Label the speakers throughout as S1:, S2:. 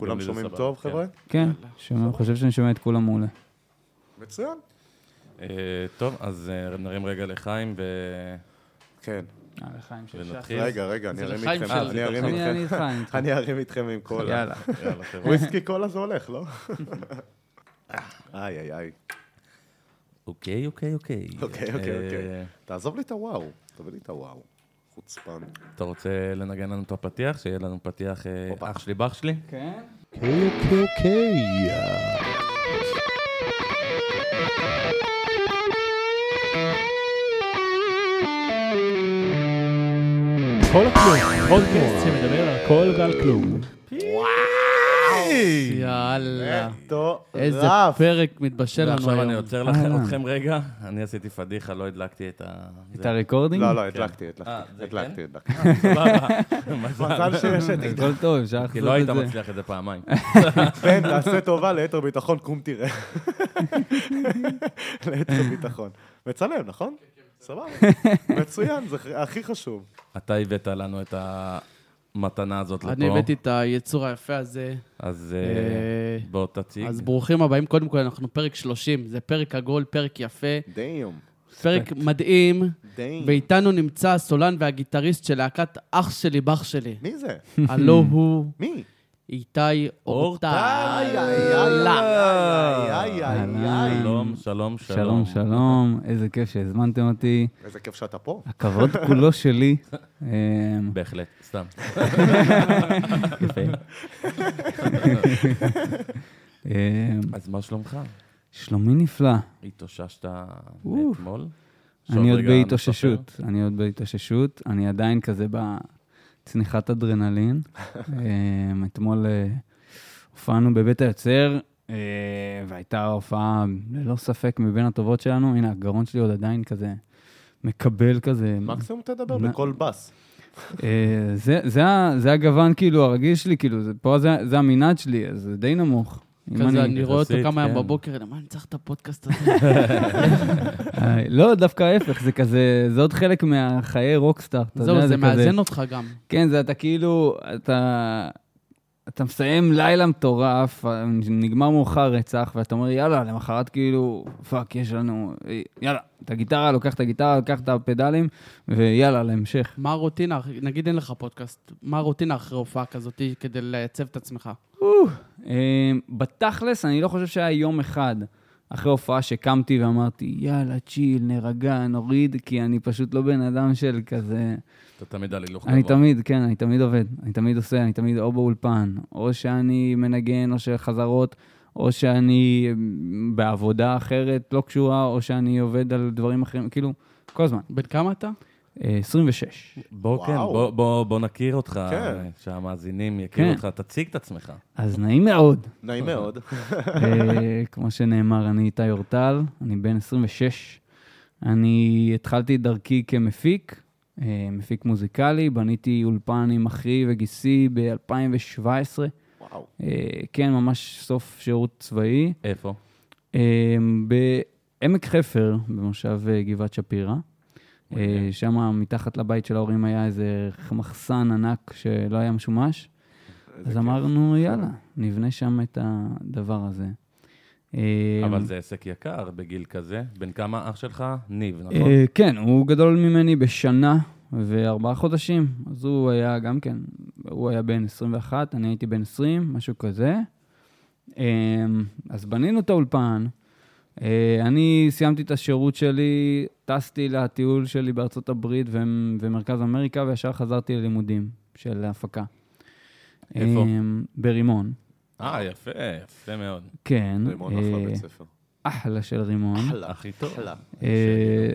S1: כולם
S2: לי זה
S1: שומעים
S2: סבבה,
S1: טוב,
S2: כן.
S1: חבר'ה?
S3: כן, שומע, חושב שאני שומע את כולם מעולה.
S1: מצוין.
S2: אה, טוב, אז אה, נרים רגע לחיים ו-
S1: כן.
S3: אה, לחיים של שחר.
S2: ונתחיל.
S1: רגע, רגע, אני
S4: זה
S1: ארים
S4: לחיים
S1: איתכם,
S4: של-
S1: אני ארים
S3: אני
S1: איתכם.
S3: אני איתך, אני איתך.
S1: אני ארים איתכם עם קולה.
S3: יאללה.
S2: יאללה, חבר'ה.
S1: וויסקי קולה זה הולך, לא? איי, איי, איי.
S2: אוקיי, אוקיי, אוקיי.
S1: אוקיי, אוקיי,
S2: אה,
S1: אוקיי. תעזוב לי את הוואו, תביא לי את הוואו. חוצפן.
S2: אתה רוצה לנגן לנו את הפתיח? שיהיה לנו פתיח אה,
S1: הופה.
S2: אח שלי, באח שלי?
S3: כן?
S5: כל הכלום, פודקאסט שמדבר על הכל ועל כלום.
S4: יאללה. איזה
S1: מטורף.
S4: פרק מתבשל לנו
S2: ועכשיו
S4: היום.
S2: אני עוצר לכם-
S3: אהלן.
S2: אתכם רגע, אני עשיתי פדיחה, לא הדלקתי את ה...
S3: את
S2: זה.
S3: הרקורדינג?
S1: לא, לא, הדלקתי,
S2: אה,
S1: הדלקתי,
S2: זה
S1: הדלקתי,
S2: כן?
S1: הדלקתי.
S2: סבבה.
S1: מזל שיש את
S3: אה, הכל טוב, אפשר
S2: כי
S3: לחזות
S2: לא היית
S3: את זה.
S2: מצליח את זה פעמיים.
S1: בן, תעשה כן, טובה ליתר ביטחון, קום תראה. ליתר ביטחון. מצלם, נכון? סבבה. מצוין, זה הכי חשוב.
S2: אתה הבאת לנו את המתנה הזאת לפה.
S4: אני הבאתי את היצור היפה הזה.
S2: אז אה,
S4: אה,
S2: בוא תציג.
S4: אז ברוכים הבאים. קודם כל, אנחנו פרק 30. זה פרק עגול, פרק יפה,
S1: דיום.
S4: פרק מדהים.
S1: דיום.
S4: ואיתנו נמצא הסולן והגיטריסט של להקת אח שלי, בח שלי.
S1: מי זה?
S4: הלו הוא
S1: מי?
S4: איתי אורטל.
S1: איי, איי, איי, איי, איי, איי, איי.
S2: שלום, שלום, שלום.
S3: שלום, שלום, איזה כיף שהזמנתם אותי.
S1: איזה כיף שאתה פה.
S3: הכבוד כולו שלי. אמ,
S2: בהחלט, סתם.
S3: אמ,
S2: אז מה שלומך?
S3: שלומי נפלא.
S2: התאוששת
S3: אוף.
S2: אתמול?
S3: אני
S2: שעוד
S3: עוד
S2: רגע נספר?
S3: בהתאוששות, אני עוד בהתאוששות, אני עדיין כזה בצניחת אדרנלין. אמ, אתמול אה, הופענו בבית היוצר, אה, והייתה הופעה ללא ספק מבין הטובות שלנו. הנה, הגרון שלי עוד עדיין כזה מקבל כזה.
S1: מקסימום תדבר
S3: מה-
S1: בקול בס.
S3: אה, זה- זה ה- זה הגוון כאילו הרגיל שלי, כאילו, זה- פה זה- זה המנעד שלי, אז זה די נמוך. אם
S4: כזה, אני רואה אותו
S2: יחסית,
S4: כמה
S2: כן.
S4: ימים בבוקר, למה אני צריך את הפודקאסט הזה?
S3: אה, לא, דווקא ההפך, זה כזה, זה עוד חלק מהחיי רוקסטאר. אתה יודע,
S4: זהו, זה
S3: כזה-
S4: מאזן אותך גם.
S3: כן, זה אתה כאילו, אתה... אתה מסיים לילה מטורף, נגמר מאוחר רצח, ואתה אומר, יאללה, למחרת כאילו, פאק, יש לנו, יאללה, את הגיטרה, לוקח את הגיטרה, לוקח את הפדלים, ויאללה, להמשך.
S4: מה הרוטינה, נגיד אין לך פודקאסט, מה הרוטינה אחרי הופעה כזאת כדי לייצב את עצמך?
S3: אה, בתכלס, אני לא חושב שהיה יום אחד אחרי הופעה שקמתי ואמרתי, יאללה, צ'יל, נרגע, נוריד, כי אני פשוט לא בן אדם של כזה...
S2: אתה תמיד על הילוך
S3: אני תמיד, כן, אני תמיד עובד, אני תמיד עושה, אני תמיד או באולפן, או שאני מנגן, או שחזרות, או שאני אמ, בעבודה אחרת לא קשורה, או שאני עובד על דברים אחרים, כאילו, כל הזמן.
S4: בן כמה אתה?
S3: אה, 26.
S2: בוא, כן,
S1: וואו.
S2: בוא- בוא- בוא נכיר אותך,
S1: כן.
S2: שהמאזינים יכירו
S3: כן.
S2: אותך, תציג את עצמך.
S3: אז נעים מאוד.
S1: נעים מאוד.
S3: אה, כמו שנאמר, אני איתי אורטל, אני בן 26. אני התחלתי את דרכי כמפיק, אה, מפיק מוזיקלי, בניתי אולפן עם אחי וגיסי ב-2017.
S1: וואו.
S3: אה, כן, ממש סוף שירות צבאי.
S2: איפה?
S3: אה, בעמק חפר, במושב אה, גבעת שפירא. אה,
S1: אוקיי.
S3: שם מתחת לבית של ההורים היה איזה מחסן ענק שלא היה משומש.
S1: איזה
S3: אז
S1: כיף.
S3: אמרנו, יאללה, נבנה שם את הדבר הזה. אה,
S2: אבל זה עסק יקר בגיל כזה. בן כמה אח שלך? ניב,
S3: אה,
S2: נכון?
S3: כן, הוא גדול ממני בשנה וארבעה חודשים, אז הוא היה גם כן, הוא היה בן 21, אני הייתי בן 20, משהו כזה. אה, אז בנינו את האולפן. אה, אני סיימתי את השירות שלי, טסתי לטיול שלי בארצות הברית ו- ומרכז אמריקה, וישר חזרתי ללימודים של הפקה.
S2: איפה?
S3: אה, ברימון,
S2: אה, יפה, יפה מאוד.
S3: כן.
S1: רימון אחלה בית ספר.
S3: אה. אחלה של רימון.
S1: אחלה.
S2: הכי טוב.
S3: לא
S1: אחלה.
S3: אה,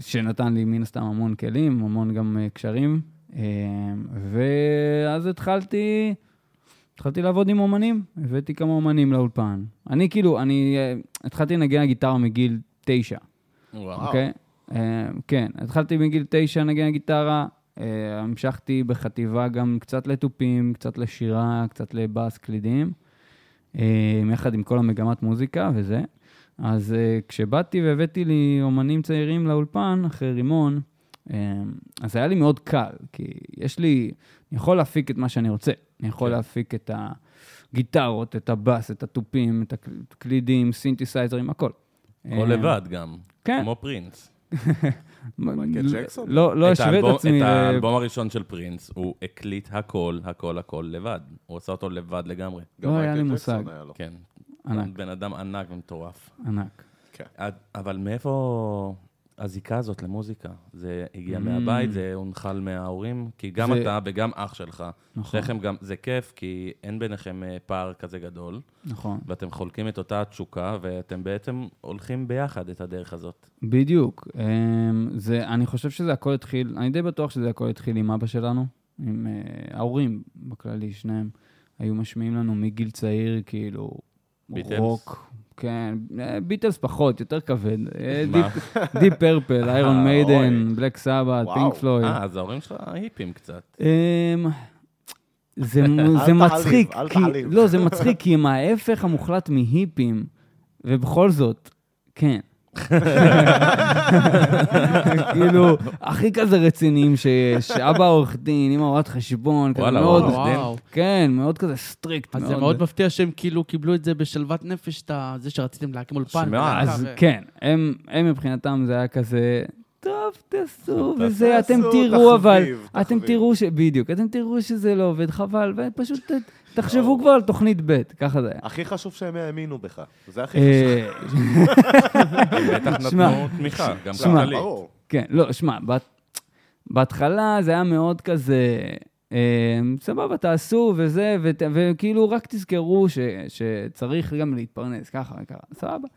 S3: שנתן לי מן הסתם המון כלים, המון גם אה, קשרים. אה, ואז התחלתי, התחלתי לעבוד עם אומנים, הבאתי כמה אומנים לאולפן. אני כאילו, אני אה, התחלתי לנגן על גיטרה מגיל תשע,
S2: וואו.
S3: אוקיי? אה, כן, התחלתי מגיל תשע לנגן על גיטרה, אה, המשכתי בחטיבה גם קצת לתופים, קצת לשירה, קצת לבאס קלידים, אה, יחד עם כל המגמת מוזיקה וזה. אז אה, כשבאתי והבאתי לי אומנים צעירים לאולפן, אחרי רימון, אה, אז היה לי מאוד קל, כי יש לי, אני יכול להפיק את מה שאני רוצה. אני יכול
S2: כן.
S3: להפיק את ה... הגיטרות, את הבאס, את התופים, את הקלידים, סינתסייזרים, הכל.
S2: או
S3: אה,
S2: לבד גם,
S3: כן.
S2: כמו פרינס.
S1: מייקל
S3: לא-
S1: ג'קסון?
S3: לא לא
S2: את
S3: אשווה
S2: האלבום-
S3: את עצמי.
S2: את
S3: ל-
S2: האלבום הראשון של פרינס, הוא הקליט הכל, הכל, הכל לבד. הוא עשה אותו לבד לגמרי.
S3: לא היה לי מושג.
S1: היה לו.
S2: כן.
S3: ענק,
S2: בן אדם ענק ומטורף.
S3: ענק.
S2: עד- אבל מאיפה הזיקה הזאת למוזיקה? זה הגיע
S3: Mm.
S2: מהבית, זה הונחל מההורים, כי גם
S3: זה-
S2: אתה וגם אח שלך,
S3: נכון,
S2: שניכם גם, זה כיף, כי אין ביניכם אה, פער כזה גדול,
S3: נכון.
S2: ואתם חולקים את אותה התשוקה, ואתם בעצם הולכים ביחד את הדרך הזאת.
S3: בדיוק. אמ, זה, אני חושב שזה הכל התחיל, אני די בטוח שזה הכל התחיל עם אבא שלנו, עם אה, ההורים בכללי, שניהם היו משמיעים לנו מגיל צעיר, כאילו,
S2: ביטלס?
S3: רוק. כן, אה, ביטלס פחות, יותר כבד. אה,
S2: מה?
S3: דיפ- דיפ פרפל, איירון
S2: אוי.
S3: מיידן, בלק סבת,
S1: וואו.
S3: פינק פלויד.
S2: אה, אז ההורים שלך היפים קצת.
S3: אמ, זה, זה
S1: תעליב,
S3: מצחיק,
S1: אל
S3: כי,
S1: תעליב.
S3: לא, זה מצחיק, כי הם ההפך המוחלט מהיפים, ובכל זאת, כן. כאילו, הכי כזה רציניים שיש, אבא עורך דין, אמא רואת חשבון, כזה
S2: וואלה,
S3: מאוד,
S2: וואלה. עורך דין?
S4: וואו.
S3: כן, מאוד כזה סטריקט.
S4: אז זה מאוד מפתיע שהם כאילו קיבלו את זה בשלוות נפש, את ה- זה שרציתם להקים אולפן.
S2: שמע,
S4: ולהקה
S3: אז
S4: ו-
S3: כן, הם הם מבחינתם זה היה כזה, טוב, תעשו, וזה, אתם
S1: תעשו,
S3: תראו, אבל,
S1: תחביב,
S3: אתם
S1: תחביב."
S3: תראו ש... בדיוק, אתם תראו שזה לא עובד, חבל, ופשוט ת- תחשבו כבר על תוכנית ב', ככה זה היה.
S1: הכי חשוב שהם האמינו בך. זה הכי חשוב.
S3: אה,
S2: בטח
S3: שמע.
S2: נתנו תמיכה, גם
S3: שמע.
S1: לא,
S2: כלכלית.
S1: ברור.
S3: כן, לא, שמע, בת- בהתחלה זה היה מאוד כזה, אה, סבבה, תעשו וזה, ות- וכאילו רק תזכרו ש- שצריך גם להתפרנס, ככה, ככה, סבבה.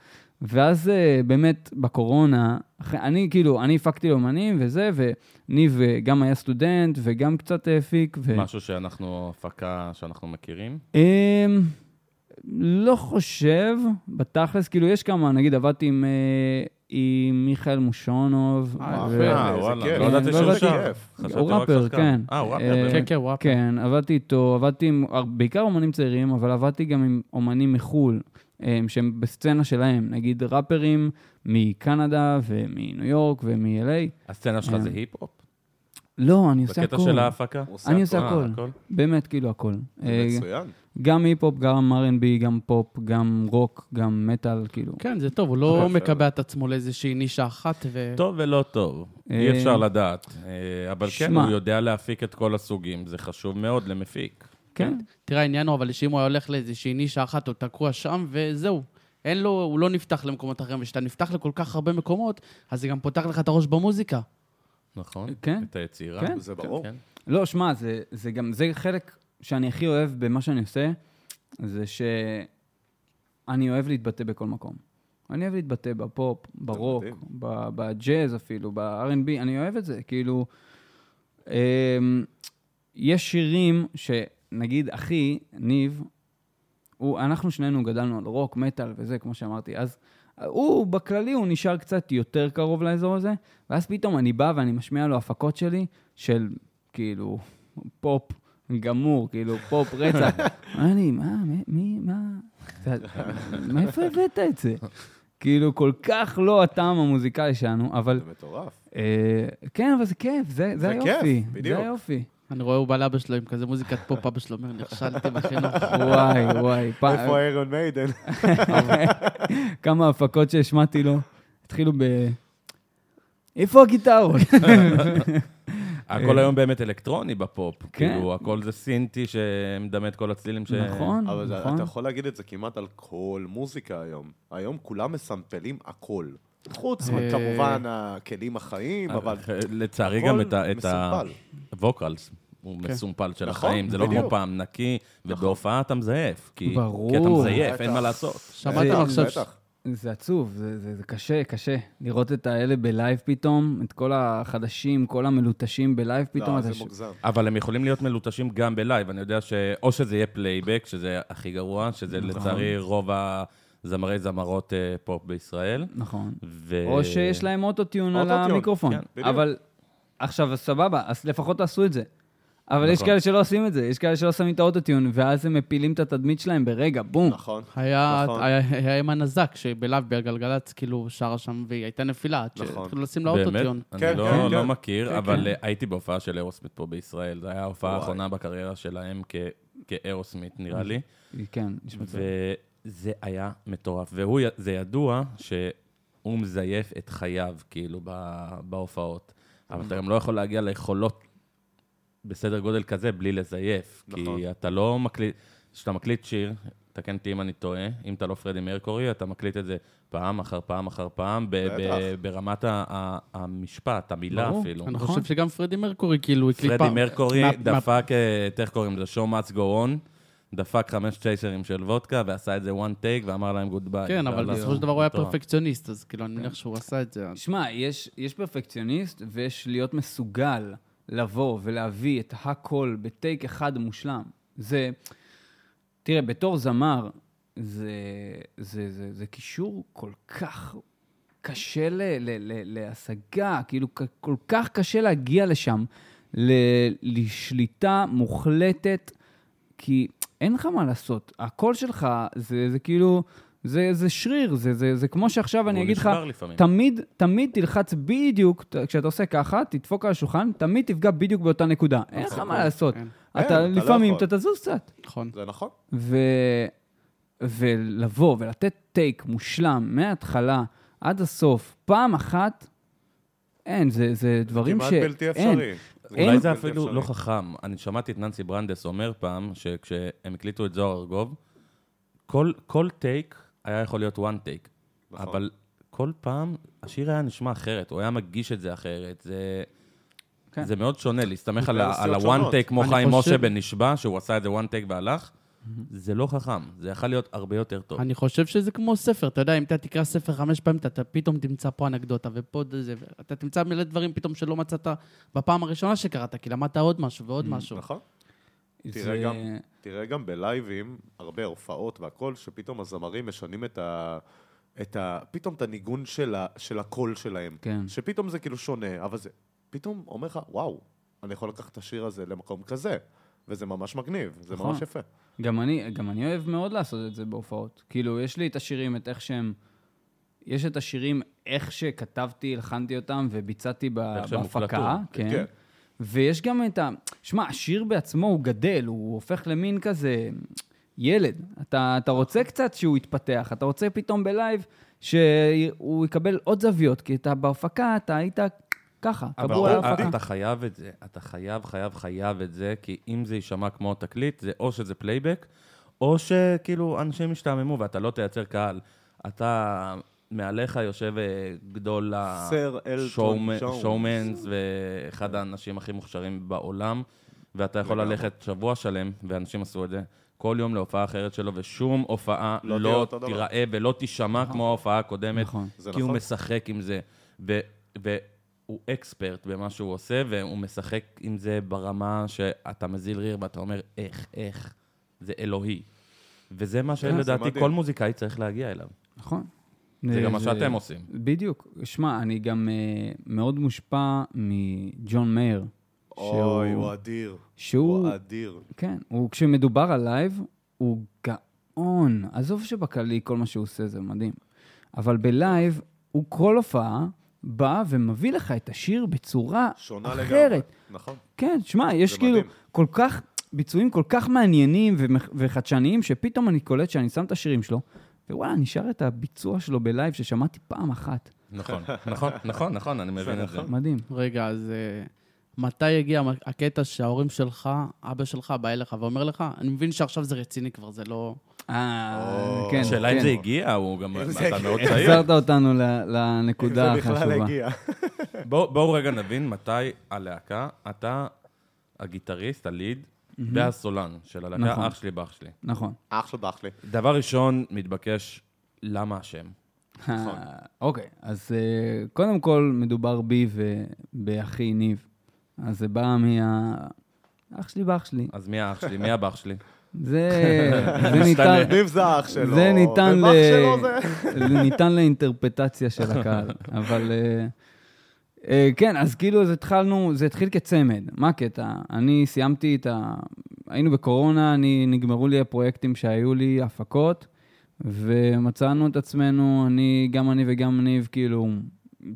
S3: ואז אה, באמת בקורונה, אחרי- אני כאילו, אני הפקתי לאומנים וזה, וניב אה, גם היה סטודנט וגם קצת אה, הפיק. ו-
S2: משהו שאנחנו, הפקה שאנחנו מכירים.
S3: אמ, לא חושב, בתכלס, כאילו, יש כמה, נגיד, עבדתי עם, אה, עם מיכאל מושונוב.
S4: אה,
S3: ו-
S4: יפה.
S1: אה,
S2: אה,
S1: איזה
S2: וואלה,
S1: כיף.
S2: לא ידעתי
S3: לא
S2: שהוא
S3: ידעתי.
S2: שר. חשבתי
S3: הוא
S2: רק
S3: ראפר,
S2: שחקן.
S3: כן.
S2: אה, הוא
S3: אה,
S2: ראפר, באמת.
S4: כן, כן, וואפ.
S3: כן, עבדתי איתו, עבדתי עם, הר- בעיקר אומנים צעירים, אבל עבדתי גם עם אומנים מחו"ל, אמ, שהם בסצנה שלהם, נגיד ראפרים מקנדה ומניו יורק ומ-LA.
S2: הסצנה שלך
S3: אה.
S2: זה היפ-הופ?
S3: לא, אני עושה
S2: בקטע
S3: הכול,
S2: של ההפקה?
S1: הוא
S3: אני עושה
S2: אה,
S3: הכל. באמת, כאילו הכל.
S1: זה
S3: אה,
S1: מצוין.
S3: גם היפ-הופ, גם R&B, גם פופ, גם רוק, גם מטאל, כאילו.
S4: כן, זה טוב, הוא
S1: זה
S4: לא
S1: יפה.
S4: מקבע את עצמו לאיזושהי נישה אחת, ו...
S2: טוב ולא טוב, אי
S3: כן. אה,
S2: אפשר לדעת. אה, אבל כן,
S3: שמע.
S2: הוא יודע להפיק את כל הסוגים, זה חשוב מאוד למפיק.
S3: כן.
S4: תראה, העניין הוא אבל שאם הוא היה הולך לאיזושהי נישה אחת, הוא תקוע שם, וזהו. אין לו, הוא לא נפתח למקומות אחרים, וכשאתה נפתח לכל כך הרבה מקומות, אז זה גם פותח לך את הראש במוזיקה.
S2: נכון?
S3: כן.
S2: את היצירה.
S3: כן.
S1: זה ברור.
S2: כן.
S3: לא, שמע, זה, זה גם, זה חלק שאני הכי אוהב במה שאני עושה, זה שאני אוהב להתבטא בכל מקום. אני אוהב להתבטא בפופ, ברוק,
S1: מדהים.
S3: ב- בג'אז אפילו, ב-R&B, אני אוהב את זה. כאילו, אמ, יש שירים שנגיד אחי, ניב, הוא, אנחנו שנינו גדלנו על רוק, מטאל וזה, כמו שאמרתי, אז הוא, בכללי, הוא נשאר קצת יותר קרוב לאזור הזה, ואז פתאום אני בא ואני משמיע לו הפקות שלי, של כאילו פופ גמור, כאילו פופ רצח. אמר לי, מה, מי- מי, מה, אתה- מאיפה הבאת את זה? כאילו, כל כך לא הטעם המוזיקלי שלנו, אבל
S1: זה מטורף.
S3: אה, כן, אבל זה כיף, זה זה
S1: זה כיף,
S3: היופי.
S1: בדיוק.
S3: זה היופי.
S4: אני רואה, הוא בא לאבא שלו עם כזה מוזיקת פופ, אבא שלו אומר, נכשלתי בחינוך.
S3: וואי, וואי. פעם-
S1: איפה איירון מיידן?
S3: כמה הפקות שהשמעתי לו, התחילו ב... איפה הגיטרות?
S2: הכל היום באמת אלקטרוני בפופ.
S3: אה, כן.
S2: כאילו, הכל זה סינטי שמדמה את כל הצלילים ש...
S3: נכון,
S1: אבל זה-
S3: נכון.
S1: אתה יכול להגיד את זה כמעט על כל מוזיקה היום. היום כולם מסמפלים הכל. חוץ
S4: אה.
S1: מכמובן הכלים
S3: אה,
S1: החיים, אבל
S2: לצערי
S1: הכל
S2: גם את ה- את ה...
S1: מסומפל.
S2: ווקלס. הוא
S3: כן.
S2: מסומפל של
S1: נכון,
S2: החיים, זה לא כמו
S1: בדיוק. נכון.
S2: פעם נקי, ובהופעה אתה מזייף. כי
S3: ברור.
S2: כי אתה מזייף,
S1: בטח.
S2: אין מה לעשות.
S4: שמעתם
S1: בטח,
S4: עכשיו...
S1: בטח.
S3: זה עצוב, זה, זה, זה קשה, קשה. לראות את האלה בלייב פתאום, את כל החדשים, כל המלוטשים בלייב פתאום.
S1: לא,
S3: אתה
S1: זה
S3: ש-
S1: מוגזם.
S2: אבל הם יכולים להיות מלוטשים גם בלייב. אני יודע שאו שזה יהיה פלייבק, שזה הכי גרוע, שזה
S3: נכון.
S2: לצערי רוב הזמרי זמרות אה, פופ בישראל.
S3: נכון.
S2: ו...
S3: או שיש להם אוטוטיון על
S1: אוטוטיון,
S3: המיקרופון.
S2: כן,
S1: בדיוק.
S3: אבל עכשיו, אז סבבה, אז לפחות תעשו את זה. אבל יש
S2: נכון.
S3: כאלה שלא עושים את זה, יש כאלה שלא שמים את האוטוטיון, ואז הם מפילים את התדמית שלהם ברגע, בום.
S1: נכון.
S4: היה
S1: נכון.
S4: היה- היה אמן הזק, שבלאו בגלגלצ, כאילו, שרה שם, והיא הייתה נפילה, עד
S1: נכון.
S4: שהתחילו לשים לה
S2: באמת?
S4: אוטוטיון.
S2: אני
S1: כן,
S2: לא-
S1: כן,
S2: לא
S1: כן.
S2: מכיר,
S4: כן,
S2: אבל
S4: כן.
S2: אה, הייתי בהופעה של אירוסמית פה בישראל. זו הייתה ההופעה
S1: וואי.
S2: האחרונה בקריירה שלהם כ- כאירוסמית, נראה לי.
S3: כן, יש מצב.
S2: וזה היה מטורף. והוא, י- זה ידוע שהוא מזייף את חייו, כאילו, ב- בהופעות. אבל
S1: אוקיי.
S2: אתה גם לא יכול להגיע ליכולות בסדר גודל כזה בלי לזייף.
S1: נכון.
S2: כי אתה לא מקליט... כשאתה מקליט שיר, תקן אותי אם אני טועה, אם אתה לא פרדי מרקורי, אתה מקליט את זה פעם אחר פעם אחר פעם, ב- ב-
S1: בטח.
S2: ברמת ה- ה- המשפט, המילה
S3: ברור.
S2: אפילו.
S4: אני
S3: נכון.
S4: חושב שגם פרדי מרקורי, כאילו, הקליט
S2: לא פרדי
S4: פעם...
S2: מרקורי
S4: מה- מה-
S2: דפק, אה, את איך קוראים לזה? show must go on, דפק חמש צ'ייסרים של וודקה, ועשה את זה one take, ואמר להם גוד ביי.
S4: כן, אבל בסופו של דבר הוא היה פרפקציוניסט, אז כאילו,
S2: כן.
S4: אני מניח שהוא עשה את זה.
S3: שמע, יש, יש פרפקציוניסט ויש להיות מסוגל לבוא ולהביא את הכל בטייק אחד מושלם. זה, תראה, בתור זמר, זה, זה, זה, זה קישור כל כך קשה ל, ל, ל, להשגה, כאילו, כ- כל כך קשה להגיע לשם, ל, לשליטה מוחלטת, כי אין לך מה לעשות. הקול שלך זה, זה כאילו, זה, זה שריר, זה, זה, זה כמו שעכשיו אני אגיד לך...
S2: הוא נשבר לפעמים.
S3: תמיד, תמיד תלחץ בדיוק, ת- כשאתה עושה ככה, תדפוק על השולחן, תמיד תפגע בדיוק באותה נקודה. אין לך מה לעשות.
S4: כן.
S1: נכון. אין, אתה
S3: אתה
S1: לא
S3: לפעמים,
S1: יכול.
S3: אתה תזוז קצת.
S2: לא
S4: נכון.
S1: זה נכון.
S3: ו- ולבוא ולתת טייק מושלם מההתחלה עד הסוף, פעם אחת, אין, זה, זה דברים ש...
S1: כמעט בלתי
S3: אין.
S1: אפשרי.
S2: אולי
S1: כמעט
S2: זה
S1: בלתי
S2: אפילו
S1: אפשרי.
S2: לא חכם. אני שמעתי את ננסי ברנדס אומר פעם, שכשהם הקליטו את זוהר ארגוב, כל- כל טייק היה יכול להיות one take.
S1: נכון.
S2: אבל כל פעם השיר היה נשמע אחרת, הוא היה מגיש את זה אחרת. זה...
S3: כן.
S2: זה מאוד שונה, להסתמך על
S1: ורסיות
S2: ה- על הוואן
S1: שונות.
S2: טייק, כמו
S4: אני
S2: חיים
S4: חושב-
S2: משה בנשבע, שהוא עשה את זה וואן טייק והלך, זה לא חכם, זה יכול להיות הרבה יותר טוב.
S4: אני חושב שזה כמו ספר, אתה יודע, אם אתה תקרא ספר חמש פעמים, אתה- אתה פתאום תמצא פה אנקדוטה ופה זה, אתה תמצא מלא דברים פתאום שלא מצאת בפעם הראשונה שקראת, כי למדת עוד משהו
S2: Mm,
S4: ועוד משהו.
S1: נכון.
S3: זה-
S1: תראה גם, תראה גם בלייבים, הרבה הופעות והכל, שפתאום הזמרים משנים את ה... את ה... פתאום את הניגון של, ה... של הקול שלהם.
S3: כן.
S1: שפתאום זה כאילו שונה, אבל זה... פתאום אומר לך, וואו, אני יכול לקחת את השיר הזה למקום כזה, וזה ממש מגניב, זה
S3: נכון.
S1: ממש יפה.
S3: גם אני, גם אני אוהב מאוד לעשות את זה בהופעות. כאילו, יש לי את השירים, את איך שהם... יש את השירים, איך שכתבתי, הלחנתי אותם וביצעתי ב-
S2: איך שהם
S3: בהפקה.
S2: הוקלטו.
S3: כן.
S1: כן.
S3: ויש גם את ה... שמע, השיר בעצמו הוא גדל, הוא הופך למין כזה ילד. אתה, אתה רוצה קצת שהוא יתפתח, אתה רוצה פתאום בלייב שהוא יקבל עוד זוויות, כי אתה בהפקה, אתה היית ככה,
S2: אבל אה,
S3: קבוע
S2: אתה-
S3: להפקה.
S2: אתה חייב את זה, אתה חייב, חייב, חייב את זה, כי אם זה יישמע כמו תקליט, זה או שזה פלייבק, או שכאילו אנשים ישתעממו ואתה לא תייצר קהל. אתה, מעליך יושב אה, גדול ה-
S1: סר אלטון
S2: שואומ-
S1: ג'ונס.
S2: שואומנס ואחד האנשים הכי מוכשרים בעולם, ואתה יכול
S1: לגמרי.
S2: ללכת שבוע שלם, ואנשים עשו את זה, כל יום להופעה אחרת שלו, ושום הופעה
S1: לא תהיה
S2: לא
S1: אותו דבר.
S2: תיראה ולא תישמע כמו ההופעה הקודמת.
S3: נכון.
S1: זה
S2: כי הוא
S1: נכון.
S2: משחק עם זה, ו- והוא אקספרט במה שהוא עושה, והוא משחק עם זה ברמה שאתה מזיל ריר ואתה אומר, איך, איך, זה אלוהי. וזה מה שלדעתי
S1: כן, מדהים.
S2: כל מוזיקאי צריך להגיע אליו.
S3: נכון.
S2: זה גם מה שאתם עושים.
S3: בדיוק. שמע, אני גם אה, מאוד מושפע מג'ון מאיר.
S1: אוי,
S3: שהוא-
S1: הוא אדיר.
S3: שהוא,
S1: הוא אדיר.
S3: כן, הוא, כשמדובר על לייב, הוא גאון. עזוב שבקלי כל מה שהוא עושה זה מדהים. אבל בלייב, הוא כל הופעה בא ומביא לך את השיר בצורה
S1: שונה
S3: אחרת.
S1: לגמרי. נכון.
S3: כן, שמע, יש
S1: זה
S3: כאילו
S1: מדהים.
S3: כל כך, ביצועים כל כך מעניינים ומח- וחדשניים, שפתאום אני קולט שאני שם את השירים שלו, ווואלה, נשאר את הביצוע שלו בלייב ששמעתי פעם אחת.
S2: נכון, נכון, נכון, נכון, אני מבין את זה.
S3: מדהים.
S4: רגע, אז אה, מתי יגיע המ- הקטע שההורים שלך, אבא שלך בא אליך ואומר לך, אני מבין שעכשיו זה רציני כבר, זה לא...
S3: אה,
S1: או.
S3: כן,
S2: השאלה אם
S3: כן.
S2: זה הגיע, הוא גם,
S1: אם זה
S2: אתה
S1: הגיע.
S2: מאוד צעיר.
S3: החזרת אותנו ל- לנקודה
S1: זה בכלל
S3: החשובה.
S1: הגיע.
S2: בואו בואו רגע נבין מתי הלהקה, אתה הגיטריסט, הליד, והסולן של
S3: נכון.
S2: הלהקה, אח שלי באח שלי.
S3: נכון.
S1: אח של באח שלי.
S2: דבר ראשון, מתבקש, למה השם?
S1: נכון.
S3: אה, אוקיי, אז אה, קודם כל מדובר בי ובאחי ניב. אז זה בא מה... אח שלי באח שלי.
S2: אז מי האח שלי? מי הבח שלי?
S3: זה זה ניתן...
S1: ניב זה האח שלו.
S3: זה ניתן ל...
S1: ובאח שלו זה...
S3: זה ניתן לאינטרפטציה של הקהל, אבל... אה, אה, כן, אז כאילו אז התחלנו, זה התחיל כצמד. מה הקטע? אני סיימתי את ה... היינו בקורונה, אני, נגמרו לי הפרויקטים שהיו לי, הפקות, ומצאנו את עצמנו, אני, גם אני וגם ניב, כאילו,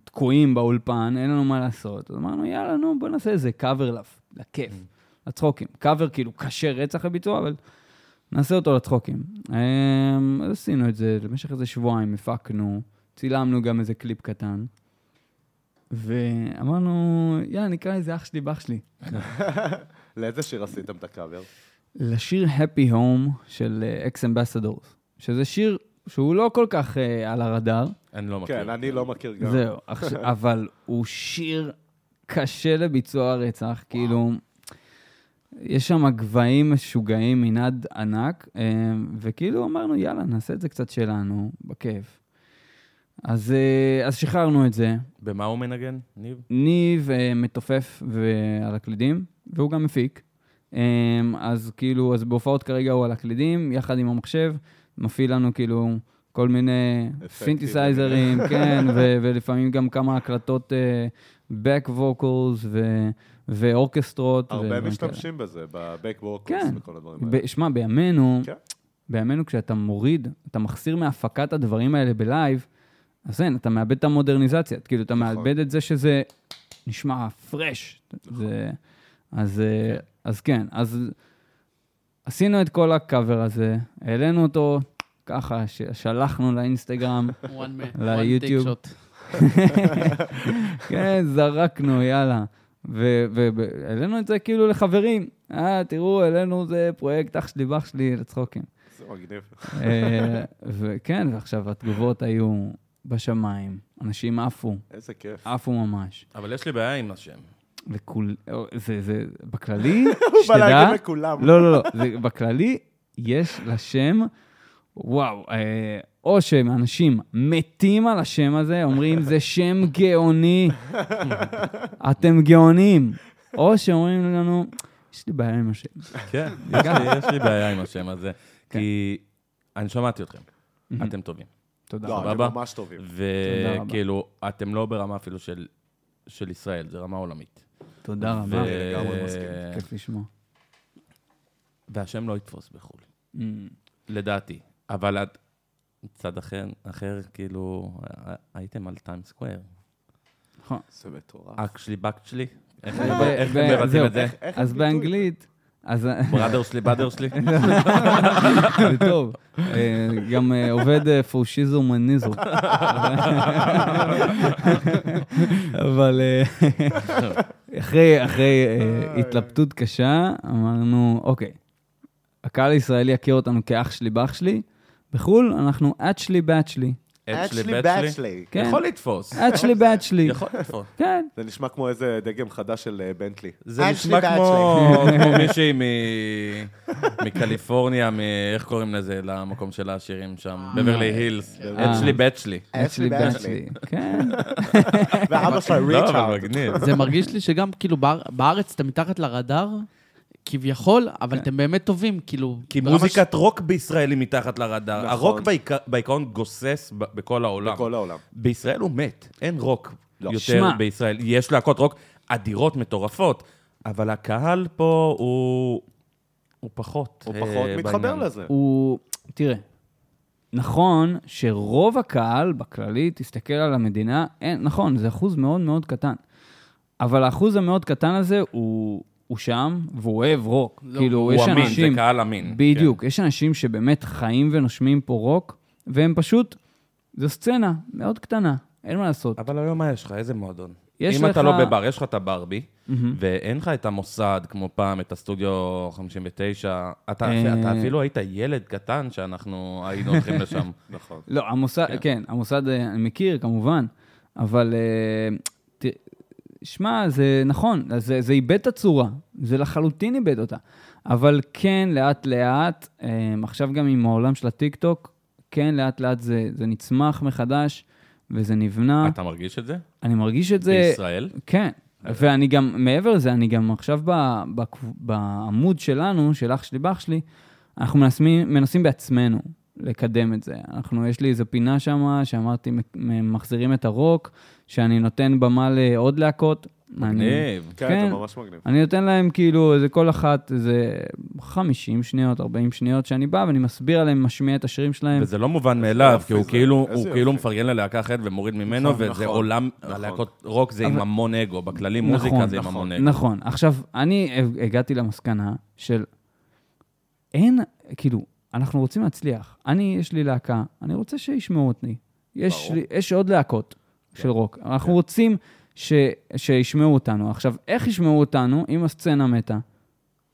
S3: תקועים באולפן, אין לנו מה לעשות. אז אמרנו, יאללה, נו, בוא נעשה איזה קאבר לכיף.
S1: Mm.
S3: לצחוקים. קאבר כאילו קשה רצח לביצוע, אבל נעשה אותו לצחוקים. אמ, אז עשינו את זה, במשך איזה שבועיים הפקנו, צילמנו גם איזה קליפ קטן, ואמרנו, יאללה, נקרא לזה אח שלי, באח שלי.
S1: לאיזה שיר עשיתם את הקאבר?
S3: לשיר Happy Home של אקס אמבסדורס, שזה שיר שהוא לא כל כך אה, על הרדאר,
S2: אני לא
S3: אוקיי.
S2: מכיר.
S1: כן, אני לא מכיר גם.
S3: זהו, עכשיו- אבל הוא שיר קשה לביצוע רצח, כאילו, יש שם גבהים משוגעים, מנעד ענק, אה, וכאילו אמרנו, יאללה, נעשה את זה קצת שלנו, בכיף. אז, אה, אז שחררנו את זה.
S2: במה הוא מנגן, ניב?
S3: ניב אה, מתופף ו- על הקלידים, והוא גם מפיק. אה, אז כאילו, אז בהופעות כרגע הוא על הקלידים, יחד עם המחשב, מפעיל לנו כאילו כל מיני
S1: אפקטים. אוקיי.
S3: סינתסייזרים, כן, ו- ולפעמים גם כמה הקלטות אה, back vocals ו- ואורקסטרות.
S1: הרבה
S3: ודברים
S1: משתמשים בזה, ב-Back
S3: כן.
S1: Walkers וכל הדברים
S3: כאלה.
S1: האלה.
S3: ב- שמע, בימינו,
S1: כן.
S3: בימינו כשאתה מוריד, אתה מחסיר מהפקת הדברים האלה בלייב, אז אין, אתה מאבד את המודרניזציה. כאילו, אתה
S1: נכון.
S3: מאבד את זה שזה נשמע פרש. זה- אז, אה, אז כן, אז עשינו את כל הקאבר הזה, העלינו אותו ככה, ש- שלחנו לאינסטגרם,
S4: one man, one
S3: ליוטיוב.
S4: take shot.
S3: כן, זרקנו, יאללה. והעלינו את זה כאילו לחברים. אה, תראו, העלינו זה פרויקט אח שלי, באח שלי, כן." לצחוקים.
S1: זה מגניב.
S3: אה, וכן, ועכשיו התגובות היו בשמיים. אנשים עפו,
S1: איזה כיף.
S2: אה,
S3: עפו ממש.
S2: אבל יש לי בעיה עם השם.
S3: וכול... אה, זה, זה, בכללי,
S1: הוא בא
S3: שתדע...
S1: להגיד לכולם.
S3: לא, לא, לא, זה, בכללי, יש לשם, וואו, אה, או שאנשים מתים על השם הזה, אומרים, זה שם גאוני, אתם גאונים. או שאומרים לנו, יש לי בעיה עם השם.
S2: כן, יש לי- יש לי בעיה עם השם הזה. כי אני שמעתי אתכם, אתם טובים.
S3: תודה.
S1: לא,
S2: סבבה.
S1: אתם ממש טובים.
S3: תודה רבה.
S2: וכאילו, אתם לא ברמה אפילו של, של ישראל, זה רמה עולמית.
S3: תודה
S2: ו-
S3: רבה,
S1: לגמרי מסכים.
S3: כיף לשמוע.
S2: והשם לא יתפוס בחו"ל,
S3: אמ,
S2: לדעתי. אבל את... צד אחר, אחר, כאילו, הייתם על טיים סקוויר.
S3: נכון.
S1: זה מטורף.
S2: אק שלי, בק שלי. איך
S3: ב-
S2: איך
S3: ב-
S2: אתם מבצעים
S3: אה, זהו.
S2: את זה?
S1: אה, איך
S3: אז
S1: הביטוי?
S3: באנגלית, אז
S2: בראדר שלי, באדר שלי.
S3: זה טוב. אה, גם אה, עובד אה, פאושיזם וניזם. אבל אה, אחרי אחרי אה, התלבטות קשה, אמרנו, אוקיי, הקהל הישראלי יכיר אותנו כאח שלי, באח שלי. בחו"ל אנחנו את שלי, בת שלי.
S2: את שלי,
S1: אצ'לי
S2: בת שלי.
S1: באצ'לי.
S3: כן.
S2: יכול לתפוס.
S3: את שלי, בת שלי.
S2: יכול לתפוס.
S3: כן.
S1: זה נשמע כמו איזה דגם חדש של אה, בנטלי.
S2: זה
S1: אצ'לי
S2: נשמע
S1: באצ'לי.
S2: כמו כמו מישהי מ- מקליפורניה, מ- איך קוראים לזה, למקום של העשירים שם, בברלי הילס.
S1: אה.
S2: את שלי, בת שלי.
S3: את שלי, בת שלי. כן.
S1: ואבא שלה
S2: לא, אבל
S1: ריצ'ארד.
S2: מגניב.
S4: זה מרגיש לי שגם כאילו באר- בארץ אתם מתחת לרדאר, כביכול, אבל אתם באמת טובים, כאילו...
S2: כי
S4: ברמה
S2: מוזיקת רוק בישראל היא מתחת לרדאר.
S1: נכון.
S2: הרוק בעיקר- בעיקרון גוסס ב- בכל העולם.
S1: בכל העולם.
S2: בישראל הוא מת, אין רוק
S1: לא.
S2: יותר
S3: שמע.
S2: בישראל. יש להקות רוק אדירות, מטורפות, אבל הקהל פה הוא... הוא פחות.
S1: הוא
S2: אה,
S1: פחות מתחבר
S2: בעניין.
S1: לזה.
S3: הוא... תראה, נכון שרוב הקהל בכללי, תסתכל על המדינה, אין, נכון, זה אחוז מאוד מאוד קטן. אבל האחוז המאוד קטן הזה הוא, הוא שם, והוא אוהב רוק.
S4: לא,
S3: כאילו,
S2: הוא
S3: יש
S2: אמין,
S3: אנשים...
S2: זה קהל אמין. כן.
S3: בדיוק, יש אנשים שבאמת חיים ונושמים פה רוק, והם פשוט... זו סצנה מאוד קטנה, אין מה לעשות.
S2: כן. אבל היום מה יש לך? איזה מועדון?
S3: יש
S2: אם אתה
S3: לך-
S2: לא בבר, יש לך את הברבי, ואין לך את המוסד, כמו פעם, את הסטודיו 59. אתה
S3: אה.
S2: אתה אפילו היית ילד קטן שאנחנו היינו הולכים לשם.
S1: נכון.
S3: לא, המוסד, כן, כן המוסד אה, אני מכיר, כמובן, אבל אה, ת- שמע, זה נכון, אז זה, זה איבד את הצורה, זה לחלוטין איבד אותה. אבל כן, לאט-לאט, אה, עכשיו גם עם העולם של הטיקטוק, כן, לאט-לאט זה, זה נצמח מחדש וזה נבנה.
S2: אתה מרגיש את זה?
S3: אני מרגיש את זה...
S2: בישראל?
S3: כן.
S2: אה.
S3: ואני גם, מעבר לזה, אני גם עכשיו ב, בקב- בעמוד שלנו, של אח שלי באח שלי, אנחנו מנסים, מנסים בעצמנו לקדם את זה. אנחנו, יש לי איזו פינה שם, שאמרתי, מ- מ- מחזירים את הרוק, שאני נותן במה לעוד להקות, אני-
S2: מגניב.
S1: כן,
S3: כן.
S1: זה ממש מגניב.
S3: אני נותן להם כאילו, איזה כל אחת, איזה 50 שניות, 40 שניות שאני בא ואני מסביר עליהם, משמיע את השירים
S4: כן.
S3: שלהם.
S2: וזה לא מובן מאליו,
S1: יופי
S2: כי הוא
S1: זה,
S2: כאילו,
S1: איזה
S2: הוא
S1: יופי.
S2: כאילו מפרגן ללהקה אחרת ומוריד ממנו,
S1: נכון,
S2: וזה
S1: נכון,
S2: עולם,
S1: נכון.
S2: הלהקות רוק זה עם
S3: אבל-
S2: המון אגו, בכללי
S3: נכון,
S2: מוזיקה זה עם
S1: נכון.
S2: המון אגו.
S3: נכון. עכשיו, אני הגעתי למסקנה של אין, כאילו, אנחנו רוצים להצליח. אני, יש לי להקה, אני רוצה שישמעו אותי. יש,
S1: ברור.
S3: לי, יש עוד להקות
S2: כן.
S3: של רוק. אנחנו רוצים ש, שישמעו אותנו. עכשיו, איך ישמעו אותנו אם הסצנה מתה?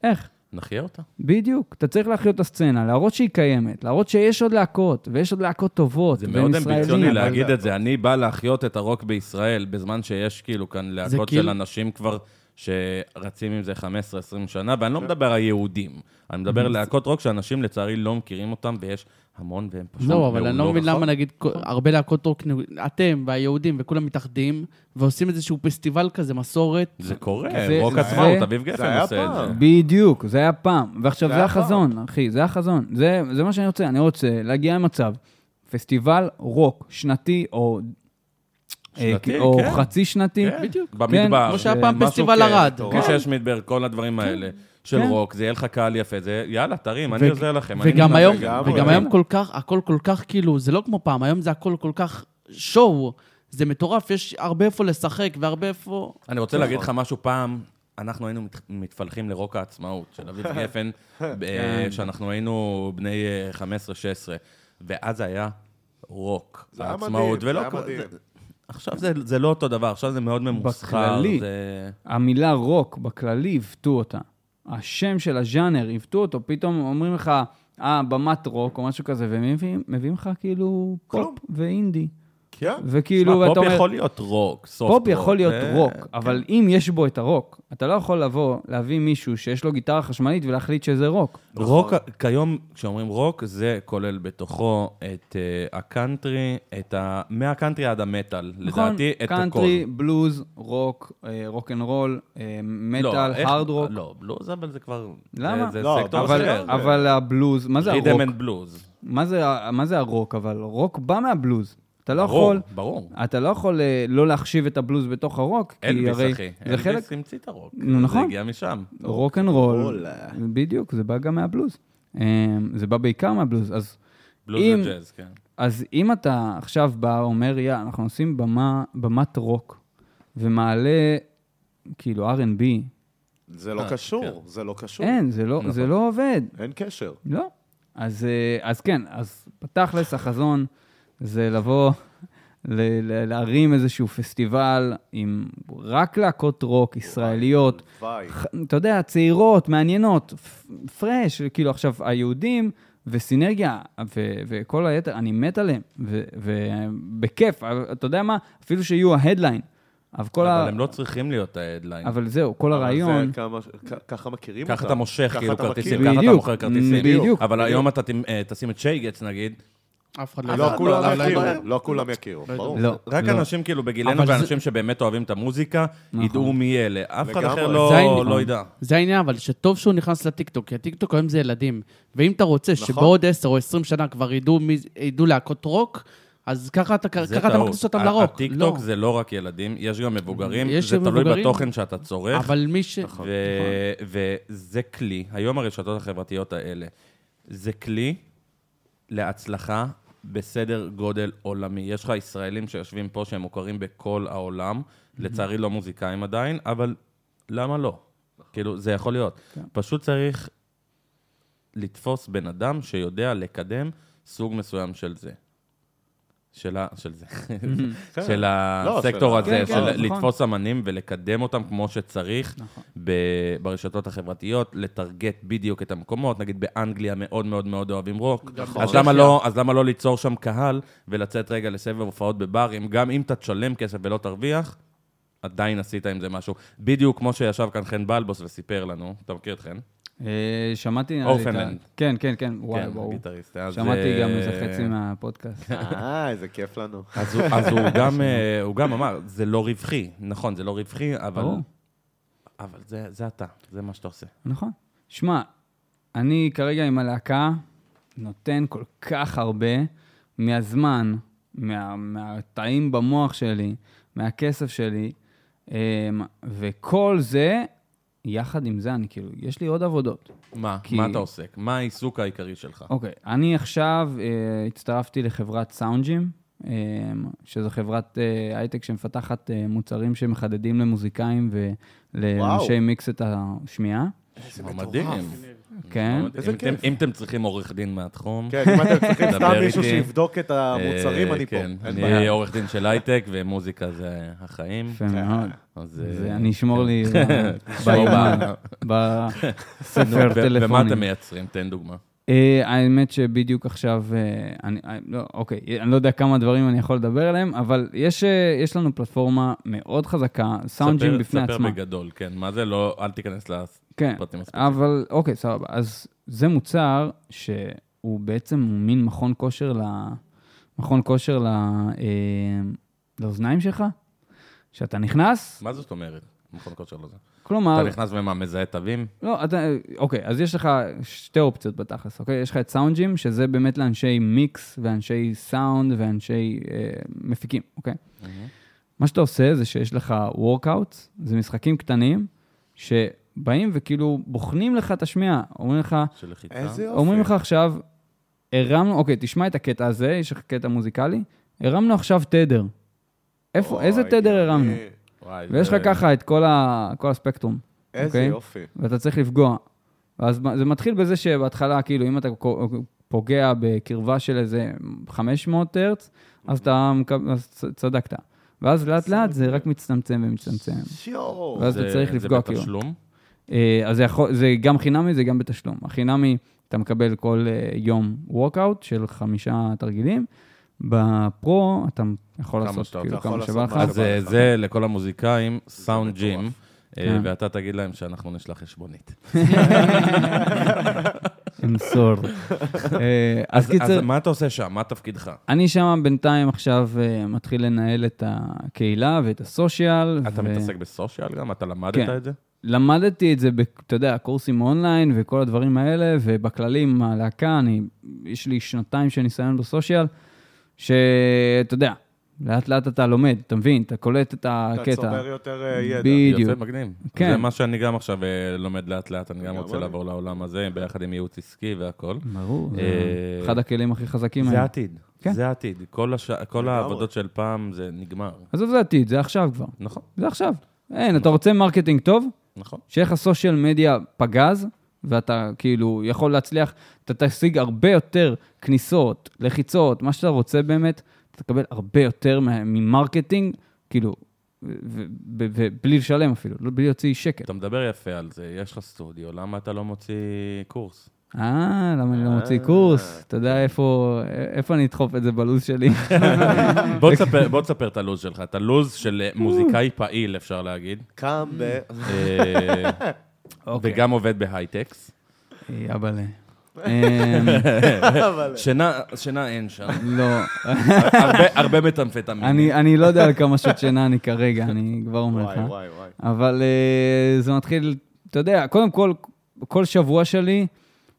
S3: איך?
S4: נכון.
S2: נחיה אותה.
S3: בדיוק. אתה צריך להחיות את הסצנה, להראות שהיא קיימת, להראות שיש עוד להקות, ויש עוד להקות טובות,
S2: זה
S3: והם
S2: מאוד
S3: ישראלים.
S2: אמביציוני
S1: אבל-
S2: להגיד את זה. אני בא להחיות את הרוק בישראל, בזמן שיש כאילו כאן להקות של
S4: כאילו-
S2: אנשים כבר שרצים עם זה 15-20 שנה, ואני לא
S1: כן.
S2: מדבר על יהודים. אני מדבר על להקות רוק שאנשים לצערי לא מכירים אותם, ויש המון, והם פשוט
S4: זהו, אבל אני לא
S2: מעולות.
S4: מבין למה נגיד כל- הרבה להקות רוק, אתם והיהודים וכולם מתאחדים, ועושים איזשהו פסטיבל כזה, מסורת.
S2: זה קורה,
S3: זה-
S2: רוק
S3: זה-
S2: עצמאות, אביב גפן
S1: היה
S2: עושה את זה.
S1: פעם.
S3: בדיוק, זה היה פעם. ועכשיו,
S1: זה
S3: זה
S1: היה פעם.
S3: החזון, אחי, זה החזון. זה, זה מה שאני רוצה, אני רוצה להגיע למצב, פסטיבל רוק שנתי, או, אה,
S2: שנתי,
S3: או
S2: כן.
S3: חצי שנתי,
S2: כן,
S4: בדיוק.
S2: במדבר.
S3: כמו
S4: שהיה פעם
S2: משהו
S4: פסטיבל
S2: כ-
S4: ערד.
S2: כמו שיש מדבר, כל הדברים האלה. של
S3: כן.
S2: רוק, זה יהיה לך קהל יפה, זה יאללה, תרים, אני עוזר לכם. אני אוקיי.
S4: וגם
S2: נותן
S4: היום,
S2: לכם.
S1: לגמרי.
S4: וגם היום כל כך, הכל כל כך כאילו, זה לא כמו פעם, היום זה הכל כל כך שואו, זה מטורף, יש הרבה איפה לשחק והרבה איפה...
S2: אני רוצה להגיד לך משהו פעם. אנחנו היינו מת- מתפלחים לרוק העצמאות של אביב גפן, כשאנחנו היינו בני אה, 15-16, ואז היה רוק
S1: זה היה מדהים,
S2: העצמאות.
S1: זה
S2: ולא
S1: היה
S2: כל-
S1: מדהים.
S2: זה- עכשיו זה- זה לא אותו דבר, עכשיו זה מאוד ממוסחר.
S3: בכללי.
S2: זה-
S3: המילה רוק בכללי עיוותו אותה. השם של הז'אנר, עיוותו אותו, פתאום אומרים לך, אה, במת רוק או משהו כזה, ומביאים מביאים לך כאילו
S1: כלום.
S3: פופ ואינדי.
S1: כן.
S3: וכאילו,
S2: שמע,
S3: ואתה
S2: פופ
S3: כאילו, אומר...
S2: יכול להיות רוק, סופט רוק.
S3: פופ יכול להיות
S2: זה- כן.
S3: רוק, אבל אם יש בו את הרוק, אתה לא יכול לבוא, להביא מישהו שיש לו גיטרה חשמלית ולהחליט שזה רוק.
S2: רוק, כיום כשאומרים רוק, זה כולל בתוכו את אה, הקאנטרי, את ה... מהקאנטרי עד המטאל, לדעתי, את הכל.
S3: נכון, קאנטרי, בלוז, רוק, אה, רוק אנד רול, אה,
S2: לא,
S3: מטאל,
S2: איך-
S3: הארד רוק.
S2: לא, בלוז, אבל זה כבר... אה,
S3: למה?
S2: זה, זה
S1: לא,
S2: סקטור
S3: אבל,
S2: אחר.
S3: אבל הבלוז, מה זה הרוק?
S2: רידם אנד בלוז.
S3: מה זה, ה- מה זה הרוק? אבל רוק בא מהבלוז. אתה לא
S2: ברור,
S3: יכול,
S2: ברור.
S3: אתה לא יכול אה, לא להחשיב את הבלוז בתוך הרוק, כי
S2: אלביס,
S3: הרי
S2: אחי.
S3: זה חלק,
S2: אלביס המציא את הרוק.
S3: נו, נכון.
S2: זה הגיע משם.
S3: רוק אנד רול,
S1: רול.
S3: בדיוק, זה בא גם מהבלוז. אה, זה בא בעיקר מהבלוז, אז
S2: בלוז
S3: אם-
S2: וג'אז, כן.
S3: אז אם אתה עכשיו בא, אומר, יא, אנחנו עושים במה, במת רוק, ומעלה, כאילו, R&B,
S1: זה לא
S2: אה,
S1: קשור, זה לא קשור.
S3: אין, זה לא, זה
S2: נכון.
S3: לא עובד.
S1: אין קשר.
S3: לא. אז, אה, אז כן, אז בתכלס החזון זה לבוא, ל- ל- להרים איזשהו פסטיבל עם רק להקות רוק ישראליות,
S1: וואי.
S3: ח- אתה יודע, צעירות, מעניינות, פ- פרש, כאילו עכשיו, היהודים וסינרגיה ו- וכל היתר, אני מת עליהם, ובכיף, אתה יודע מה? אפילו שיהיו ההדליין. אבל כל ה...
S2: אבל הם לא צריכים להיות ההדליין.
S3: אבל זהו, כל
S1: אבל
S3: הרעיון...
S1: זה כמה- כ- ככה מכירים אותם.
S2: ככה אתה מושך
S1: ככה
S2: כאילו
S1: אתה מכיר.
S2: כרטיסים, ככה אתה
S3: בדיוק,
S2: מוכר כרטיסים.
S3: בדיוק.
S2: אבל היום אתה ת- אה, תשים את שייגץ נגיד,
S4: אף אחד לא
S1: לא
S4: יודע.
S1: כולם
S4: לא, לא, לא.
S1: יכירו, לא כולם יכירו, ברור.
S3: לא,
S2: רק
S3: לא.
S2: אנשים כאילו בגילנו
S4: אבל זה- נכון.
S2: ואנשים שבאמת אוהבים את המוזיקה, ידעו מי אלה. אף אחד
S1: לגמרי.
S2: אחר
S4: זה
S2: לא
S4: העניין.
S2: לא ידע.
S4: זה העניין, אבל שטוב שהוא נכנס לטיקטוק, כי הטיקטוק היום זה ילדים. ואם אתה רוצה
S1: נכון.
S4: שבעוד 10 או 20 שנה כבר ידעו מי- ידעו להקות רוק, אז ככה אתה
S2: זה
S4: ככה אתה
S2: טעות.
S4: מכניס אותם
S2: ה-
S4: לרוק.
S2: הטיקטוק
S4: לא.
S2: זה לא רק ילדים, יש גם מבוגרים,
S4: יש
S2: זה
S4: גם
S2: תלוי
S4: מבוגרים.
S2: בתוכן שאתה צורך.
S4: אבל מי ש...
S2: נכון. ו- וזה כלי, היום הרשתות החברתיות האלה, זה כלי להצלחה בסדר גודל עולמי. יש לך ישראלים שיושבים פה שהם מוכרים בכל העולם, לצערי לא מוזיקאים עדיין, אבל למה לא? כאילו, זה יכול להיות. פשוט צריך לתפוס בן אדם שיודע לקדם סוג מסוים של זה. של ה... של זה.
S1: כן.
S2: של
S1: לא,
S2: הסקטור
S1: של-
S2: הזה,
S3: כן, כן,
S2: של
S3: נכון.
S2: לתפוס אמנים ולקדם אותם כמו שצריך
S3: נכון.
S2: ב- ברשתות החברתיות, לטרגט בדיוק את המקומות. נגיד באנגליה מאוד מאוד מאוד אוהבים רוק.
S1: נכון.
S2: אז למה לא- אז למה לא ליצור שם קהל ולצאת רגע לסבב הופעות בברים? גם אם אתה תשלם כסף ולא תרוויח, עדיין עשית עם זה משהו. בדיוק כמו שישב כאן חן בלבוס וסיפר לנו, אתה מכיר את חן?
S3: אה, שמעתי... נראה לי את ה-
S2: אורפנלנד.
S3: כן, כן, כן, וואי, וואו.
S2: הגיטריסט. אז,
S3: שמעתי גם
S2: אה,
S3: איזה חצי
S2: לא.
S3: מהפודקאסט.
S1: אה, איזה כיף לנו.
S2: אז הוא- אז הוא גם, אה, הוא גם אמר, זה לא רווחי. נכון, זה לא רווחי, אבל...
S3: ברור.
S2: אבל זה, זה אתה, זה מה שאתה עושה.
S3: נכון. שמע, אני כרגע עם הלהקה נותן כל כך הרבה מהזמן, מה, מהתאים במוח שלי, מהכסף שלי, אמ, וכל זה, יחד עם זה, אני כאילו, יש לי עוד עבודות.
S2: מה?
S3: כי-
S2: מה אתה עוסק? מה העיסוק העיקרי שלך?
S3: אוקיי, אני עכשיו אה, הצטרפתי לחברת סאונדג'ים, אה, שזו חברת אה, הייטק שמפתחת אה, מוצרים שמחדדים למוזיקאים ולאנשי
S1: וואו.
S3: מיקס את השמיעה.
S2: זה מדהים.
S3: כן.
S2: מדהים.
S1: איזה
S2: אם אתם-
S1: כיף.
S2: אם אתם צריכים עורך דין מהתחום...
S1: כן, אם אתם צריכים סתם
S2: דבר
S1: מישהו
S2: איתי.
S1: שיבדוק את המוצרים,
S2: אה,
S1: אני פה.
S2: כן,
S1: אין
S2: אני
S1: בעיה.
S2: עורך דין של הייטק, ומוזיקה זה החיים.
S3: יפה מאוד.
S2: אז...
S3: זה-
S2: אה,
S3: אני אשמור לי
S2: שמור
S3: ב-
S2: ב- נו,
S3: בספר
S2: ו- ומה
S3: טלפונים.
S2: אתם מייצרים? תן דוגמה.
S3: אה, האמת שבדיוק עכשיו, אה, אני, אה, לא, אוקיי, אני לא יודע כמה דברים אני יכול לדבר עליהם, אבל יש, אה, יש לנו פלטפורמה מאוד חזקה, סאונדג'ים
S2: ספר-
S3: בפני עצמה.
S2: ספר בגדול, כן. מה זה לא... אל תיכנס לפרטים
S3: כן,
S2: הספציפיים.
S3: אבל אוקיי, סבבה. אז זה מוצר שהוא בעצם מין מכון כושר ל... מכון כושר ל... אה, לאוזניים שלך, שאתה נכנס,
S2: מה זאת אומרת? מכון כושר לא זה.
S3: אה,
S2: אתה
S3: כלומר,
S2: נכנס ומה, מזהה תווים?
S3: לא, אתה, אוקיי, אז יש לך שתי אופציות בתכלס, אוקיי? יש לך את סאונדג'ים, שזה באמת לאנשי מיקס ואנשי סאונד ואנשי אה, מפיקים, אוקיי? מה שאתה עושה זה שיש לך וורקאוטס, זה משחקים קטנים, שבאים וכאילו בוחנים לך את השמיעה, אומרים לך,
S2: של לחיצה?
S1: איזה יופי.
S3: אומרים לך עכשיו, הרמנו, אוקיי, תשמע את הקטע הזה, יש לך קטע מוזיקלי, הרמנו עכשיו תדר. איפה,
S1: אוי,
S3: איזה תדר הרמנו?
S1: אה,
S2: וואי,
S3: ויש לך
S2: זה-
S3: ככה את כל ה- כל הספקטרום.
S1: איזה
S3: אוקיי.
S1: יופי.
S3: ואתה צריך לפגוע. ואז מה- זה מתחיל בזה שבהתחלה, כאילו, אם אתה קו- פוגע בקרבה של איזה 500 הרץ, אז אתה מקב- אז צ- צדקת. ואז לאט לאט זה רק מצטמצם ומצטמצם.
S1: שיו.
S3: ואז אתה
S2: זה-
S3: צריך לפגוע,
S2: זה
S3: כאילו.
S2: בתשלום?
S3: אה, אז זה, יכול, זה גם חינמי, זה גם בתשלום. החינמי, אתה מקבל כל אה, יום וורקאוט של חמישה תרגילים. בפרו, אתה יכול
S2: כמה
S3: לעשות
S2: שאתה
S1: אתה
S3: כאילו
S1: יכול
S3: כמה שבא
S1: לעשות
S3: לך.
S1: מה
S2: אז אה,
S1: לך.
S2: זה לכל המוזיקאים, סאונד
S1: מטורף.
S2: ג'ים, אה,
S3: כן.
S2: ואתה תגיד להם שאנחנו נשלח חשבונית.
S3: אמסור. אה, אז קיצר...
S2: אז מה אתה עושה שם? מה תפקידך?
S3: אני שם בינתיים עכשיו אה, מתחיל לנהל את הקהילה ואת הסושיאל.
S2: אתה
S3: ו-
S2: מתעסק בסושיאל גם? אתה למדת
S3: כן.
S2: את זה?
S3: למדתי את זה, ב- אתה יודע, קורסים אונליין וכל הדברים האלה, ובכללי עם הלהקה, אני, יש לי שנתיים של ניסיון בסושיאל, שאתה יודע, לאט לאט אתה לומד, אתה מבין, אתה קולט את
S1: אתה
S3: הקטע.
S1: צובר יותר אה, ידע.
S3: בדיוק.
S2: יפה, מגניב.
S3: כן.
S2: זה מה שאני גם עכשיו אה, לומד לאט-לאט, אני גם
S1: גם
S2: רוצה
S1: אני.
S2: לעבור לעולם הזה, ביחד עם ייעוץ עסקי והכול.
S3: ברור, זה
S2: אה,
S3: אחד הכלים הכי חזקים
S2: זה
S3: היום.
S2: העתיד,
S3: כן.
S2: זה העתיד. כל הש- כל
S1: לגמרי.
S2: העבודות של פעם זה נגמר.
S3: עזוב, זה עתיד, זה עכשיו כבר.
S2: נכון,
S3: זה עכשיו. אין, אתה רוצה מרקטינג טוב?
S2: נכון.
S3: שיהיה לך סושיאל מדיה פגז, ואתה כאילו יכול להצליח, אתה תשיג הרבה יותר כניסות, לחיצות, מה שאתה רוצה באמת, אתה תקבל הרבה יותר מה- ממרקטינג, כאילו, ובלי לשלם אפילו, לא- בלי להוציא שקל.
S2: אתה מדבר יפה על זה, יש לך סטודיו, למה אתה לא מוציא קורס?
S3: אה, למה אני לא מוציא
S1: אה.
S3: קורס? אתה יודע איפה איפה אני אדחוף את זה בלו"ז שלי?
S2: בוא תספר- בוא תספר את הלו"ז שלך, את הלו"ז של מוזיקאי פעיל, אפשר להגיד,
S1: קם ב...
S2: אה,
S3: אוקיי.
S2: וגם עובד בהייטקס.
S3: יאבלה.
S2: שינה שינה אין שם,
S3: אמ, לא,
S2: הרבה- הרבה מטמפטמינים.
S3: אני אני לא יודע על כמה שעות שינה אני כרגע, אני כבר אומר לך.
S1: וואי, וואי, וואי.
S3: אבל אה, זה מתחיל, אתה יודע, קודם כל, כל שבוע שלי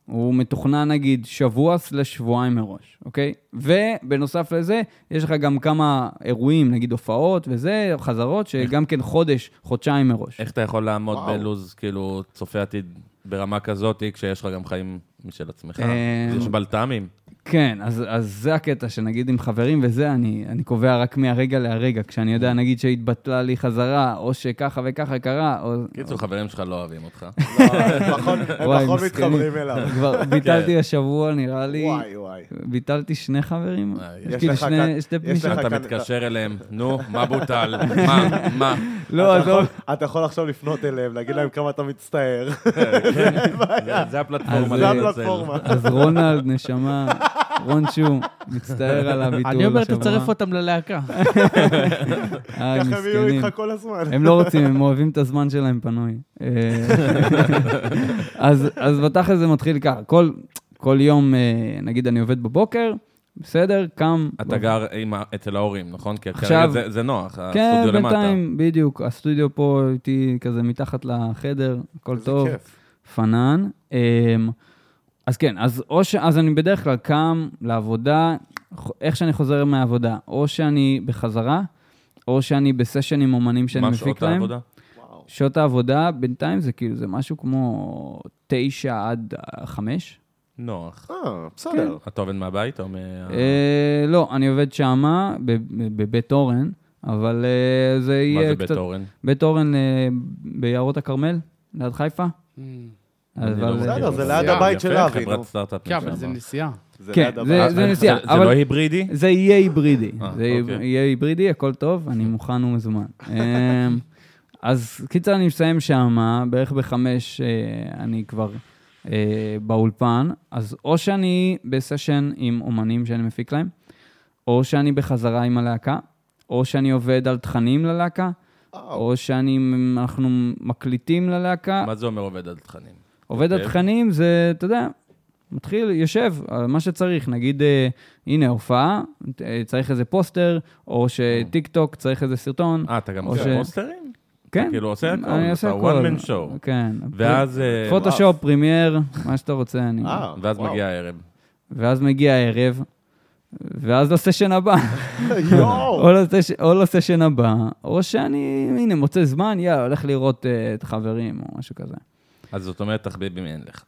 S3: הוא מתוכנן נגיד שבוע סלש שבועיים מראש, אוקיי? ובנוסף לזה, יש לך גם כמה אירועים, נגיד הופעות וזה, חזרות, שגם כן חודש, חודשיים מראש.
S2: איך אתה יכול לעמוד
S1: וואו.
S2: בלוז, כאילו, צופה עתיד ברמה כזאת, כשיש לך גם חיים משל עצמך?
S3: אה,
S2: יש בלת"מים.
S3: כן, אז, אז זה הקטע, שנגיד עם חברים וזה, אני, אני קובע רק מהרגע להרגע, כשאני
S1: אה.
S3: יודע, נגיד שהתבטלה לי חזרה, או שככה וככה קרה, או...
S2: קיצור, חברים שלך לא אוהבים אותך.
S1: לא, פחות-
S3: וואי,
S1: הם פחות
S3: מסכנים.
S1: מתחברים אליו. כן.
S3: כבר ביטלתי השבוע, נראה לי.
S1: וואי, וואי.
S3: ביטלתי שני חברים.
S2: אה,
S3: יש
S1: יש
S3: כאילו
S1: לך
S3: שני-
S1: כאן-
S3: שתי
S1: יש
S3: פגישות.
S1: לך
S2: אתה
S1: כאן-
S2: מתקשר אליהם, נו, מה בוטל? מה? מה?
S3: לא,
S1: אתה
S3: עזוב.
S1: יכול- אתה יכול עכשיו לפנות אליהם, להגיד להם כמה אתה מצטער.
S2: זה- זה הפלטפורמה.
S3: אז,
S1: זה
S2: להתנצל.
S1: הפלטפורמה.
S3: אז רונלד, נשמה, רון שום, מצטער על הביטול השבוע.
S4: אני אומר, תצרף אותם ללהקה.
S3: איי,
S1: ככה הם יהיו
S3: אה, מסכנים.
S1: איתך כל הזמן.
S3: הם לא רוצים, הם אוהבים את הזמן שלהם פנוי. אה, אז אז בתכל'ס זה מתחיל ככה. כל- כל יום, אה, נגיד אני עובד בבוקר, בסדר, קם...
S2: אתה גר עם ה- אצל ההורים, נכון? כי
S3: עכשיו-
S2: כרגע זה- זה נוח,
S3: כן,
S2: הסטודיו למטה.
S3: בינתיים, בדיוק. הסטודיו פה איתי כזה מתחת לחדר, הכל
S1: איזה
S3: טוב.
S1: כיף.
S3: פנן. אמ, אז כן, אז, או ש... אז אני בדרך כלל קם לעבודה, ח- איך שאני חוזר מהעבודה, או שאני בחזרה, או שאני בסשן עם אומנים שאני
S2: מה
S3: מפיק להם.
S2: שעות העבודה?
S1: וואו.
S3: שעות העבודה בינתיים זה כאילו, זה משהו כמו תשע עד אה, חמש.
S2: נוח.
S1: אה, בסדר.
S2: אתה עובד מהבית או מה...
S3: כן. אה, לא, אני עובד שמה, בב- בבית אורן, אבל אה, זה יהיה
S2: מה
S3: קצת...
S2: זה בית אורן?
S3: בית אורן אה, ביערות הכרמל, ליד חיפה.
S2: אני לא
S3: אבל- אה,
S2: מכיר.
S1: בסדר, זה
S4: ליד
S1: הבית
S2: יפה,
S1: של אבי,
S2: חברת
S1: נו.
S2: סטארט-אפ.
S4: כן, אבל
S2: לשעבר.
S4: זה נסיעה.
S1: זה
S3: כן,
S1: ליד הבית.
S3: זה
S2: אה,
S3: נסיעה,
S2: זה
S3: אבל-
S2: לא היברידי?
S3: זה יהיה היברידי. זה יהיה-
S2: אוקיי.
S3: יהיה היברידי, הכל טוב, אני מוכן ומזומן. אמ, אז קיצר, אני מסיים שם, בערך בחמש אה, אני כבר אה, באולפן, אז או שאני בסשן עם אומנים שאני מפיק להם, או שאני בחזרה עם הלהקה, או שאני עובד על תכנים ללהקה,
S1: אה,
S3: או שאני, אנחנו מקליטים ללהקה.
S2: מה זה אומר עובד על תכנים?
S3: עובד על
S2: אוקיי.
S3: תכנים זה, אתה יודע, מתחיל, יושב על מה שצריך. נגיד, אה, הנה, הופעה, אה, צריך איזה פוסטר, או שטיק טוק צריך איזה סרטון.
S2: אה, אתה גם
S3: או
S2: עושה
S3: ש-
S2: פוסטרים?
S3: כן,
S2: אתה כאילו עושה הכל.
S3: אני עושה הכל.
S2: אתה one man show.
S3: כן.
S2: ואז אה,
S3: פוטושופ, פרימייר, מה שאתה רוצה, אני...
S1: אה,
S2: ואז
S1: וואו.
S2: מגיע הערב.
S3: ואז מגיע הערב, ואז לסשן הבא.
S1: יואו.
S3: או לסש- או לסשן הבא, או שאני, הנה, מוצא זמן, יאללה, הולך לראות אה, את החברים, או משהו כזה.
S2: אז זאת אומרת, תחביבים אין לך.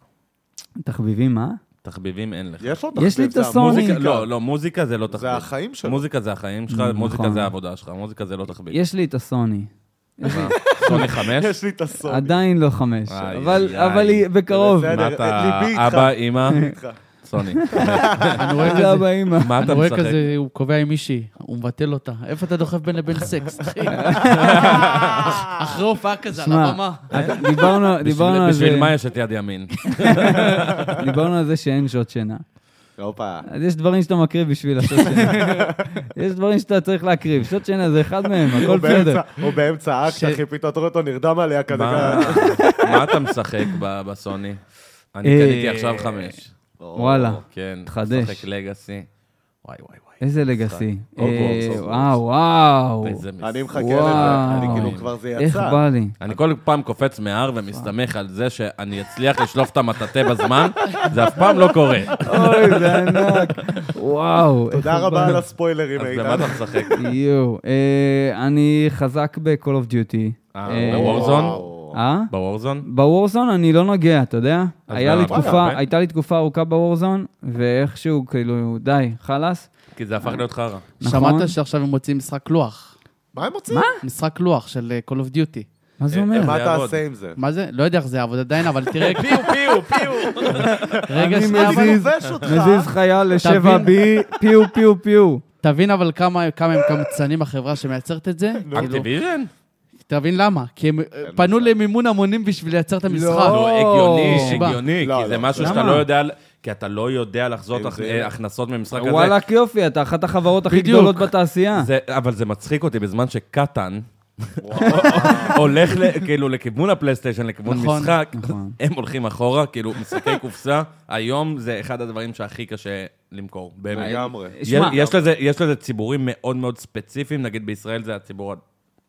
S3: תחביבים, אה? מה?
S2: תחביבים אין לך.
S1: יש לו
S3: יש לי
S1: תחביב,
S3: את
S1: זה
S3: הסוני.
S1: המוזיקה.
S2: מוזיקה, לא, לא, מוזיקה זה לא תחביב.
S1: זה החיים שלו.
S2: מוזיקה זה החיים שלך,
S3: נכון.
S2: מוזיקה זה העבודה שלך, מוזיקה זה לא תחביב.
S3: יש לי את הסוני.
S2: מה? סוני חמש?
S1: יש לי את הסוני.
S3: עדיין לא חמש,
S2: איי,
S3: אבל
S2: איי.
S3: אבל היא בקרוב.
S1: בסדר.
S2: מה אתה,
S1: ליבי איתך.
S2: אבא, אימא,
S1: איתך.
S2: סוני.
S4: אני רואה
S2: לא,
S3: זה
S4: כזה,
S3: הבא
S1: אה?
S3: אימא.
S2: מה
S4: אני
S2: אתה
S4: רואה
S2: משחק?
S4: כזה, הוא קובע עם מישהי, הוא מבטל אותה. איפה אתה דוחף בין לבין סקס, אחי? אחרי הופעה כזה, על
S3: שמע,
S4: הבמה.
S3: אתה- דיברנו- דיברנו
S2: בשביל-
S3: על זה-
S2: בשביל מה יש את יד ימין?
S3: דיברנו על זה שאין שעות שינה.
S1: הופה.
S3: אז יש דברים שאתה מקריב בשביל השעות שינה. יש דברים שאתה צריך להקריב. שעות שינה זה אחד מהם, הכל
S1: או
S3: בסדר.
S1: באמצע- או באמצע אקט,
S4: ש-
S1: אחי, פתאום אתה רואה אותו נרדם עליה כזה.
S2: מה
S1: כזה.
S2: מה אתה משחק ב- בסוני? אני
S3: אה,
S2: קניתי עכשיו חמש.
S3: וואלה,
S2: כן,
S3: תחדש.
S2: משחק לגסי. וואי, וואי, וואי.
S3: איזה לגאסי.
S1: הוגוורטס,
S3: אה,
S1: הוגוורטס.
S3: וואו, וואו.
S2: איזה מס-
S1: אני מחכה
S3: וואו.
S1: לזה, אני כאילו כבר זה
S3: איך
S1: יצא.
S3: בא לי.
S2: אני כל פעם קופץ מההר ומסתמך על זה שאני אצליח לשלוף את המטאטה בזמן, זה אף פעם לא קורה.
S3: אוי, זה ענק. וואו. איך
S1: תודה
S3: בא
S1: רבה
S3: לי.
S1: על הספוילרים,
S2: אז במה
S1: איתן.
S2: אתה משחק?
S3: יואו. אה, אני חזק ב-call of duty.
S2: אה,
S3: אה,
S2: בוורזון?
S1: וואו.
S3: אה?
S2: בוורזון?
S3: בוורזון אני לא נוגע, אתה יודע?
S2: אז
S3: היה
S2: מה,
S3: לי
S2: וואלה,
S3: תקופה,
S2: כן.
S3: הייתה לי תקופה ארוכה בוורזון, ואיכשהו, כאילו, די, חלאס.
S2: כי זה הפך להיות חרא.
S3: נכון.
S4: שמעת שעכשיו הם מוציאים משחק לוח.
S1: מה הם מוצאים?
S4: משחק לוח של אה, Call of Duty.
S3: מה זה
S2: אה,
S3: אומר?
S2: איך
S1: מה
S2: זה
S1: תעשה
S2: יעבוד.
S1: עם זה?
S4: מה זה? לא יודע איך זה יעבוד עדיין, אבל תראה... פיו, פיו, פיו. רגע,
S3: אני
S4: שנייה, אבל-
S1: אני
S3: מזיז,
S1: לובש אותך.
S3: מזיז חייל לשבע
S4: תבין.
S3: בי, פיו, פיו, פיו.
S4: תבין אבל כמה כמה הם קמצנים החברה שמייצרת את זה. כאילו,
S2: אקטיביז'ן?
S4: תבין למה. כי הם אה, פנו למימון המונים בשביל לייצר את המשחק.
S2: לא, הגיוני,
S4: נשבע.
S2: הגיוני,
S1: לא,
S2: כי זה
S1: לא,
S2: משהו שאתה
S3: למה?
S2: לא יודע, כי אתה לא יודע לחזות
S1: אם
S2: הכ- אה,
S1: זה-
S2: הכנסות ממשחק הזה.
S3: וואלאק יופי, אתה אחת החברות הכי
S4: בדיוק.
S3: גדולות בתעשייה.
S2: זה, אבל זה מצחיק אותי בזמן שקטן הולך ל, כאילו לכיוון הפלייסטיישן, לכיוון
S4: נכון,
S2: משחק,
S3: נכון.
S2: הם הולכים אחורה, כאילו משחקי קופסה, היום זה אחד הדברים שהכי קשה למכור, באמת.
S1: לגמרי.
S2: יש-
S3: אה, שמע.
S2: יש לזה- יש לזה ציבורים מאוד מאוד ספציפיים, נגיד בישראל זה הציבור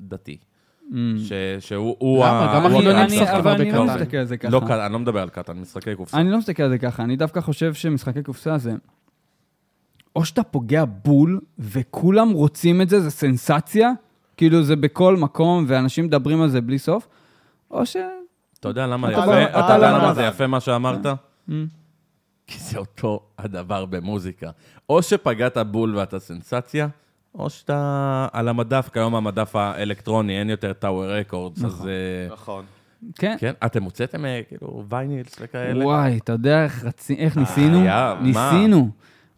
S2: הדתי,
S3: Mm.
S2: ש- שהוא הוא
S4: למה?
S2: ה...
S4: גם
S2: הוא
S4: החילונים
S2: הקהל
S4: אני-
S2: שלך.
S4: אבל אני לא
S2: לא,
S3: מסתכל על זה ככה.
S2: לא, קטן, אני לא מדבר על קטן, משחקי קופסה.
S3: אני לא מסתכל על זה ככה, אני דווקא חושב שמשחקי קופסה זה... או שאתה פוגע בול, וכולם רוצים את זה, זה סנסציה, כאילו זה בכל מקום, ואנשים מדברים על זה בלי סוף, או ש...
S2: אתה יודע למה
S1: אתה
S2: יפה?
S1: לא-
S2: אתה
S1: אתה
S2: יודע
S1: לא
S2: למה
S1: נבל.
S2: זה יפה מה שאמרת? כי זה אותו הדבר במוזיקה. או שפגעת בול ואתה סנסציה, או שאתה על המדף, כיום המדף האלקטרוני, אין יותר טאוור רקורדס, אז... אה,
S1: נכון.
S3: כן.
S2: כן, אתם הוצאתם אה, כאילו ויינילס וכאלה?
S3: וואי, אתה יודע איך רצי- איך ניסינו?
S2: אה, היה, מה?
S3: ניסינו.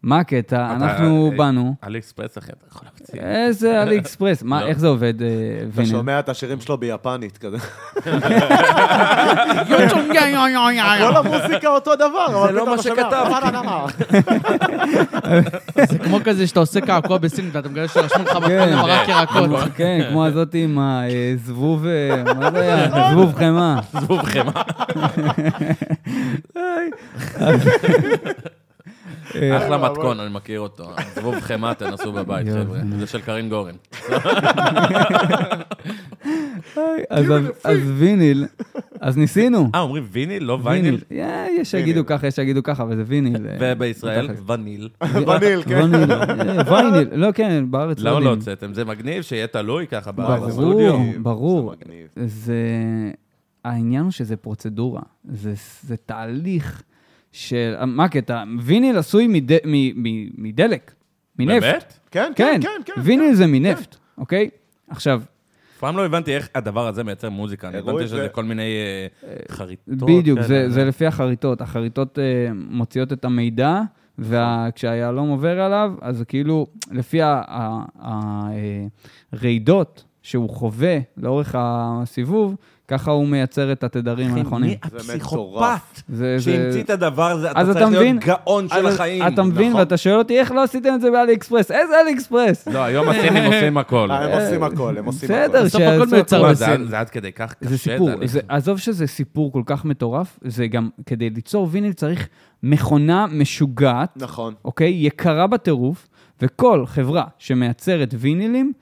S3: מה הקטע?
S2: אתה-
S3: אנחנו
S2: אה,
S3: באנו. אה.
S2: עלי אקספרס, אחי, אתה יכול להמציא.
S3: איזה עלי אקספרס. מה,
S2: לא.
S3: איך זה עובד, אה,
S1: אתה
S3: וינר?
S1: שומע את השירים שלו ביפנית כזה.
S4: יוצ'ונג, יא, יא, יא, יא, יא.
S1: כל המוזיקה אותו דבר, אבל
S2: לא
S1: פתאום
S2: מה
S1: אתה שומע,
S2: שכתבתי.
S1: "וואלה, למה?"
S4: זה כמו כזה שאתה עושה קעקוע בסין ואתה מגלה שרשמו לך מתכון למרק ירקות.
S3: כן, כמו הזאת עם הזבוב, אה, מה זה
S2: נכון.
S3: היה? זבוב חמאה.
S2: עזבו בכם.
S3: כן. אה,
S2: אחלה מתכון, אני מכיר אותו. עזבו בכם מה, תנסו בבית,
S3: יואו,
S2: חבר'ה. זה של קרין גורן.
S3: אז- אז ויניל, אז ניסינו.
S2: אה, אומרים ויניל, לא וייניל?
S3: ויניל. אה, יש שיגידו
S1: ויניל.
S3: ככה, יש שיגידו ככה, אבל זה ויניל. אה,
S2: ובישראל,
S3: בתכלס.
S2: וניל.
S1: בניל, כן.
S4: לא
S3: ויניל, אה, ויניל. לא, כן, בארץ
S2: למה לא
S3: יודעים.
S2: הוצאתם? זה מגניב שיהיה תלוי ככה
S1: וואי, זה
S3: ברור,
S2: בסטודיו.
S1: מגניב,
S3: ברור.
S1: זה מגניב.
S3: זה... העניין הוא שזה פרוצדורה. זה, זה תהליך של... מה הקטע? ויניל עשוי מד, מ, מ, מדלק, מנפט.
S2: באמת?
S1: כן,
S3: כן,
S1: כן, כן, כן.
S3: ויניל זה מנפט, אוקיי? עכשיו,
S2: אף פעם לא הבנתי איך הדבר הזה מייצר מוזיקה. אני
S1: הראו
S2: הבנתי
S1: את
S2: שזה
S1: זה.
S2: כל מיני אה, חריטות. כן,
S3: בדיוק,
S2: כאלה.
S3: זה, זה לפי החריטות. החריטות אה, מוציאות את המידע, וכשהיהלום עובר עליו, אז זה כאילו, לפי הרעידות אה, שהוא חווה לאורך הסיבוב, ככה הוא מייצר את התדרים
S2: אחי,
S3: הנכונים.
S2: מי
S1: זה
S2: הפסיכופת
S1: מטורף.
S3: זה- זה-
S2: שהמציא את הדבר הזה? אתה
S3: אז
S2: צריך
S3: אתה מבין-
S2: להיות גאון של
S3: אז
S2: החיים.
S3: אתה מבין,
S2: נכון.
S3: ואתה שואל אותי, איך לא עשיתם את זה באלי אקספרס? איזה אלי אקספרס?
S2: לא, היום הסינים עושים הכל.
S1: אה, הם עושים הכל, הם עושים הכל.
S3: בסדר,
S4: בסוף
S3: שיעשו
S4: הכל מיוצר
S3: הכל.
S2: מה,
S4: בסדר.
S2: זה עד- זה עד כדי כך קשה.
S3: אה, זה סיפור,
S2: תהליך.
S3: זה, עזוב שזה סיפור כל כך מטורף, זה גם, כדי ליצור ויניל צריך מכונה משוגעת,
S1: נכון.
S3: אוקיי? יקרה בטירוף, וכל חברה שמייצרת וינילים,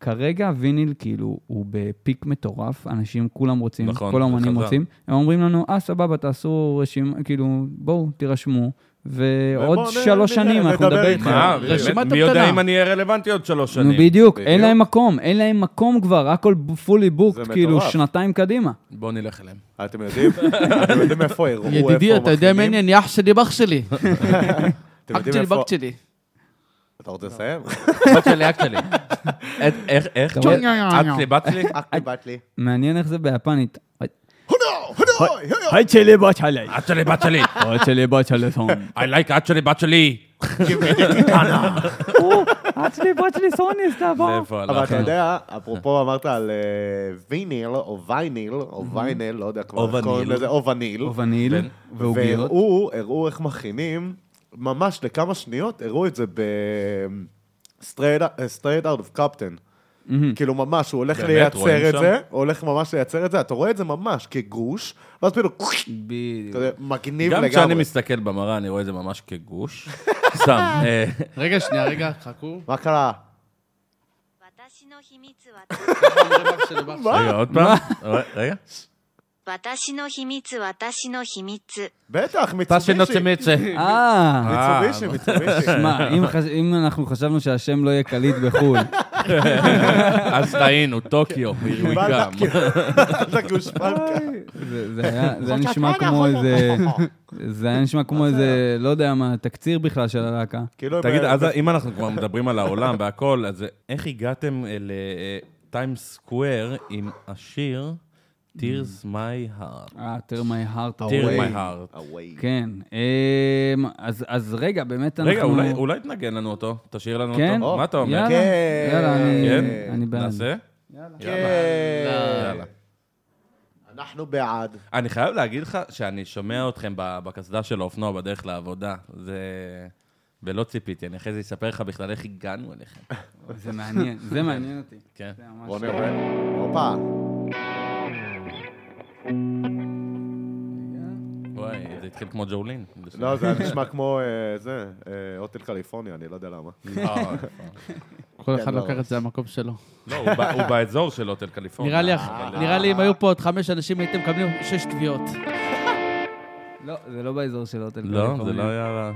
S3: כרגע הוויניל כאילו הוא בפיק מטורף, אנשים כולם רוצים,
S2: נכון,
S3: כל האומנים
S2: וחזר.
S3: רוצים, הם אומרים לנו, אה, סבבה, תעשו רשימה, כאילו, בואו, תירשמו, ועוד
S1: ובואו נ-
S3: שלוש
S1: נראה,
S3: שנים
S1: נדבר
S3: אנחנו נדבר
S1: איתכם.
S3: איתכם.
S2: מה,
S1: כן,
S2: באמת,
S4: רשימת
S2: מי יודע
S4: המתנה.
S2: אם אני אהיה רלוונטי עוד שלוש
S3: אה, נו,
S2: שנים?
S3: בדיוק, אין
S1: בדיוק.
S3: להם מקום, אין להם מקום כבר, הכל פולי בוקט,
S1: זה
S3: כאילו,
S1: מטורף.
S3: שנתיים קדימה.
S2: בואו נלך אליהם.
S1: אתם יודעים? אתם יודעים איפה הראו, איפה
S4: ידידי, אתה יודע
S1: מכינים?
S4: מני, אני אח שלי, באח שלי.
S1: אתם
S4: אח
S1: יודעים
S4: שלי,
S1: איפה-
S4: באח שלי.
S1: אתה רוצה לסיים?
S3: אוקיי,
S2: בת שלי, אק שלי. את- איך, איך?
S3: אתה רואה?
S2: את שלי, בת שלי?
S1: אקלי בת לי.
S3: מעניין איך זה ביפנית.
S1: הודו! הודו!
S5: היי צ'לי בצ'לי.
S2: את שלי, בת שלי.
S3: עוד שלי בוא שלי סון.
S2: I like את שלי, בת שלי.
S3: Oh, עוד שלי בוא שלי סון הסתבר.
S2: איפה
S1: אבל אתה
S2: הלכנו?
S1: יודע, אפרופו אמרת על אה, ויניל, או וייניל, או וייניל, לא יודע כבר
S2: או
S1: איך קוראים
S2: וניל.
S1: לזה, או וניל.
S3: וניל
S2: כן.
S3: ועוגיות.
S1: והראו, הראו איך מכינים, ממש לכמה שניות, הראו את זה ב... אה, סטרייט אאוט אוף קפטן. כאילו ממש, הוא הולך
S2: באמת,
S1: לייצר
S2: רואים
S1: את
S2: שם?
S1: זה, הוא הולך ממש לייצר את זה, אתה רואה את זה ממש כגוש, ואז פתאום,
S3: בדיוק.
S1: אתה יודע, מגניב
S2: גם כשאני
S1: לגמרי.
S2: מסתכל במראה, אני רואה את זה ממש כגוש. סתם. אה,
S4: רגע, שנייה, רגע, חכו.
S1: מה קרה?
S6: 私の秘密は
S2: רגע, עוד פעם. רגע.
S6: 私の秘密私の秘密
S1: בטח,
S2: אתה של
S1: מיצובישי.
S2: נוצמצה.
S3: אה,
S1: מיצובישי, מיצובישי.
S3: שמע, אם חש- אם אנחנו חשבנו שהשם לא יהיה קליט בחו"ל,
S2: אז טעינו, טוקיו, בירמינגהם.
S1: קיבלת כאילו, אתה גושפנקה.
S3: זה זה היה זה היה נשמע כמו איזה, זה היה נשמע כמו איזה, לא יודע מה, תקציר בכלל של הלהקה.
S1: כאילו,
S2: תגיד,
S1: ב-
S2: אז
S1: ב-
S2: אם אנחנו כבר מדברים על העולם והכל, אז איך הגעתם אה, לטיימס סקוואר עם השיר Tears My
S1: Oh,
S2: Heart?
S3: אה, תראה מי הארט.
S2: Tear My Heart.
S1: Away.
S3: כן, אמ, אז אז רגע, באמת אנחנו...
S2: רגע, אולי- אולי תנגן לנו אותו, תשאיר לנו
S3: כן?
S2: אותו. מה אתה אומר?
S3: יאללה,
S1: כן.
S3: יאללה, אני-
S2: כן?
S3: אני בעד.
S2: נעשה?
S1: כן.
S2: יאללה.
S1: אנחנו בעד.
S2: אני חייב להגיד לך שאני שומע אתכם ב- בקסדה של האופנוע בדרך לעבודה. זה... ולא ציפיתי, אני אחרי זה אספר לך בכלל איך הגענו אליכם.
S3: זה מעניין, זה מעניין אותי.
S2: כן.
S3: זה ממש-
S1: בוא נראה. הופה.
S2: וואי, זה התחיל כמו ג'ולין.
S1: לא, זה היה נשמע כמו אה, זה, אה, הוטל קליפורניה, אני לא יודע למה.
S2: לא,
S4: כל אחד
S1: כן, לא.
S4: לוקח את זה למקום שלו.
S2: לא, הוא ב- הוא באזור של הוטל קליפורניה.
S4: נראה לי,
S2: אבל-
S4: נראה לי אם היו פה עוד חמש אנשים, הייתם מקבלים שש תביעות.
S3: לא, זה לא באזור של הוטל
S2: לא, זה לא היה...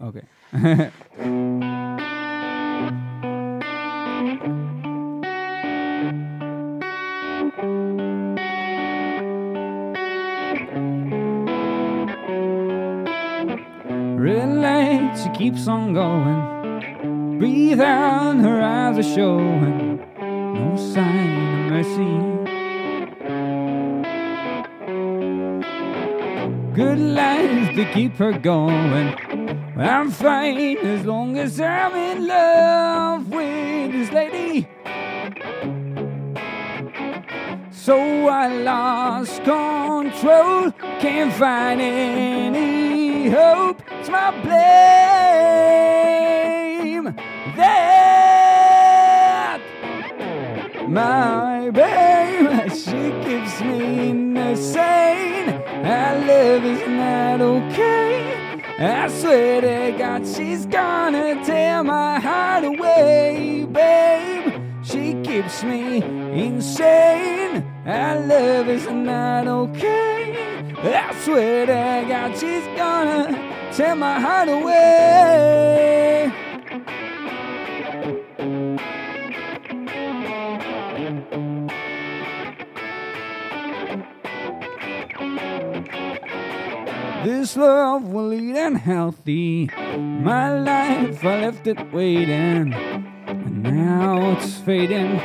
S3: אוקיי. Relate, she keeps on going. Breathe out, her eyes are showing. No sign of mercy. Good lies to keep her going. I'm fine as long as I'm in love with this lady. So I lost control, can't find any hope. It's my blame that my babe, she keeps me insane. Our love is not okay. I swear to God, she's gonna tear my heart away, babe. She keeps me insane. I love is not okay. I swear to God, she's gonna tear my heart away. This love will lead unhealthy. My life, I left it waiting. And now it's fading.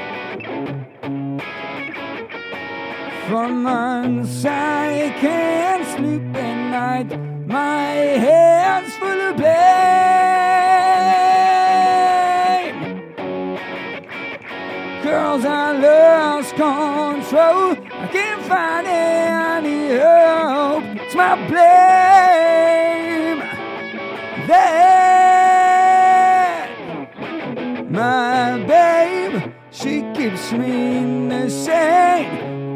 S3: From months I can't sleep at night. My head's full of blame. Girls, I lost control. I can't find any hope. It's my blame. That my babe, she keeps me in the shade.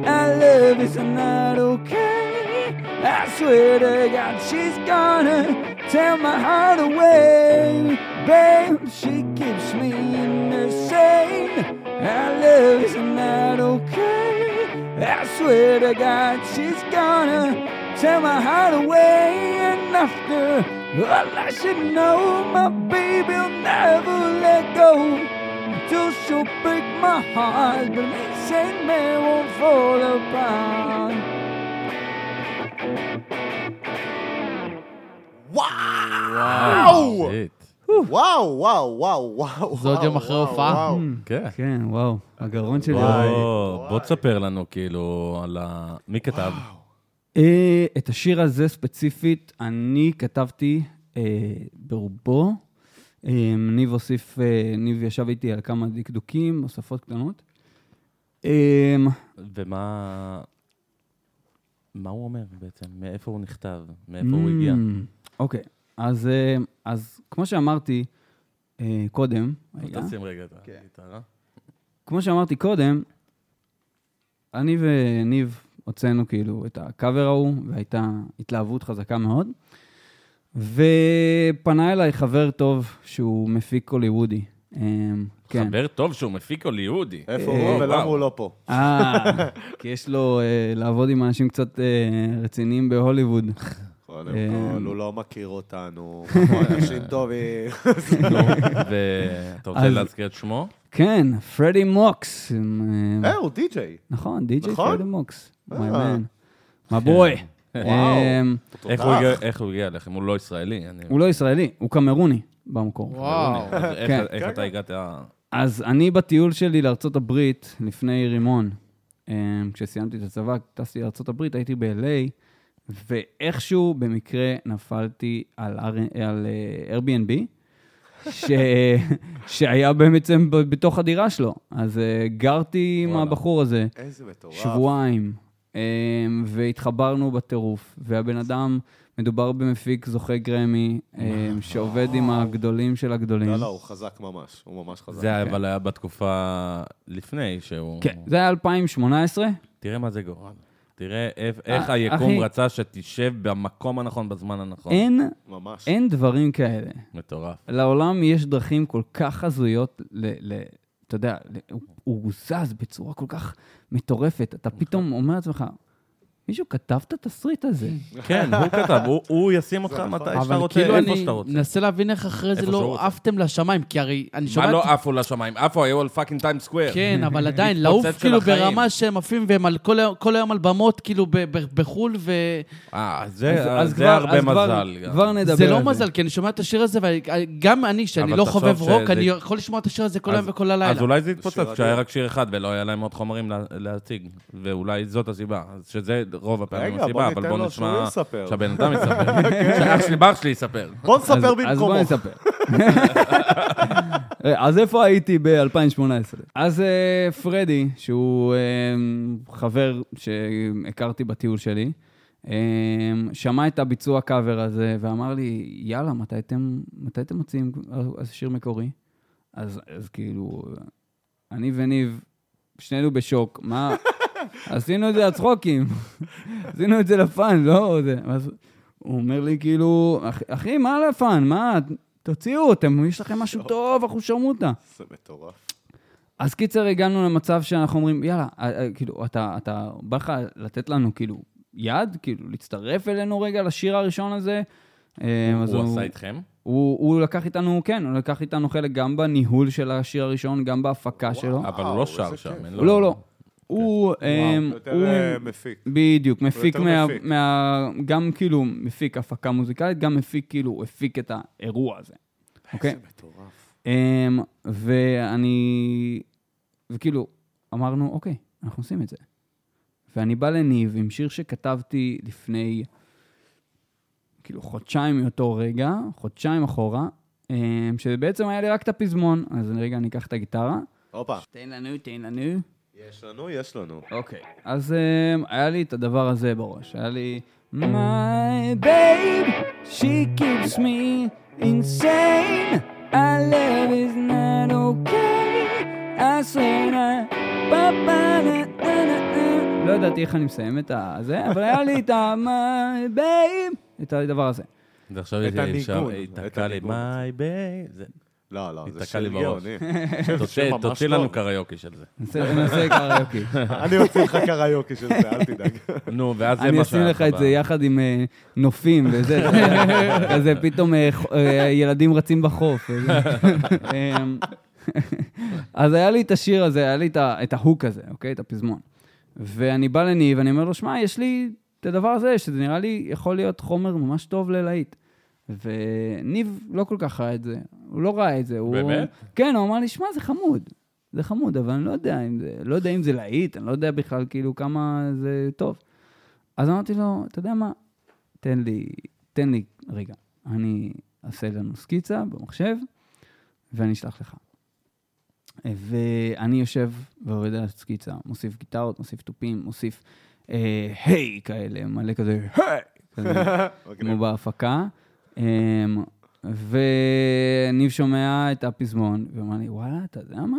S3: I love is not okay. I swear to God, she's gonna tear my heart away. Babe, she keeps me in the shade. I love is not okay. I swear to God, she's gonna tear my heart away. And after all I should know, my baby'll never let go. Till she'll break my heart, but this ain't me won't fall apart.
S1: וואו!
S2: שיט.
S1: וואו, וואו, וואו, וואו.
S4: זה עוד יום
S1: וואו,
S4: אחרי
S1: וואו,
S4: הופעה?
S1: וואו.
S2: כן.
S3: כן, וואו, הגרון שלי.
S1: וואי.
S2: בוא, בוא תספר לנו, כאילו, על ה... מי כתב?
S3: אה, את השיר הזה ספציפית, אני כתבתי אה, ברובו. אה, ניב הוסיף, אה, ניב ישב איתי על כמה דקדוקים, הוספות קטנות. אה,
S2: ומה... מה הוא אומר בעצם? מאיפה הוא נכתב? מאיפה
S1: Mm.
S2: הוא הגיע?
S3: אמ, אוקיי, אז, אה, אז כמו שאמרתי אה, קודם, רגע.
S2: תשים רגע את
S1: כן.
S2: הגיטרה.
S3: כמו שאמרתי קודם, אני וניב הוצאנו כאילו את הקאבר ההוא, והייתה התלהבות חזקה מאוד. ופנה אליי חבר טוב שהוא מפיק הוליוודי. אמ, כן.
S2: חבר טוב שהוא מפיק הוליוודי.
S1: איפה הוא ולמה הוא לא פה?
S3: אה, כי יש לו אה, לעבוד עם אנשים קצת אה, רציניים בהוליווד.
S2: אה,
S1: קודם כל, הוא לא מכיר אותנו, אנחנו אנשים טובים.
S2: אה,
S3: לא.
S2: ואתה רוצה
S3: אז-
S2: להזכיר את שמו?
S3: כן, פרדי מוקס. אמ,
S1: אה, הוא די-ג'יי.
S3: נכון, די.ג'יי
S1: נכון?
S3: פרדי מוקס.
S1: אה. כן.
S3: מי מן. מה בוי. אמ,
S2: איך הוא הגיע- איך הוא הגיע אליכם? הוא לא ישראלי. אני-
S3: הוא לא ישראלי, הוא קמרוני במקור.
S4: וואו.
S2: אז איך-
S3: כן.
S2: איך אתה הגעת?
S3: אז אני בטיול שלי לארצות הברית לפני רימון, אמ, כשסיימתי את הצבא, טסתי לארצות הברית, הייתי ב-LA, ואיכשהו במקרה נפלתי על, R- על אה, Airbnb, ש... שהיה בעצם ב- בתוך הדירה שלו. אז אה, גרתי עם
S2: וואלה.
S3: הבחור הזה
S1: איזה מטורף.
S3: שבועיים, אמ, והתחברנו בטירוף, והבן אדם, מדובר במפיק זוכה גרמי, אמ, שעובד עם הגדולים של הגדולים.
S1: לא, לא, הוא חזק ממש, הוא ממש חזק.
S2: זה אבל היה בתקופה לפני שהוא...
S3: כן, זה היה 2018,
S2: תראה מה זה גורם. תראה איך- איך
S3: אה,
S2: היקום
S3: אחי.
S2: רצה שתשב במקום הנכון, בזמן הנכון.
S3: אין,
S1: ממש.
S3: אין דברים כאלה.
S2: מטורף.
S3: לעולם יש דרכים כל כך הזויות, ל, ל, אתה יודע, ל, הוא, הוא זז בצורה כל כך מטורפת. אתה
S2: נכון.
S3: פתאום אומר לעצמך, מישהו כתב את התסריט הזה.
S2: כן, הוא כתב, הוא- הוא ישים אותך
S3: נכון.
S2: מתי שאתה
S4: אבל
S2: רוצה,
S4: כאילו
S2: איפה
S4: אני
S2: שאתה רוצה.
S4: מנסה להבין איך אחרי זה
S2: איפה שהוא
S4: לא
S2: רוצה.
S4: עפתם לשמיים, כי הרי אני
S2: מה
S4: שומע...
S2: לא עפו לשמיים? עפו היו על פאקינג טיים סקוויר.
S4: כן, אבל עדיין, לעוף
S2: התפוצץ של
S4: כאילו
S2: החיים.
S4: ברמה שהם עפים והם על כל היום- כל היום על במות, כאילו ב- ב- בחו"ל, וזה
S2: אה, זה זה הרבה
S3: אז כבר-
S2: מזל. גם.
S3: כבר נדבר על זה.
S4: לא מזל, כי אני שומע את השיר הזה, וגם אני, שאני
S2: אבל
S4: לא
S2: תחשוב
S4: חובב רוק,
S2: שזה-
S4: אני יכול לשמוע את השיר הזה כל
S2: אז-
S4: היום וכל
S2: אז
S4: הלילה.
S2: אולי זה
S1: שיר
S2: התפוצץ
S1: אדיר.
S2: כשהיה רק שיר אחד ולא היה להם עוד חומרים לה- להציג, ואולי זאת הסיבה, אז שזה רוב הפעמים
S1: רגע,
S2: הסיבה,
S1: בוא
S2: אבל
S1: ניתן
S2: בוא
S1: לו שהוא
S2: נשמע...
S1: יספר. כן.
S2: שהבן אדם יספר. שאח שלי, בר שלי יספר.
S1: בוא
S3: אז,
S1: נספר
S3: אז בוא
S1: במקומו.
S3: נספר. אז איפה הייתי ב-2018? אז אה, פרדי, שהוא אה, חבר שהכרתי בטיול שלי, אה, שמע את הביצוע הקאבר הזה ואמר לי, יאללה, מתי אתם, מתי אתם מוציאים אז- אז שיר מקורי? אז, אז כאילו, אני וניב, שנינו בשוק, מה... עשינו את זה לצחוקים, עשינו את זה לפאן, לא... זה. אז הוא אומר לי, כאילו, "אח- אחי, מה
S2: לא.
S3: לפאן? מה? תוציאו, אתם, יש לכם משהו טוב, אחושרמוטה.
S1: זה מטורף.
S3: אז קיצר, הגענו למצב שאנחנו אומרים, יאללה, אה, אה, כאילו, אתה, אתה, בא לך לתת לנו, כאילו, יד, כאילו, להצטרף אלינו רגע לשיר הראשון הזה. אה, אז
S2: הוא עשה איתכם?
S3: הוא, הוא לקח איתנו, כן, הוא לקח איתנו חלק גם בניהול של השיר הראשון, גם בהפקה שלו.
S2: אבל כן. הוא
S1: וואו,
S2: לא
S1: איזה
S2: שר
S1: כיף.
S2: שם, אין לו...
S3: לא, לא. הוא, אמ,
S1: וואו, יותר
S3: הוא
S1: אה, מפיק.
S3: בדיוק, מפיק
S1: יותר
S3: מה,
S1: מפיק.
S3: מה... גם כאילו מפיק הפקה מוזיקלית, גם מפיק כאילו, הוא הפיק את האירוע הזה, אוקיי?
S1: זה מטורף.
S3: אמ, ואני... וכאילו, אמרנו, אוקיי, אנחנו עושים את זה. ואני בא לניב עם שיר שכתבתי לפני, כאילו, חודשיים מאותו רגע, חודשיים אחורה, אמ, שבעצם היה לי רק את הפזמון, אז רגע, אני אקח את הגיטרה.
S1: הופה.
S3: תן לנו, תן לנו.
S1: יש לנו, יש לנו.
S3: אוקיי. אז um, היה לי את הדבר הזה בראש. היה לי... My babe, she keeps me insane. Our love is not okay. I say na, ba ba na na na na. לא ידעתי איך אני מסיים את הזה, אבל היה לי את ה... My babe, את הדבר הזה.
S2: זה עכשיו
S1: את הניגון, את
S2: ייתקע לי,
S1: הניגון.
S2: my babe. זה-
S1: לא, לא, זה
S2: התקע
S1: שיר
S2: לי בראש.
S1: גאוני. שיר-
S2: תוציא-
S1: שיר ממש
S2: תוציא
S1: טוב.
S2: לנו קריוקי של זה.
S3: נעשה- נעשה קריוקי.
S1: אני אוציא לך קריוקי של זה, אל תדאג.
S2: נו, ואז זה מה
S3: אני אשים
S2: שהיה
S3: לך את
S2: ב-
S3: זה יחד עם אה, נופים וזה, אתה יודע. כזה פתאום אה, ח- אה, ילדים רצים בחוף. וזה. אמ, אז היה לי את השיר הזה, היה לי את ה- את ההוק הזה, אוקיי? את הפזמון. ואני בא לניב, ואני אומר לו, שמע, יש לי את הדבר הזה, שזה נראה לי יכול להיות חומר ממש טוב ללהיט. וניב לא כל כך ראה את זה, הוא לא ראה את זה. הוא-
S2: באמת?
S3: כן, הוא אמר לי, שמע, זה חמוד. זה חמוד, אבל אני לא יודע אם זה, לא יודע אם זה להיט, אני לא יודע בכלל כאילו כמה זה טוב. אז אמרתי לו, אתה יודע מה, תן לי, תן לי רגע, אני אעשה לנו סקיצה במחשב, ואני אשלח לך. ואני יושב ועובד על הסקיצה, מוסיף גיטרות, מוסיף תופים, מוסיף אה, היי כאלה, מלא כזה, היי! כזה.
S1: מגניב.
S3: כמו בהפקה. אמ, וניב שומע את הפזמון, ואומר לי, וואלה, אתה יודע מה?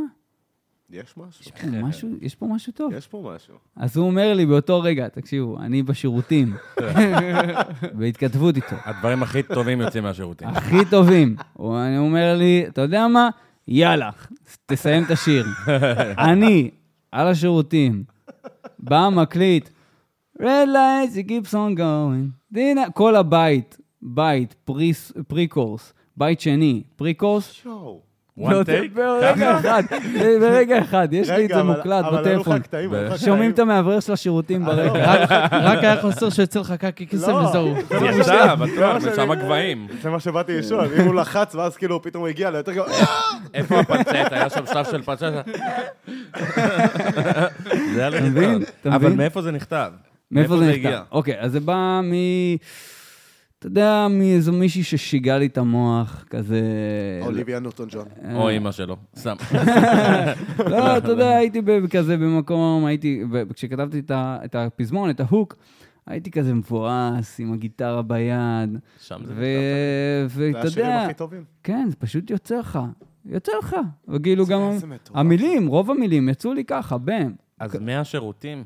S1: יש משהו?
S3: יש פה משהו- יש פה משהו טוב.
S1: יש פה משהו.
S3: אז הוא אומר לי באותו רגע, תקשיבו, אני בשירותים, בהתכתבות איתו,
S2: הדברים הכי טובים יוצאים מהשירותים.
S3: הכי טובים. הוא אני אומר לי, אתה יודע מה? יאללה, תסיים את השיר. אני, על השירותים, בא מקליט, Red lights, it keeps on going. דינה, כל הבית, בית, פריס- פריקורס, בית שני, פריקורס, לא
S1: שואו.
S2: One take?
S3: ברגע אחד, ברגע אחד, יש לי את
S1: רגע,
S3: זה
S1: אבל-
S3: מוקלט
S1: אבל היו לך
S3: בטלפון.
S1: קטעים, היו לך אה, לא, קטעים.
S3: שומעים את המאוורר של השירותים
S2: לא-
S3: ברקע.
S4: רק- רק היה חסר שיוצא לך קקי קסם
S1: לא.
S4: וזהו.
S1: זה מה שאני-
S2: יצא, בטוח,
S1: שאני-
S2: משם הגבהים.
S1: זה מה שבאתי לשאול, אם הוא לחץ ואז כאילו הוא פתאום הגיע ליותר גרוע.
S2: איפה הפנצט? היה שם שלב של פנצט. זה היה לך
S3: מבין? אתה
S2: אבל
S3: מבין?
S2: מאיפה זה נכתב?
S3: מאיפה זה נכתב?
S2: הגיע?
S3: אוקיי, אז זה בא מ... אתה יודע, מאיזו מישהי ששיגעה לי את המוח, כזה...
S1: אוליביה נוטון ג'ון.
S3: אה.
S2: או אימא שלו, סתם.
S3: לא, אתה יודע, הייתי ב- כזה במקום, הייתי, ב- כשכתבתי את ה- את הפזמון, את ההוק, הייתי כזה מבואס עם הגיטרה ביד,
S2: שם זה נכתב.
S3: ו-
S1: זה
S3: ואתה
S1: השירים
S3: יודע,
S1: הכי טובים.
S3: כן, זה פשוט יוצא לך, יוצא לך, וכאילו גם
S1: איזה מטורף.
S3: המילים, רוב המילים יצאו לי ככה, בהם,
S2: אז מהשירותים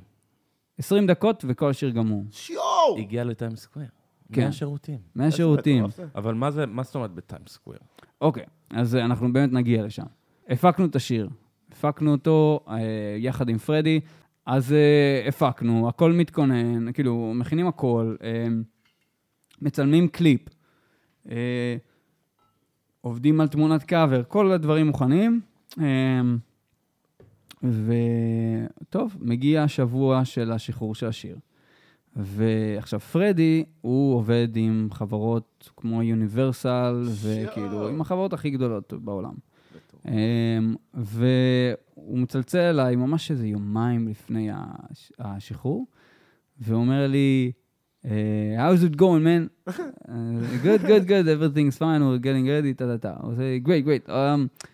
S3: 20 דקות וכל השיר גמור,
S1: שיואו!
S2: הגיע לטיים סקוויר.
S3: כן.
S2: מהשירותים.
S3: מהשירותים.
S1: מטורף זה.
S2: אבל מה זה, מה זאת אומרת בטיים סקוויר?
S3: אוקיי, אז אה, אנחנו באמת נגיע לשם. הפקנו את השיר, הפקנו אותו אה, יחד עם פרדי, אז אה, הפקנו, הכל מתכונן, כאילו, מכינים הכל, אה, מצלמים קליפ, אה, עובדים על תמונת קאבר, כל הדברים מוכנים. אה, וטוב, מגיע השבוע של השחרור של השיר. ועכשיו, פרדי, הוא עובד עם חברות כמו יוניברסל, וכאילו, עם החברות הכי גדולות בעולם. Um, והוא מצלצל אליי ממש איזה יומיים לפני הש- השחרור, ואומר לי, uh, How's it going, man? Uh, good, good, good, everything's fine, we're getting ready, טה טה טה. הוא עושה לי, great, great. Um,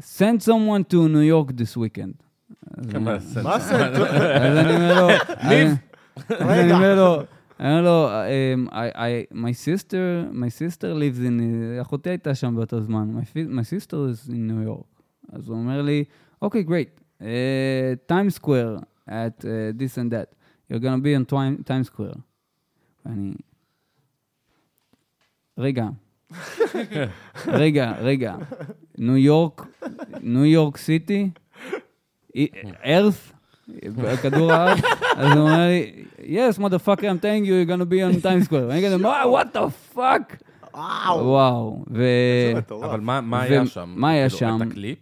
S3: send someone to New York this weekend. אז אה, אני-
S1: מה זה?
S3: אז אני אומר לו,
S2: ניב.
S3: אז אני אומר לו, אני אומר לו, um, I- I- my sister, my sister lives in, אחותי הייתה שם באותו זמן, my, fi- my sister is in New York. אז הוא אומר לי, אוקיי, great, uh, time square at uh, this and that, you're gonna be on time, time square. ואני, רגע, רגע, רגע, ניו יורק, ניו יורק סיטי, earth, כדור הארץ, אז הוא אומר לי, yes, motherfucker, I'm telling you, you're gonna be on time square. ואני כזה, "מה, what the fuck?
S1: וואו.
S3: וואו. ו...
S1: זה מטורף.
S2: אבל מה מה היה
S3: ו-
S2: שם?
S3: מה היה
S2: כאילו,
S3: שם?
S2: את הקליפ?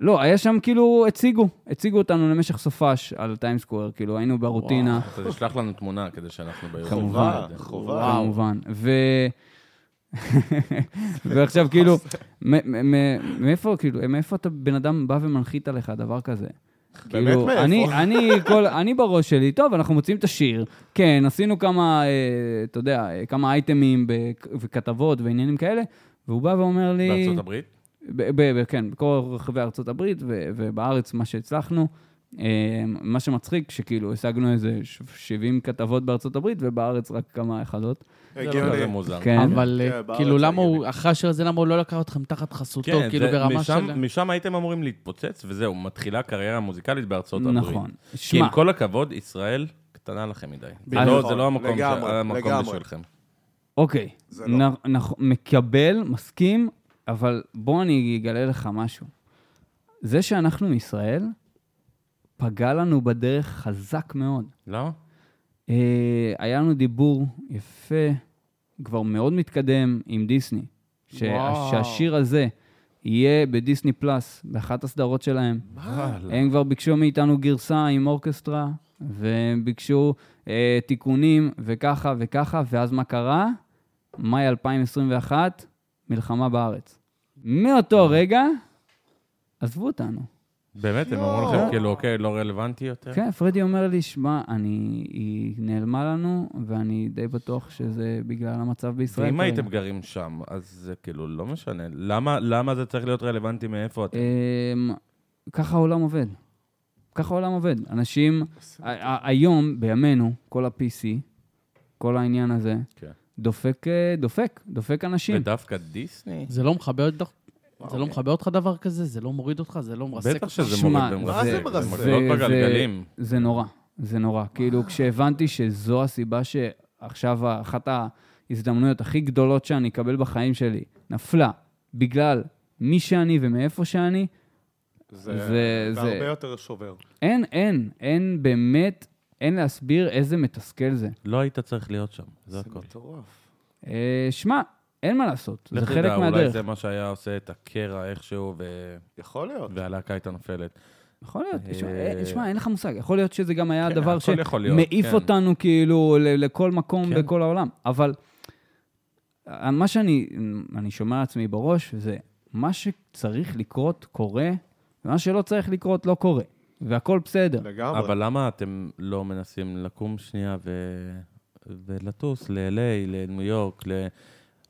S3: לא, היה שם כאילו, הציגו, הציגו אותנו למשך סופש על טיים סקוואר, כאילו, היינו ברוטינה,
S2: וואו, אתה תשלח לנו תמונה כדי שאנחנו ביום.
S3: כמובן.
S1: חובה.
S3: כמובן. ו... ועכשיו כאילו, מ- מ- מ- מאיפה, כאילו, מאיפה אתה בן אדם בא ומנחית עליך דבר כזה?
S1: באמת
S3: כאילו,
S1: מאיפה?
S3: אני, אני, כל, אני בראש שלי, טוב, אנחנו מוצאים את השיר. כן, עשינו כמה, אה, אתה יודע, אה, כמה אייטמים בכ- וכתבות ועניינים כאלה, והוא בא ואומר לי...
S2: בארצות הברית?
S3: ב- ב- ב- כן, בכל רחבי ארצות הברית ו- ובארץ, מה שהצלחנו. אה, מה שמצחיק, שכאילו השגנו איזה ש- 70 כתבות בארצות הברית, ובארץ רק כמה אחדות.
S2: זה
S1: אה, הגיוני.
S2: מוזר.
S3: כן.
S4: אבל
S1: כן,
S4: אה,
S1: בארץ
S4: כאילו, למה
S1: הגיוני.
S4: הוא, אחרי השיר הזה, למה הוא לא לקח אתכם תחת חסותו,
S2: כן,
S4: כאילו,
S2: זה-
S4: ברמה
S2: משם-
S4: של...
S2: משם הייתם אמורים להתפוצץ, וזהו, מתחילה קריירה מוזיקלית בארצות הברית.
S3: נכון.
S2: כי
S3: שמע,
S2: עם כל הכבוד, ישראל קטנה לכם מדי. זה
S1: נכון.
S2: לא- זה לא המקום ש-
S1: לגמרי,
S2: המקום
S1: לגמרי.
S2: בשבילכם.
S3: אוקיי,
S1: זה לא.
S3: נ- נכ- מקבל, מסכים, אבל בוא אני אגלה לך משהו. זה שאנחנו מישראל, פגע לנו בדרך חזק מאוד.
S2: למה?
S3: אה, היה לנו דיבור יפה, כבר מאוד מתקדם, עם דיסני. שה-
S4: וואו.
S3: שהשיר הזה יהיה בדיסני פלאס, באחת הסדרות שלהם.
S2: וואלה.
S3: הם כבר ביקשו מאיתנו גרסה עם אורקסטרה, והם ביקשו אה, תיקונים, וככה וככה, ואז מה קרה? מאי 2021, מלחמה בארץ. מאותו רגע, עזבו אותנו.
S2: באמת, הם אמרו לכם, כאילו, אוקיי, לא רלוונטי יותר?
S3: כן, פרדי אומר לי, שמע, אני, היא נעלמה לנו, ואני די בטוח שזה בגלל המצב בישראל.
S2: ואם
S3: כרגע."
S2: הייתם גרים שם, אז זה כאילו לא משנה. למה- למה זה צריך להיות רלוונטי מאיפה אתם?
S3: אמ, ככה העולם עובד. ככה העולם עובד. אנשים, ה- ה- היום, בימינו, כל ה-PC, כל העניין הזה,
S2: כן.
S3: דופק, אה, דופק, דופק אנשים.
S2: ודווקא דיסני?
S4: זה לא מכבה אותך? זה לא מכבה אותך דבר כזה? זה לא מוריד אותך? זה לא מרסק
S2: כן. בטח
S4: אותך?
S2: שזה
S3: שמע,
S2: מוריד
S1: מה זה
S2: ומרסק.
S1: מרסק?
S2: זה מקלות
S3: זה-
S2: בגלגלים.
S3: זה נורא, זה נורא. כאילו, כשהבנתי שזו הסיבה שעכשיו אחת ההזדמנויות הכי גדולות שאני אקבל בחיים שלי נפלה בגלל מי שאני ומאיפה שאני, זה-
S1: זה
S3: זה-
S1: הרבה יותר שובר.
S3: אין, אין, אין באמת, אין להסביר איזה מתסכל זה.
S2: לא היית צריך להיות שם, זה
S1: זה
S2: הכול.
S1: מטורף.
S3: אה, שמע, אין מה לעשות, זה
S2: לך
S3: חלק
S2: תדע, אולי
S3: מהדרך.
S2: זה מה שהיה עושה את הקרע איכשהו, ו-
S1: יכול להיות.
S2: והלהקה הייתה נופלת.
S3: יכול להיות, תשמע,
S2: אה,
S3: אה, תשמע, אין לך מושג. יכול להיות שזה גם היה
S2: כן,
S3: הדבר
S2: הכל יכול להיות,
S3: שמעיף
S2: כן.
S3: אותנו כאילו ל- לכל מקום
S2: כן.
S3: בכל העולם. אבל אה, מה שאני אני שומע לעצמי בראש זה מה שצריך לקרות קורה, ומה שלא צריך לקרות לא קורה. והכל בסדר.
S1: לגמרי.
S2: אבל למה אתם לא מנסים לקום שנייה ו- ולטוס ל-LA, לניו יורק,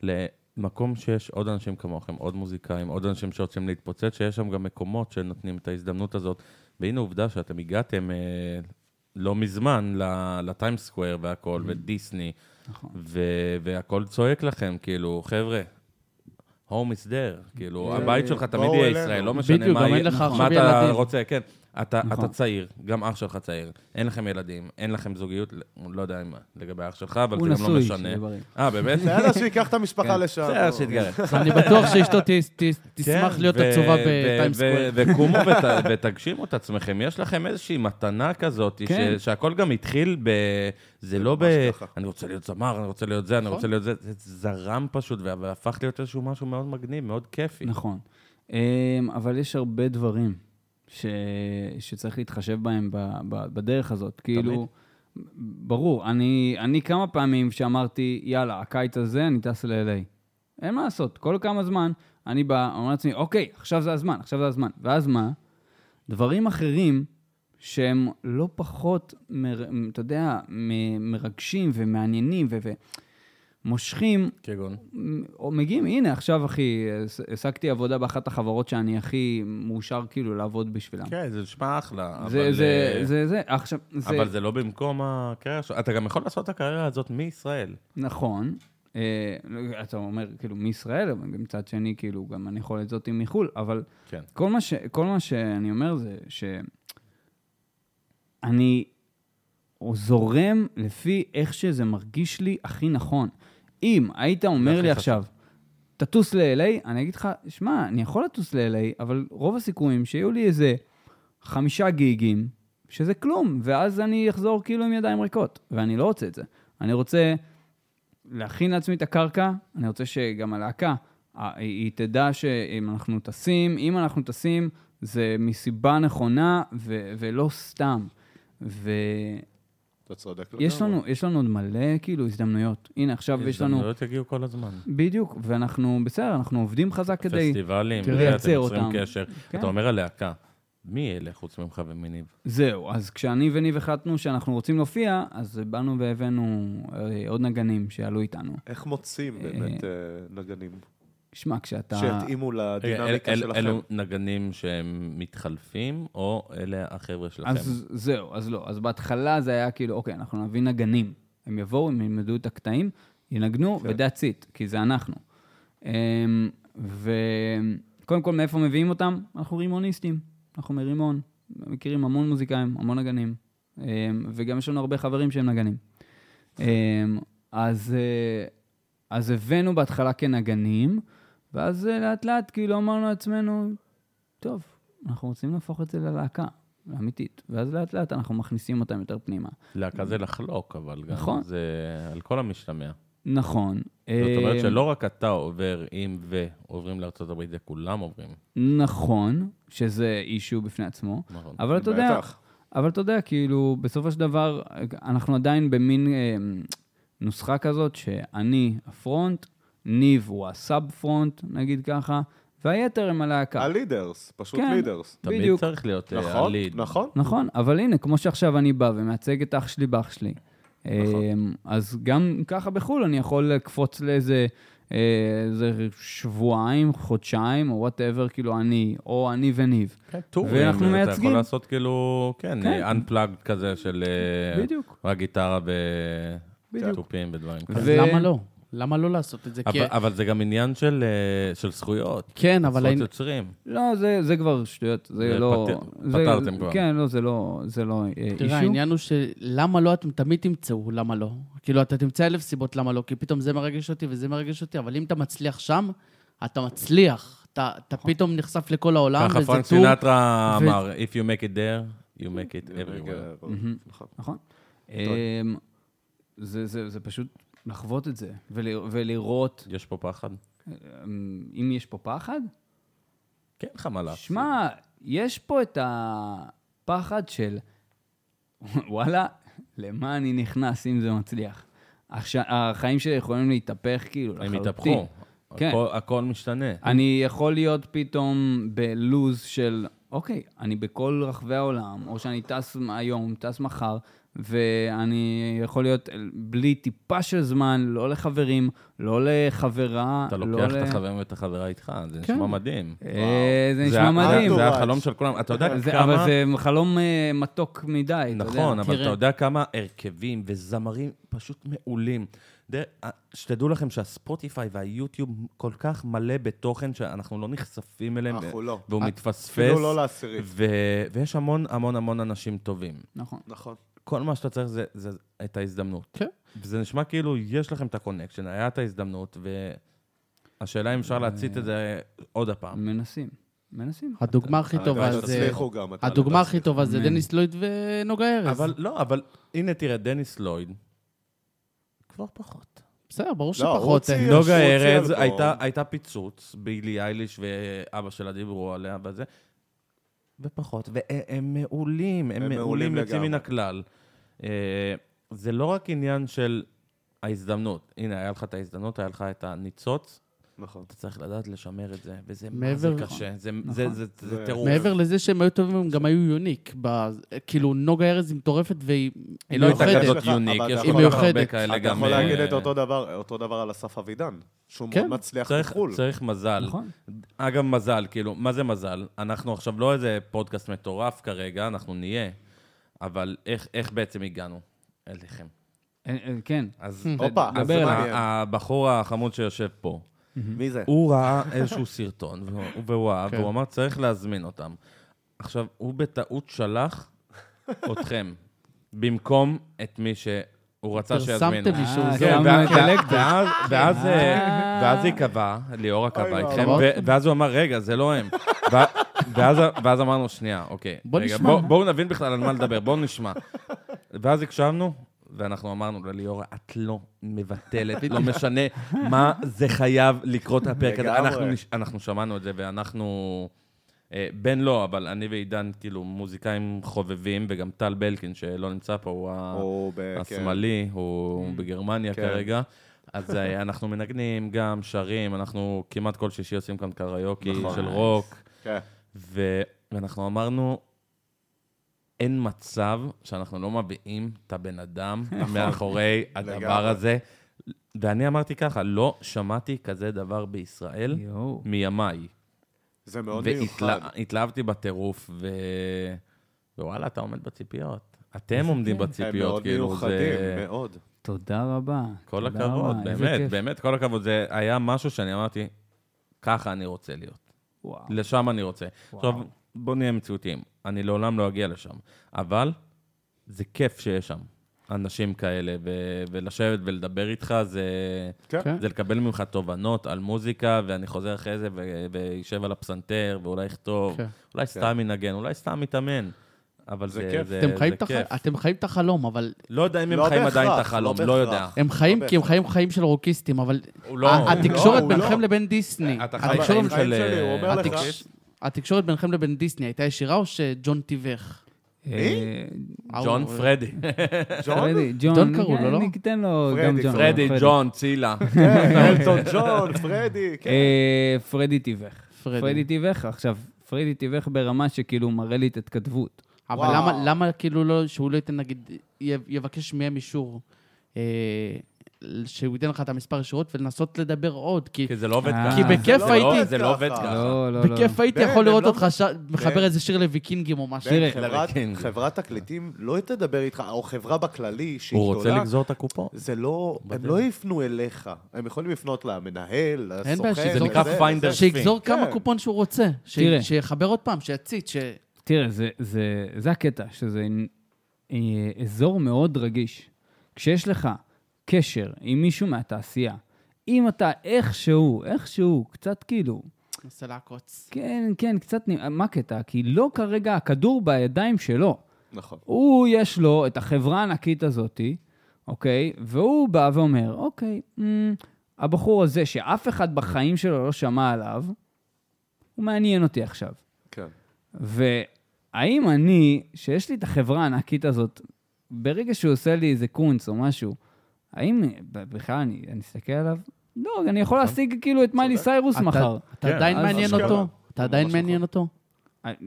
S2: ל- למקום שיש עוד אנשים כמוכם, עוד מוזיקאים, עוד אנשים שרוצים להתפוצץ, שיש שם גם מקומות שנותנים את ההזדמנות הזאת. והנה עובדה שאתם הגעתם אה, לא מזמן לטיים סקוויר והכל,
S1: Mm-hmm.
S2: ודיסני,
S3: נכון.
S2: ו- והכל צועק לכם, כאילו, חבר'ה, home is there, כאילו, הבית שלך תמיד
S1: אה, בואו
S2: יהיה
S1: אלינו.
S2: ישראל, לא משנה
S4: בדיוק,
S2: מה
S4: גם
S2: יהיה-
S4: אין לך
S2: מה
S4: עכשיו
S2: אתה
S4: ילדים.
S2: רוצה, כן. אתה
S3: נכון.
S2: אתה צעיר, גם אח שלך צעיר, אין לכם ילדים, אין לכם זוגיות, לא יודע אם לגבי האח שלך, אבל
S3: הוא
S2: זה גם לא
S3: נשוי,
S2: משנה.
S3: שזה בריא.
S2: אה, באמת?
S1: בסדר, שייקח את המשפחה
S2: כן.
S1: לשם.
S2: בסדר, שיתגרש.
S4: אני בטוח שאשתו ת- ת-
S2: כן,
S4: תשמח להיות
S2: ו-
S4: עצובה
S2: ו-
S4: בטיים
S2: ו-
S4: סקוויר.
S2: וקומו ות- ותגשימו את עצמכם, יש לכם איזושהי מתנה כזאת, ש-
S3: כן.
S2: שהכל גם התחיל ב... זה לא ב...
S1: ממש ככה.
S2: אני רוצה להיות זמר, אני רוצה להיות זה, אני
S4: נכון.
S2: רוצה להיות זה, זה זרם פשוט, וה- והפך להיות איזשהו משהו מאוד מגניב, מאוד כיפי.
S3: נכון. אמ, אבל יש הרבה דברים ש... שצריך להתחשב בהם ב... ב... בדרך הזאת. כאילו, ברור, אני, אני כמה פעמים שאמרתי, יאללה, הקיץ הזה אני טס ל-LA. אין מה לעשות, כל כמה זמן אני בא, אומר לעצמי, אוקיי, עכשיו זה הזמן, עכשיו זה הזמן. ואז מה? דברים אחרים שהם לא פחות, מר... אתה יודע, מ- מרגשים ומעניינים ו... ומושכים,
S2: כגון?
S3: או מגיעים, הנה, עכשיו, אחי, הס- השגתי עבודה באחת החברות שאני הכי מאושר כאילו לעבוד בשבילם.
S2: כן, זה נשמע אחלה,
S3: זה,
S2: אבל,
S3: זה,
S2: אה,
S3: זה, זה, עכשיו, זה,
S2: אבל זה לא במקום הקריירה שלך. אתה גם יכול לעשות את הקריירה הזאת מישראל.
S3: נכון. אה, לא, אתה אומר, כאילו, מישראל, אבל גם מצד שני, כאילו, גם אני יכול את זאת מחו"ל, אבל
S2: כן.
S3: כל מה, ש, כל מה שאני אומר זה שאני זורם לפי איך שזה מרגיש לי הכי נכון. אם היית אומר
S2: לא הכי
S3: לי
S2: חשוב.
S3: עכשיו, תטוס ל-LA, אני אגיד לך, שמע, אני יכול לטוס ל-LA, אבל רוב הסיכויים שיהיו לי איזה חמישה גיגים, שזה כלום, ואז אני אחזור כאילו עם ידיים ריקות, ואני לא רוצה את זה. אני רוצה להכין לעצמי את הקרקע, אני רוצה שגם הלהקה, אה, היא היא תדע שאם אנחנו טסים, אם אנחנו טסים, זה מסיבה נכונה ו- ולא סתם. ויש
S1: אתה צודק
S3: לנו, יש לנו עוד מלא כאילו הזדמנויות. הנה, עכשיו יש לנו...
S2: הזדמנויות יגיעו כל הזמן.
S3: בדיוק, ואנחנו, בסדר, אנחנו עובדים חזק כדי...
S2: פסטיבלים,
S3: תראה,
S2: זה,
S3: לייצר
S2: אתם יוצרים
S3: אותם.
S2: קשר.
S3: כן.
S2: אתה אומר הלהקה, מי אלה חוץ ממך ומניב?
S3: זהו, אז כשאני וניב החלטנו שאנחנו רוצים להופיע, אז באנו והבאנו אה, עוד נגנים שעלו איתנו.
S1: איך מוצאים באמת אה, נגנים?
S3: שמע, כשאתה...
S1: שיתאימו
S2: רגע,
S1: לדינמיקה
S2: אל- אל-
S1: שלכם.
S2: אלו נגנים שהם מתחלפים, או אלה החבר'ה שלכם?
S3: אז זהו, אז לא. אז בהתחלה זה היה כאילו, אוקיי, אנחנו נביא נגנים. הם יבואו, הם ילמדו את הקטעים, ינגנו, ו-that's it, כי זה אנחנו. וקודם כל, מאיפה מביאים אותם? אנחנו רימוניסטים, אנחנו מרימון. מכירים המון מוזיקאים, המון נגנים. אמ, וגם יש לנו הרבה חברים שהם נגנים. אמ, אז, אה, אז הבאנו בהתחלה כנגנים, ואז אה, לאט לאט כאילו אמרנו לעצמנו, טוב, אנחנו רוצים להפוך את זה ללהקה, לאמיתית. ואז לאט לאט אנחנו מכניסים אותם יותר פנימה.
S2: להקה זה לחלוק, אבל גם
S3: נכון.
S2: זה על כל המשתמע.
S3: נכון.
S2: זאת אומרת
S3: אה,
S2: שלא רק אתה עובר עם ועוברים לארצות הברית, זה כולם עוברים.
S3: נכון, שזה אישיו בפני עצמו,
S2: נכון.
S3: אבל אתה יודע,
S1: בטח.
S3: אבל אתה יודע, כאילו, בסופו של דבר, אנחנו עדיין במין אה, נוסחה כזאת, שאני הפרונט, ניב הוא הסאב פרונט, נגיד ככה, והיתר הם הלהקה.
S1: הלידרס, פשוט
S3: כן.
S1: לידרס.
S2: תמיד
S3: בדיוק.
S2: צריך להיות אה,
S1: נכון,
S2: הליד.
S1: נכון.
S3: נכון, אבל הנה, כמו שעכשיו אני בא ומייצג את אח שלי באח שלי.
S1: נכון.
S3: נכון. אז גם ככה בחו"ל אני יכול לקפוץ לאיזה אה, איזה שבועיים, חודשיים, או וואטאבר, כאילו אני, או אני וניב.
S2: כן, טורים.
S3: ואנחנו
S2: אתה
S3: מייצגים.
S2: יכול לעשות כאילו, כן,
S3: כן.
S2: unplugged כזה של... אה,
S3: בדיוק.
S2: רק גיטרה
S3: בדיוק.
S2: ותופים ודברים כאלה.
S4: אז
S3: ו-
S4: למה לא? למה לא לעשות את זה? כי-
S2: אבל- אבל זה גם עניין של אה, של זכויות.
S4: כן, אבל...
S2: זכויות
S4: העניין-
S2: יוצרים.
S3: לא, זה, זה כבר שטויות, זה,
S2: זה
S3: לא...
S2: פת-
S3: זה,
S2: פתרתם כבר.
S3: כן, לא, זה לא, זה לא אה, אישו.
S4: תראה, העניין הוא שלמה לא, אתם תמיד תמצאו למה לא. כאילו, אתה תמצא אלף סיבות למה לא, כי פתאום זה מרגש אותי וזה מרגש אותי, אבל אם אתה מצליח שם, אתה מצליח. אתה, אתה
S3: נכון.
S4: פתאום נחשף לכל
S3: לא,
S4: העולם,
S2: ככה
S4: וזה
S2: פרנק
S4: טור.
S2: סינטרה
S4: ו-
S2: אמר, If you make it there, you make it
S1: כן,
S2: everywhere.
S1: נכון.
S3: נכון. אמ, זה, זה, זה פשוט לחוות את זה, ול, ולראות
S2: יש פה פחד?
S3: אמ, אם יש פה פחד.
S2: כן, לך מה לעשות.
S3: שמע, יש פה את הפחד של, וואלה, למה אני נכנס אם זה מצליח? עכשיו, החיים שלי יכולים להתהפך כאילו
S2: הם
S3: לחלוטין.
S2: התהפכו.
S3: כן. אה,
S2: הכל- הכל משתנה.
S3: אני יכול להיות פתאום בלוז של, אוקיי, אני בכל רחבי העולם, או שאני טס היום, טס מחר, ואני יכול להיות בלי טיפה של זמן, לא לחברים, לא לחברה,
S2: אתה
S3: לא
S2: לוקח
S3: ל-
S2: את החברים ואת החברה איתך, זה
S3: כן.
S2: נשמע מדהים.
S3: אה, זה
S2: זה
S3: נשמע
S2: ה-
S3: מדהים.
S2: זה
S1: מטורף.
S2: החלום של כולם. אתה יודע
S3: זה- אבל
S2: כמה...
S3: זה חלום אה, מתוק מדי, אתה יודע.
S2: נכון, אבל
S4: תראה.
S2: אתה יודע כמה הרכבים וזמרים פשוט מעולים. דר- אה, שתדעו לכם שהספוטיפיי והיוטיוב כל כך מלא בתוכן שאנחנו לא נחשפים אליהם,
S1: אנחנו לא.
S2: והוא
S3: אה,
S2: מתפספס,
S1: אפילו לא לעשירית.
S2: ו- ויש המון המון המון אנשים טובים.
S3: נכון.
S1: נכון.
S2: כל מה שאתה צריך זה, זה את ההזדמנות.
S4: כן.
S2: וזה נשמע כאילו יש לכם את הקונקשן, היה את ההזדמנות, והשאלה אם אפשר להצית את זה עוד הפעם.
S3: מנסים, מנסים.
S4: הדוגמה
S2: אה,
S4: הכי טובה
S1: הלוואי
S4: זה...
S1: שתצליחו אה, גם. אתה
S4: אה, הדוגמה
S1: הלוואי
S4: הכי טובה זה
S3: אמן.
S4: דניס לויד ונוגה ארז.
S2: אבל לא, אבל הנה תראה, דניס לויד, כבר פחות.
S4: בסדר, ברור
S1: לא, הוא
S4: שפחות.
S1: הוציא-
S4: אה,
S2: נוגה
S1: שהוא הוציא
S2: ארז
S1: אלבום.
S2: הייתה, הייתה פיצוץ, בילי אייליש ואבא שלה דיברו עליה וזה, ופחות, והם מעולים, הם,
S1: הם מעולים
S2: מעולים יוצאים
S1: לגמרי.
S2: מן הכלל. אה, זה לא רק עניין של ההזדמנות, הנה, היה לך את ההזדמנות, היה לך את הניצוץ,
S1: נכון.
S2: אתה צריך לדעת לשמר את זה, וזה מה זה
S4: מעבר- נכון.
S2: קשה, זה, זה, זה, זה,
S1: זה-
S2: טירוף.
S4: מעבר לזה שהם היו טובים, הם גם היו יוניק. ב- כאילו, נוגה ארז היא מטורפת והיא
S2: היא לא הייתה
S1: מיוחדת.
S2: כזאת
S1: אבל
S2: יוניק,
S1: אתה
S2: יש
S1: יכול-
S2: כל כך הרבה
S4: מיוחדת.
S2: כאלה
S1: אתה
S2: גם...
S1: יכול
S2: אה,
S1: להגיד את אותו דבר, אותו דבר על אסף אבידן, שהוא
S4: כן.
S1: מאוד מצליח
S2: צריך,
S1: בחו"ל.
S2: צריך מזל.
S3: נכון.
S2: אגב, מזל, כאילו, מה זה מזל? אנחנו עכשיו לא איזה פודקאסט מטורף כרגע, אנחנו נהיה, אבל איך, איך בעצם הגענו אליכם?
S3: אה, אה, כן,
S2: אז,
S1: הופה,
S2: אז
S1: זה
S2: ה-
S1: מעניין.
S2: הבחור החמוד שיושב פה,
S1: מי זה?
S2: הוא ראה איזשהו סרטון, והוא- והוא אהב,
S4: כן.
S2: והוא אמר, צריך להזמין אותם. עכשיו, הוא בטעות שלח אתכם, במקום את מי שהוא רצה שיזמינו.
S4: פרסמתם לי שהוא
S3: אה,
S4: זה.
S2: כן,
S3: גם
S2: ואז-
S3: האינטלקט.
S2: ואז- ואז אה,
S3: אה.
S2: ואז היא קבעה, ליאורה קבעה
S1: אוי,
S2: איתכם,
S4: ואבוי.
S2: ו- ואז הוא אמר, רגע, זה לא הם. ו- ואז, ואז אמרנו, שנייה, אוקיי.
S4: בוא
S2: רגע,
S4: נשמע."
S2: בוא, בואו נבין בכלל על מה לדבר, בואו נשמע. ואז הקשבנו, ואנחנו אמרנו לליאורה, את לא מבטלת, לא משנה מה זה חייב לקרות הפרק הזה.
S1: לגמרי.
S2: אנחנו, נש- אנחנו שמענו את זה, ואנחנו... אה, בן לא, אבל אני ועידן, כאילו, מוזיקאים חובבים, וגם טל בלקין, שלא נמצא פה, הוא ה-
S1: הוא ב- כן.
S2: אה, השמאלי, הוא בגרמניה
S1: כן.
S2: כרגע. אז אה, אנחנו מנגנים גם, שרים, אנחנו כמעט כל שישי עושים כאן קריוקי
S1: נכון.
S2: של רוק.
S1: כן.
S2: ו- ואנחנו אמרנו, אין מצב שאנחנו לא מביאים את הבן אדם מאחורי הדבר
S1: נכון. לגמרי.
S2: הזה. ואני אמרתי ככה, לא שמעתי כזה דבר בישראל
S3: יואו.
S2: מימיי.
S1: זה מאוד מיוחד.
S2: והתלהבתי בטירוף, ו... ווואלה, אתה עומד בציפיות. אתם עומדים
S1: כן, הם
S2: בציפיות,
S1: מאוד
S2: כאילו,
S1: מיוחדים,
S2: זה...
S1: מאוד.
S3: תודה רבה.
S2: כל
S3: תודה
S2: הכבוד,
S3: רבה, איזה
S2: באמת,
S3: כיף.
S2: באמת, כל הכבוד. זה היה משהו שאני אמרתי, ככה אני רוצה להיות.
S3: וואו.
S2: לשם אני רוצה. עכשיו, בוא נהיה מציאותיים. אני לעולם לא אגיע לשם, אבל זה כיף שיש שם אנשים כאלה, ו- ולשבת ולדבר איתך זה...
S1: כן.
S4: כן.
S2: זה לקבל ממך תובנות על מוזיקה, ואני חוזר אחרי זה ו- וישב על הפסנתר, ואולי יכתוב,
S4: כן.
S2: אולי סתם ינגן, אולי סתם יתאמן, אבל
S1: זה
S2: זה,
S1: כיף.
S2: זה,
S4: אתם חיים
S2: זה
S4: את הח-
S2: כיף.
S4: אתם חיים את החלום, אבל
S2: לא יודע אם הם
S1: לא
S2: חיים עדיין את
S1: בהכרח,
S2: החלום,
S1: לא
S2: לא יודע.
S1: בהכרח.
S4: הם חיים,
S1: לא
S4: כי הם חיים חיים של רוקיסטים, אבל
S2: הוא לא...
S4: ה- התקשורת
S1: לא, הוא
S4: ביניכם
S1: לא.
S4: לבין דיסני,
S2: אתה חי
S4: התקשורת-
S2: בחיים של...
S1: שלי, הוא אומר
S4: לך. התקשורת ביניכם לבין דיסני הייתה ישירה או שג'ון תיווך?
S3: אה,
S2: ג'ון
S4: ההוא-
S2: פרדי.
S1: ג'ון?
S3: פרדי, ג'ון.
S4: ג'ון קראו לו, לא?
S3: ניתן אה, לו
S1: פרדי,
S3: גם ג'ון.
S2: פרדי, ג'ון, צילה.
S1: אלטון ג'ון, פרדי, כן.
S3: אה, פרדי תיווך.
S4: פרדי.
S3: פרדי תיווך. עכשיו, פרדי תיווך ברמה שכאילו הוא מראה לי את ההתכתבות.
S4: אבל
S1: וואו.
S4: למה, למה כאילו לא, שהוא לא ייתן, נגיד, י- יבקש מהם אישור, אה, שהוא ייתן לך את המספר ישירות ולנסות לדבר עוד, כי
S2: כי זה לא עובד
S3: אה.
S2: ככה.
S3: כי
S4: בכיף
S2: זה לא-
S4: הייתי-
S2: זה לא עובד
S1: ככה.
S2: ככה.
S3: לא, לא, לא.
S4: בכיף הייתי
S1: בן,
S4: יכול לראות
S1: הם לא-
S4: אותך ש- מחבר איזה שיר לוויקינגים או משהו.
S1: בן,
S4: חבר'ה.
S1: חברת-
S2: כן.
S1: חברת תקליטים לא תדבר איתך, או חברה בכללי שהיא
S2: הוא
S1: גדולה.
S2: רוצה לגזור את הקופון.
S1: זה לא, הם
S2: בדרך.
S1: לא יפנו אליך. הם יכולים לפנות למנהל, לסוכן.
S4: בעיה, שזה
S1: לזה,
S2: נקרא
S1: לזה.
S2: פיינדר.
S4: שיגזור
S1: כן.
S4: כמה קופון שהוא רוצה, ש-
S3: תראה.
S4: שיחבר עוד פעם, שיציץ, ש...
S3: תראה, זה, זה, זה הקטע, שזה אה, אזור מאוד רגיש. כשיש לך קשר עם מישהו מהתעשייה, אם אתה איכשהו, איכשהו, קצת כאילו,
S4: מנסה לעקוץ.
S3: כן, כן, קצת, נ- מה הקטע? כי לא כרגע הכדור בידיים שלו.
S1: נכון.
S3: הוא, יש לו את החברה הענקית הזאתי, אוקיי? והוא בא ואומר, אוקיי, mm, הבחור הזה שאף אחד בחיים שלו לא שמע עליו, הוא מעניין אותי עכשיו.
S1: כן.
S3: והאם אני, שיש לי את החברה הענקית הזאת, ברגע שהוא עושה לי איזה קונץ או משהו, האם ב- בכלל אני, אני אסתכל עליו? לא, אני יכול להשיג כאילו את מיילי סיירוס
S4: אתה-
S3: מחר.
S4: אתה
S2: כן,
S4: עדיין
S3: אז
S4: מעניין
S1: אשכרה.
S4: אותו? אתה
S1: ממש
S4: עדיין
S1: נכון.
S4: מעניין אותו?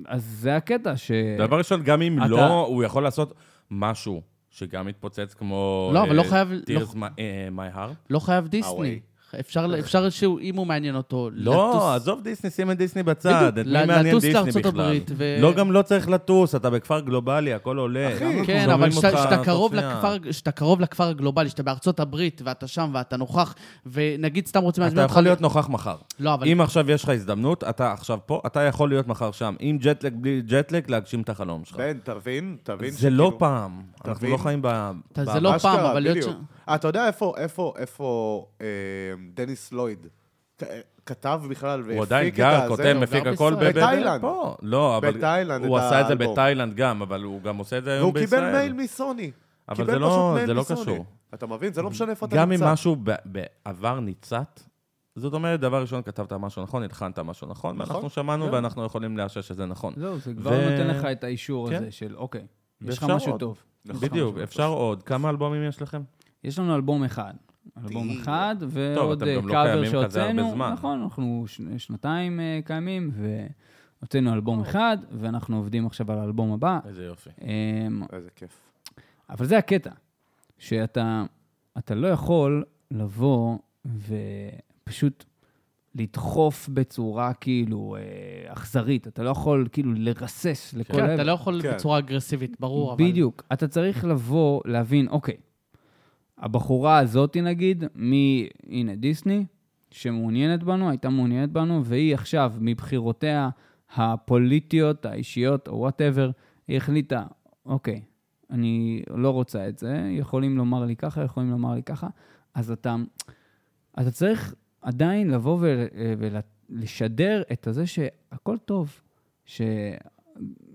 S3: אז זה הקטע ש...
S2: דבר ראשון, גם אם
S3: אתה-
S2: לא, הוא יכול לעשות משהו שגם מתפוצץ כמו...
S4: לא, אבל לא
S2: אה,
S4: חייב-
S2: Tears My- אה, My Heart.
S4: לא חייב
S1: וואי.
S4: דיסני. אפשר, אפשר שהוא, אם הוא מעניין אותו, לטוס-
S2: לא, עזוב דיסני, שים את דיסני בצד. את
S4: בדיוק,
S2: מי
S4: ל-
S2: מעניין
S4: לטוס
S2: דיסני
S4: לארצות
S2: בכלל?
S4: הברית ו-
S2: לא, גם לא צריך לטוס, אתה בכפר גלובלי, הכל עולה. אחי,
S4: כן, אבל כשאתה- כשאתה קרוב לכפר- כשאתה קרוב לכפר הגלובלי, שאתה בארצות הברית, ואתה שם ואתה נוכח, ונגיד סתם רוצים
S2: אתה
S4: להזמין אותך...
S2: יכול להיות נוכח מחר.
S4: לא, אבל...
S2: אם עכשיו יש לך הזדמנות, אתה עכשיו פה, אתה יכול להיות מחר שם. עם ג'טלג, בלי ג'טלג, להגשים את החלום שלך.
S1: בן, תבין, תבין.
S2: נכון. זה לא
S1: שכאילו-
S2: פעם. אנחנו
S1: תבין.
S2: לא חיים ב...
S4: אתה- זה
S2: ב-
S4: לא פעם,
S1: אשכרה,
S4: אבל להיות
S1: בדיוק. אתה יודע איפה, איפה, איפה אה, דניס לויד כ- כתב בכלל והפיק את
S2: הוא עדיין גר,
S1: הזה? לא,
S2: כותב,
S4: הוא
S2: מפיק
S4: גר
S2: הכל
S4: בישראל.
S2: ב-
S1: בתאילנד.
S2: פה. לא, אבל...
S1: בתאילנד,
S2: הוא
S1: את
S2: עשה את זה
S1: האלבום.
S2: בתאילנד גם, אבל הוא גם עושה את זה היום
S1: והוא
S2: בישראל.
S1: קיבל מייל מסוני.
S2: אבל
S1: קיבל
S2: זה לא-
S1: פשוט מייל
S2: זה לא
S1: מסוני.
S2: קשור.
S1: אתה מבין? זה לא משנה איפה אתה
S2: גם
S1: נמצא.
S2: אם משהו ב- בעבר ניצת, זאת אומרת, דבר ראשון, כתבת משהו נכון, הלחנת משהו נכון,
S1: נכון,
S2: ואנחנו שמענו
S1: כן.
S2: ואנחנו יכולים לאשש שזה נכון.
S3: זהו, לא, זה כבר
S2: ו-
S3: נותן לך את האישור
S2: כן.
S3: הזה של, אוקיי, יש לך
S2: ואפשר
S3: משהו
S2: עוד. נכון.
S3: טוב. נכון.
S1: נכון,
S2: בדיוק, אפשר עוד. כמה אלבומים יש לכם?
S3: יש לנו אלבום אחד. אלבום
S1: די.
S3: אחד, ועוד
S2: אתם
S3: אה,
S2: גם לא
S3: קאבר
S2: קיימים כזה הרבה
S3: שהוצאנו.
S2: זמן.
S3: נכון, אנחנו ש- שנתיים אה, קיימים, והוצאנו אלבום אחד, ואנחנו עובדים עכשיו על האלבום הבא.
S2: איזה יופי.
S3: אמ,
S1: איזה כיף.
S3: אבל זה הקטע, שאתה אתה לא יכול לבוא ופשוט לדחוף בצורה כאילו אה, אכזרית. אתה לא יכול כאילו לרסס לכל
S4: כן,
S3: עבר.
S4: אתה לא יכול
S1: כן.
S4: בצורה אגרסיבית, ברור, אבל...
S3: בדיוק. אתה צריך לבוא, להבין, אוקיי, הבחורה הזאתי נגיד, מ... הנה, דיסני, שמעוניינת בנו, הייתה מעוניינת בנו, והיא עכשיו, מבחירותיה הפוליטיות, האישיות, או וואטאבר, היא החליטה, אוקיי, אני לא רוצה את זה, יכולים לומר לי ככה, יכולים לומר לי ככה, אז אתה, אתה צריך עדיין לבוא ולשדר את הזה שהכל טוב, ש...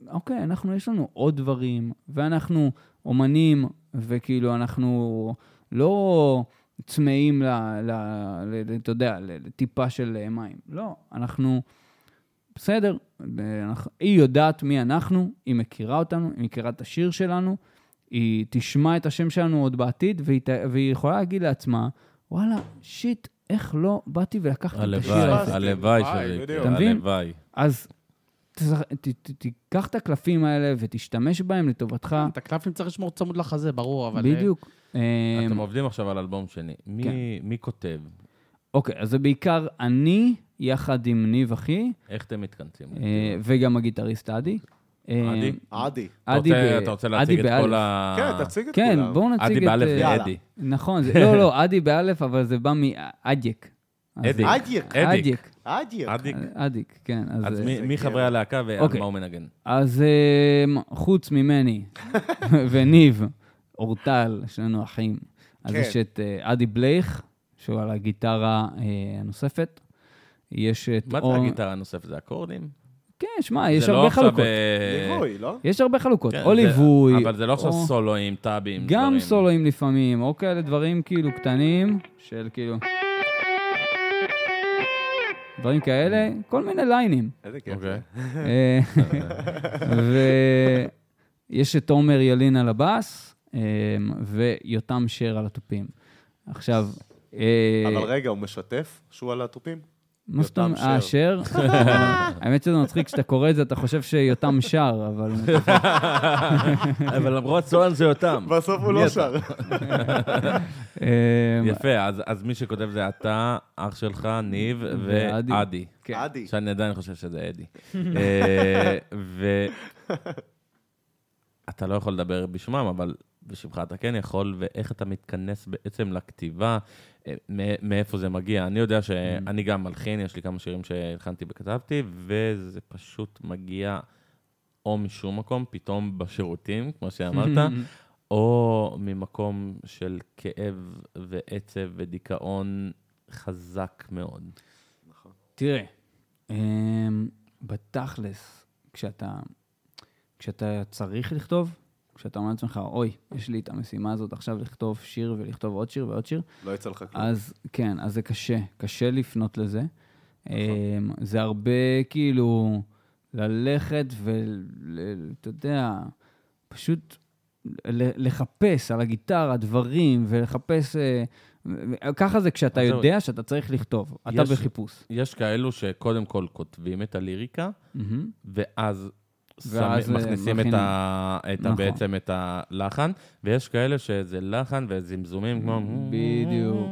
S3: אוקיי, אנחנו, יש לנו עוד דברים, ואנחנו אומנים, וכאילו, אנחנו לא צמאים ל... ל, ל, ל אתה יודע, ל- לטיפה של אה, מים. לא, אנחנו... בסדר, אנחנו- היא יודעת מי אנחנו, היא מכירה אותנו, היא מכירה את השיר שלנו, היא תשמע את השם שלנו עוד בעתיד, והיא, ת- והיא יכולה להגיד לעצמה, וואלה, שיט, איך לא באתי ולקחתי את השיר
S2: הלוואי,
S3: הזה.
S2: הלוואי
S1: וואי,
S2: שזה
S1: בדיוק.
S2: יקרה,
S3: אתה מבין?
S2: הלוואי.
S3: אז תזכ- ת- ת- תיקח את הקלפים האלה ותשתמש בהם לטובתך.
S4: את הקלפים צריך לשמור צמוד לחזה, ברור, אבל... אה,
S3: בדיוק. אמ,
S2: אתם עובדים עכשיו על אלבום שני. מי-
S3: כן.
S2: מי כותב?
S3: אוקיי, אז זה בעיקר אני, יחד עם ניב אחי,
S2: איך אתם מתכנסים?
S3: אה, וגם הגיטריסט עדי. אה,
S2: עדי?
S1: עדי.
S2: אתה
S3: עדי
S2: רוצה-
S3: ב-
S2: אתה רוצה
S3: עדי
S2: להציג את כל
S3: באלף.
S2: ה...
S1: כן, תציג את כולם.
S3: כן, בואו נציג את...
S2: עדי באלף
S3: אה,
S1: יאללה.
S2: ועדי.
S3: נכון, זה- לא, לא, עדי באלף, אבל זה בא מאדיק.
S2: אדיק.
S1: אדיק.
S2: אדיק.
S3: אדיק.
S1: עדי.
S2: אדיק.
S3: אדיק, כן. אז,
S2: אז
S3: אה,
S2: מי- מי חברי הלהקה ועל
S3: אוקיי.
S2: מה הוא מנגן?
S3: אז אמ, חוץ ממני וניב, אורטל, יש לנו אחים, אז
S1: כן.
S3: יש את אה, אדי בלייך, שהוא על הגיטרה אה, הנוספת. יש את...
S2: מה זה
S3: אור-
S2: הגיטרה הנוספת? זה אקורדים?
S3: כן, שמע, אוקיי. יש
S2: זה לא
S3: הרבה
S2: עכשיו,
S3: חלוקות.
S2: אה,
S1: ליווי, לא?
S3: יש הרבה חלוקות,
S2: כן,
S3: או
S2: זה-
S3: ליווי.
S2: אבל זה לא עכשיו
S3: או-
S2: סולואים, טאבים,
S3: גם
S2: דברים.
S3: סולואים לפעמים, או כאלה דברים כאילו קטנים, של כאילו... דברים כאלה, כל מיני ליינים.
S1: איזה כיף.
S2: אוקיי.
S3: אה, ויש את עומר ילין על הבאס, אה, ויותם שר על התופים. עכשיו, אה,
S1: אבל רגע, הוא משתף שהוא על התופים?
S3: מה זאת אומרת?
S1: יותם
S3: אה, שר? האמת שזה מצחיק, כשאתה קורא את זה, אתה חושב שיותם שר, אבל...
S2: אבל למרות סולן זה אותם.
S1: בסוף הוא לא שר.
S3: אה,
S2: יפה, אז- אז מי שכותב זה אתה, אח שלך, ניב
S3: ועדי.
S2: ועדי.
S3: כן.
S1: עדי.
S2: שאני עדיין חושב שזה אדי. אה, ו... אתה לא יכול לדבר בשמם, אבל בשמך אתה כן יכול, ואיך אתה מתכנס בעצם לכתיבה, אה, מא- מאיפה זה מגיע. אני יודע שאני גם מלחין, יש לי כמה שירים שהלחנתי וכתבתי, וזה פשוט מגיע או משום מקום, פתאום בשירותים, כמו שאמרת, או ממקום של כאב ועצב ודיכאון חזק מאוד.
S3: תראה, אמ, בתכלס, כשאתה, כשאתה צריך לכתוב, כשאתה אומר לעצמך, אוי, יש לי את המשימה הזאת עכשיו לכתוב שיר ולכתוב עוד שיר ועוד שיר,
S1: לא יצא לך כלום.
S3: אז כן, אז זה קשה, קשה לפנות לזה.
S2: נכון.
S3: אמ, זה הרבה כאילו ללכת ואתה יודע, פשוט ל- לחפש על הגיטרה דברים ולחפש... אה, ככה זה כשאתה
S2: אז זהו.
S3: יודע שאתה צריך לכתוב, אתה
S2: יש-
S3: בחיפוש.
S2: יש כאלו שקודם כל כותבים את הליריקה,
S3: מהמם.
S2: ואז,
S3: ואז,
S2: שם,
S3: אה,
S2: מכניסים את
S3: מכינים.
S2: ה, את ה,
S3: נכון.
S2: בעצם את הלחן, ויש כאלה שזה לחן וזמזומים כמו...
S3: בדיוק.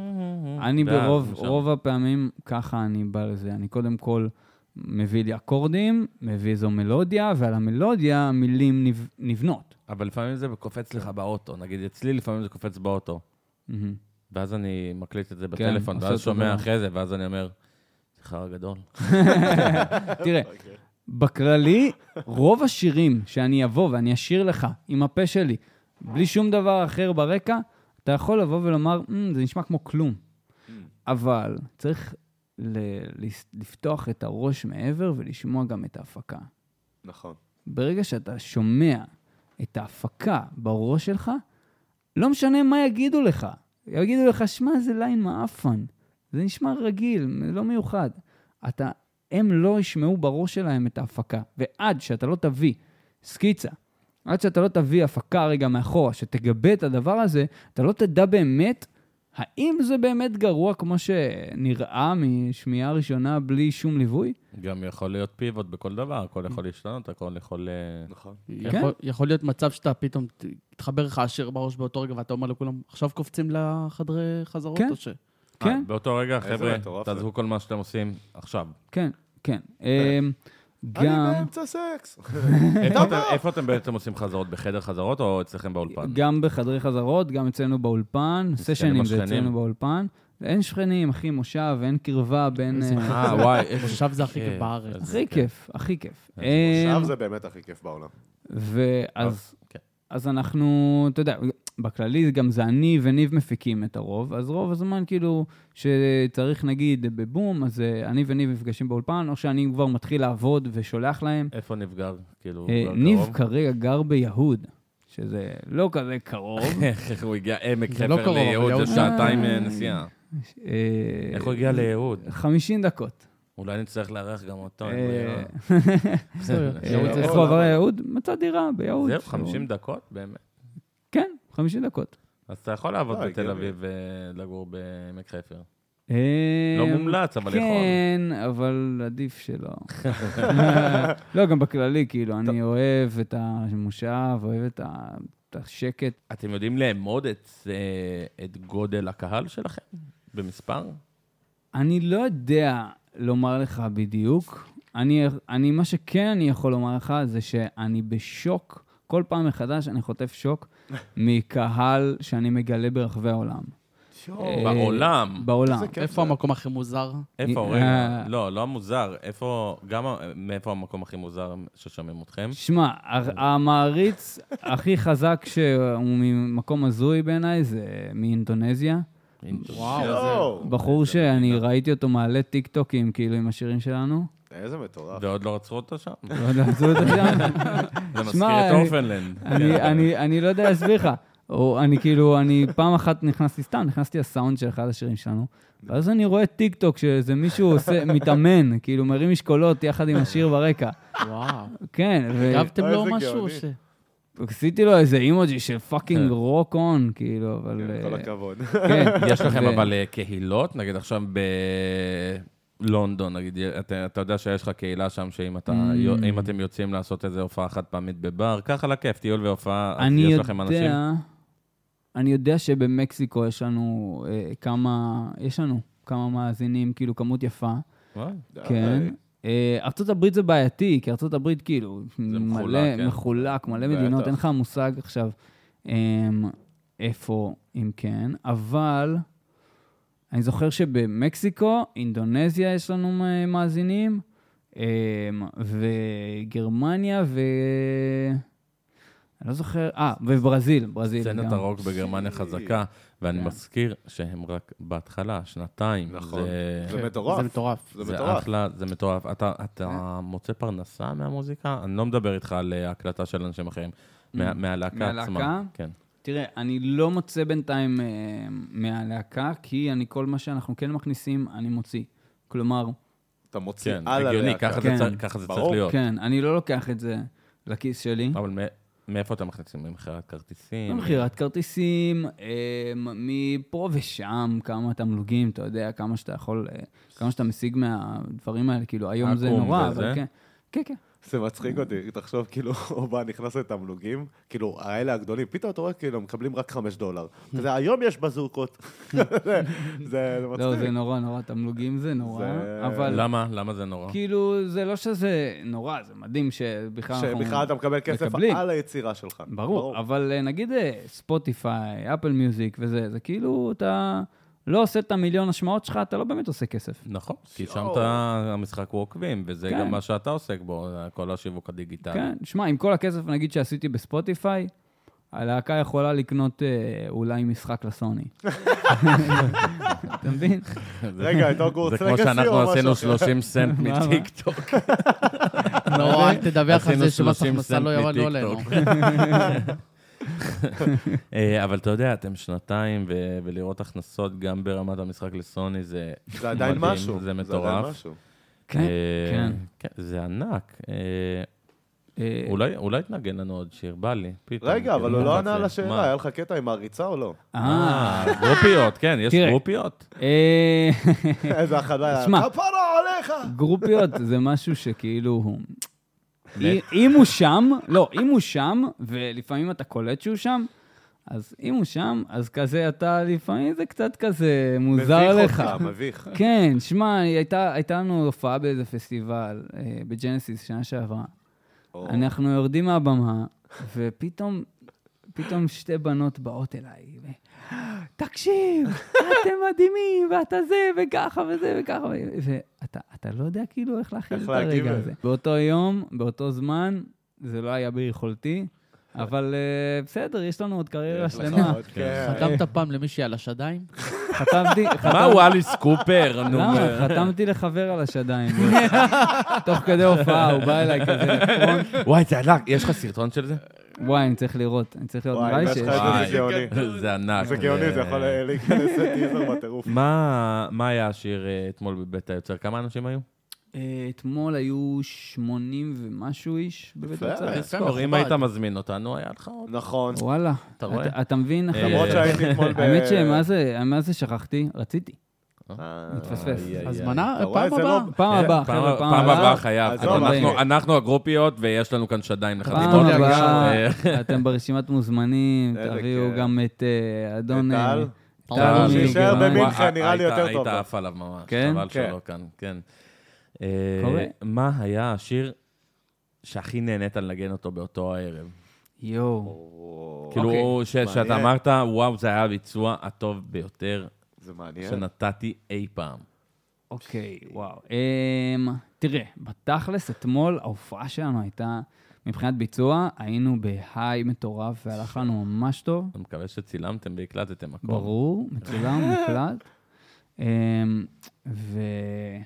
S3: אני
S2: Mm-hmm. ואז
S3: ברוב
S2: משם.
S3: רוב הפעמים, ככה אני בא לזה. אני קודם כל מביא לי אקורדים, מביא איזו מלודיה, ועל המלודיה מילים נב- נבנות.
S2: אבל לפעמים זה קופץ לך באוטו, נגיד אצלי לפעמים זה קופץ באוטו,
S3: מהמם.
S2: ואז אני מקליט את זה בטלפון,
S3: כן, עושה
S2: ואז
S3: אותו
S2: שומע
S3: דבר.
S2: אחרי זה, ואז אני אומר, זה חרא גדול.
S3: תראה, בכללי, רוב השירים שאני אבוא ואני אשיר לך עם הפה שלי, בלי שום דבר אחר ברקע, אתה יכול לבוא ולומר, "מ, זה נשמע כמו כלום. אבל צריך ל- לס- לפתוח את הראש מעבר ולשמוע גם את ההפקה.
S1: נכון.
S3: ברגע שאתה שומע את ההפקה בראש שלך, לא משנה מה יגידו לך. יגידו לך, שמע, זה ליין מעפן. זה נשמע רגיל, לא מיוחד. אתה, הם לא ישמעו בראש שלהם את ההפקה. ועד שאתה לא תביא סקיצה, עד שאתה לא תביא הפקה רגע מאחורה, שתגבה את הדבר הזה, אתה לא תדע באמת האם זה באמת גרוע כמו שנראה משמיעה ראשונה בלי שום ליווי.
S2: גם יכול להיות פיבוט בכל דבר, הכל יכול להשתנות, הכל יכול... אה,
S1: נכון.
S4: יכול-
S3: כן.
S4: יכול להיות מצב שאתה פתאום, ת- יתחבר לך השיר בראש באותו רגע, ואתה אומר לכולם, עכשיו קופצים לחדרי חזרות?
S3: כן.
S4: או ש-"
S3: כן?
S2: אה, באותו רגע,
S1: איזה
S2: חבר'ה,
S1: מטורף זה.
S2: תעזבו כל מה שאתם עושים עכשיו.
S3: כן, כן. אמ,
S1: אני
S3: גם...
S1: באמצע סקס.
S2: איפה אתם- איפה אתם בעצם עושים חזרות? בחדר חזרות או אצלכם באולפן?
S3: גם בחדרי חזרות, גם אצלנו באולפן, סשנים זה
S2: השכנים.
S3: אצלנו באולפן. אין שכנים, אחי מושב, אין קרבה בין... אה,
S2: אה, וואי, כן. איזה
S4: מושב זה הכי
S2: כיף.
S4: כיף בארץ.
S2: איזה
S3: הכי כיף, הכי כיף.
S2: אה,
S1: עכשיו
S3: אמ,
S1: זה באמת הכי כיף בעולם.
S3: ואז
S2: כן.
S3: אז אנחנו, אתה יודע, בכללי גם זה אני וניב מפיקים את הרוב, אז רוב הזמן כאילו שצריך נגיד בבום, אז אה, אני וניב נפגשים באולפן, או שאני כבר מתחיל לעבוד ושולח להם.
S2: איפה נפגר? כאילו,
S3: אה,
S2: כבר
S3: ניב
S2: קרוב?
S3: כרגע גר ביהוד, שזה לא כזה קרוב.
S2: איך הוא הגיע עמק
S4: זה לא
S2: חפר
S4: קרוב, אבל
S2: ליהוד,
S4: יהוד-
S2: זה שעתיים אה, נסיעה.
S3: אה,
S2: איך הוא הגיע ליהוד?
S3: 50 דקות.
S2: אולי נצטרך לארח גם אותו. אין
S3: אה,
S2: ברירה.
S4: בסדר.
S3: אה,
S1: יהוד זה
S3: איך
S1: לא
S3: הוא עבר
S1: למה?
S3: ליהוד? מצא דירה ביהוד.
S2: זהו, 50 דקות? באמת.
S3: כן, 50 דקות.
S2: אז אתה יכול לעבוד
S1: לא,
S2: בתל
S1: הגיוני.
S2: אביב ולגור בעמק חפר.
S3: אה,
S2: לא מומלץ, אבל יכול.
S3: כן, אבל עדיף שלא. לא, גם בכללי, כאילו, אני אוהב את המושב, אוהב את ה- את השקט.
S2: אתם יודעים לאמוד את, אה, את גודל הקהל שלכם? במספר?
S3: אני לא יודע לומר לך בדיוק. אני, אני, מה שכן אני יכול לומר לך זה שאני בשוק, כל פעם מחדש אני חוטף שוק מקהל שאני מגלה ברחבי העולם. אה,
S2: בעולם.
S3: בעולם.
S1: איזה כיף
S4: איפה
S1: זה.
S4: המקום הכי מוזר?
S2: איפה,
S3: אה,
S2: רגע? לא, לא המוזר. איפה, גם ה- מאיפה המקום הכי מוזר ששומעים אתכם?
S3: שמע, ה- המעריץ הכי חזק שהוא ממקום הזוי בעיניי זה מאינדונזיה.
S2: אה,
S1: יואו,
S3: בחור שאני ראיתי אותו מעלה טיק טוקים, כאילו, עם השירים שלנו.
S1: איזה מטורף.
S2: ועוד לא רצחו אותו שם?
S3: לא יודע, עשו את זה שם.
S2: זה מזכיר
S3: שמע,
S2: את כן.
S3: אני-
S2: אורפנלנד.
S3: אני- אני- אני לא יודע להסביר לך. או אני כאילו, אני פעם אחת נכנסתי סתם, נכנסתי לסאונד של אחד השירים שלנו, ואז אני רואה טיק טוק שאיזה מישהו עושה, מתאמן, כאילו מרים משקולות יחד עם השיר ברקע.
S4: וואו.
S3: כן, ו-
S4: הגבתם
S1: אה,
S4: לו
S1: איזה
S4: משהו?
S1: גאוני.
S4: ש-
S3: עשיתי לו איזה אימוג'י של פאקינג
S2: כן.
S3: רוק און, כאילו, אבל...
S1: כן, כל
S3: אה,
S1: הכבוד.
S3: כן.
S2: יש לכם
S3: ו-
S2: אבל אה, קהילות, נגיד עכשיו בלונדון, נגיד, אתה, אתה יודע שיש לך קהילה שם, שאם אתה,
S3: Mm.
S2: אם אתם יוצאים לעשות איזו הופעה חד פעמית בבר, ככה לכיף, טיול והופעה, אז
S3: אני
S2: יש
S3: יודע,
S2: לכם אנשים?
S3: אני יודע שבמקסיקו יש לנו אה, כמה, יש לנו כמה מאזינים, כאילו כמות יפה,
S2: וואי,
S3: כן. אה, ארצות הברית זה בעייתי, כי ארצות הברית כאילו מלא,
S2: מחולק, כן.
S3: מחולק, מלא מדינות,
S1: בטח.
S3: אין לך מושג עכשיו אמ, איפה, אם כן, אבל אני זוכר שבמקסיקו, אינדונזיה יש לנו מ- מאזינים, אמ, וגרמניה ו... אני לא זוכר, אה, וברזיל, ברזיל.
S2: סצנת
S3: גם. כן.
S2: הרוק בגרמניה חזקה, ואני מזכיר שהם רק בהתחלה, שנתיים.
S1: נכון.
S2: זה-
S1: זה
S4: זה
S1: מטורף.
S4: מטורף.
S1: זה
S2: זה
S1: מטורף.
S2: אחלה, זה מטורף. אתה, אתה מוצא פרנסה מהמוזיקה? אני לא מדבר איתך על אה, הקלטה של אנשים אחרים, מה- מהלהקה
S3: מהלהקה?
S2: עצמה. כן.
S3: תראה, אני לא מוצא בינתיים אה, מהלהקה, כי אני, כל מה שאנחנו כן מכניסים, אני מוציא. כלומר,
S1: אתה מוציא
S2: כן,
S1: על
S2: הגיוני,
S1: הלהקה.
S2: ככה זה
S3: כן.
S2: צריך- ככה זה צריך
S1: ברור.
S2: להיות.
S3: כן, אני לא לוקח את זה לכיס שלי.
S2: אבל מ- מאיפה אתם מכניסים? ממכירת
S1: לא
S2: כרטיסים?
S3: מכירת כרטיסים, אה, מפה ושם, כמה תמלוגים, אתה יודע, כמה שאתה יכול, אה, כמה שאתה משיג מהדברים האלה, כאילו, היום זה
S2: עקום
S3: נורא,
S2: וזה?
S3: אבל כן. כן, כן.
S1: זה מצחיק אותי, תחשוב, כאילו, אובה נכנס לתמלוגים, כאילו, האלה הגדולים, פתאום אתה רואה, כאילו, מקבלים רק חמש דולר. כזה, היום יש בזוקות. זה- זה
S3: לא, זה
S1: מצחיק.
S3: נורא נורא, תמלוגים זה נורא,
S1: זה-
S3: אבל
S2: למה? למה זה נורא?
S3: כאילו, זה לא שזה נורא, זה מדהים שבכלל אנחנו...
S1: שבכלל אתה מקבל כסף
S3: מקבלים.
S1: על היצירה שלך.
S3: ברור, אבל אה, נגיד אה, ספוטיפיי, אפל מיוזיק וזה, זה כאילו, אתה לא עושה את המיליון השמעות שלך, אתה לא באמת עושה כסף.
S2: נכון, כי שם
S1: יואו.
S2: אתה המשחק הוא עוקבים, וזה
S3: כן.
S2: גם מה שאתה עוסק בו, כל השיווק הדיגיטלי.
S3: כן, שמע, עם כל הכסף, נגיד, שעשיתי בספוטיפיי, הלהקה יכולה לקנות אה, אולי משחק לסוני. אתה מבין?
S1: רגע, את
S2: זה
S1: אוגורט
S2: כמו
S1: לגאסי
S2: שאנחנו
S1: או משהו
S2: עשינו
S1: אחר?
S2: 30 סנט
S3: מה, מה?
S2: מטיקטוק.
S4: לא, אל תדווח על
S2: עשינו
S4: זה שמס
S2: 30
S4: הכנסה
S2: סנט
S4: לא ירד לא עלינו.
S2: מטיקטוק. אה, אבל אתה יודע, אתם שנתיים, ו- ולראות הכנסות גם ברמת המשחק לסוני זה...
S1: זה עדיין
S2: מדהים,
S1: משהו.
S2: זה
S1: עדיין
S2: מטורף.
S1: משהו.
S3: כן.
S2: אה,
S3: כן.
S2: כן, זה ענק. אה,
S3: אה,
S2: אולי אולי תנגן לנו עוד שיר, בא לי, פתאום.
S1: רגע, אבל
S2: כאילו,
S1: הוא לא
S2: מה
S1: ענה
S2: זה?
S1: על
S2: מה?
S1: השאלה, היה לך קטע עם העריצה או לא?
S3: אה,
S2: אה, גרופיות, כן, יש
S3: תראה.
S2: גרופיות.
S3: אה,
S1: איזה הכנה,
S3: שמע.
S1: כפרה עליך!
S3: גרופיות זה משהו שכאילו... הוא- אם- אם הוא שם, לא, אם הוא שם, ולפעמים אתה קולט שהוא שם, אז אם הוא שם, אז כזה אתה, לפעמים זה קצת כזה מוזר
S1: מביך
S3: לך.
S1: אותך, מביך.
S3: כן, שמע, הייתה, הייתה לנו הופעה באיזה פסטיבל, אה, בג'נסיס, שנה שעברה.
S1: או,
S3: אנחנו יורדים מהבמה, ופתאום, פתאום שתי בנות באות אליי, ו... תקשיב, אתם מדהימים, ואתה זה, וככה וזה, וככה, ו- ואתה אתה לא יודע כאילו איך להכיל
S1: איך
S3: את
S1: להגיב
S3: הרגע
S1: לזה.
S3: הזה. באותו יום, באותו זמן, זה לא היה ביכולתי, אבל אה, בסדר, יש לנו עוד קריירה
S1: יש לך
S3: שלמה.
S1: עוד, כן.
S4: חתמת פעם למישהי על השדיים?
S3: חתמתי...
S2: מה הוא אליס קופר? נו,
S3: למה? לא, חתמתי לחבר על השדיים. תוך כדי הופעה, הוא בא אליי כזה לפרונט.
S2: וואי, זה ענק, יש לך סרטון של זה?
S3: וואי, אני צריך לראות, אני צריך לראות,
S1: וואי,
S3: נראה לי
S1: יש לך
S3: שיש.
S1: את זה,
S2: וואי.
S1: זה גאוני.
S2: זה ענק.
S1: זה גאוני, זה יכול להיכנס לטיזר בטירוף.
S2: מה מה היה השיר אה, אתמול בבית היוצר? כמה אנשים היו?
S3: אה, אתמול היו 80 ומשהו איש בבית
S1: יפה.
S3: הוצאה.
S2: תזכור, אם
S4: מכובד.
S2: היית מזמין אותנו, היה לך עוד.
S1: נכון.
S3: וואלה.
S2: אתה רואה?
S3: אתה- אתה מבין? אחי?
S1: למרות שהייתי אתמול ב...
S3: האמת שמה זה, מה זה שכחתי? רציתי.
S1: אה,
S3: מתפספס.
S1: איי, איי,
S4: הזמנה?
S1: אתה רואה?
S4: פעם
S1: זה לא-
S4: הבאה.
S3: פעם
S2: כן,
S3: הבאה, חבר'ה, פעם הבאה.
S2: חייב.
S1: עזוב,
S2: אנחנו-
S1: אחי.
S2: אנחנו הגרופיות ויש לנו כאן שדיים
S3: פעם
S2: לחתימות.
S4: הבאה.
S3: הבאה. אתם ברשימת מוזמנים,
S1: איזה
S3: תביאו
S1: כיף.
S3: גם את אה, אדון...
S1: את טל?
S3: אה,
S4: טל,
S3: טל
S1: שיישאר
S3: מגרמניה.
S1: במינכן. נראה לי
S2: היית-
S1: יותר טוב.
S2: היית עף עליו ממש,
S3: כן?
S2: חבל
S1: כן.
S2: שלא כאן, כן. אה,
S3: קורה.
S2: מה היה השיר שהכי נהנית לנגן אותו באותו הערב?
S3: יואו.
S2: כאילו, ש- שאתה
S1: אוקיי. מעניין.
S2: אמרת, וואו, זה היה הביצוע הטוב ביותר
S1: זה מעניין.
S2: שנתתי אי פעם.
S3: אוקיי, וואו. אמ, תראה, בתכלס, אתמול ההופעה שלנו הייתה, מבחינת ביצוע, היינו בהיי מטורף, והלך לנו ממש טוב.
S2: אני מקווה שצילמתם והקלטתם הכל.
S3: ברור, מצולם, מוקלט. אמ, והיה,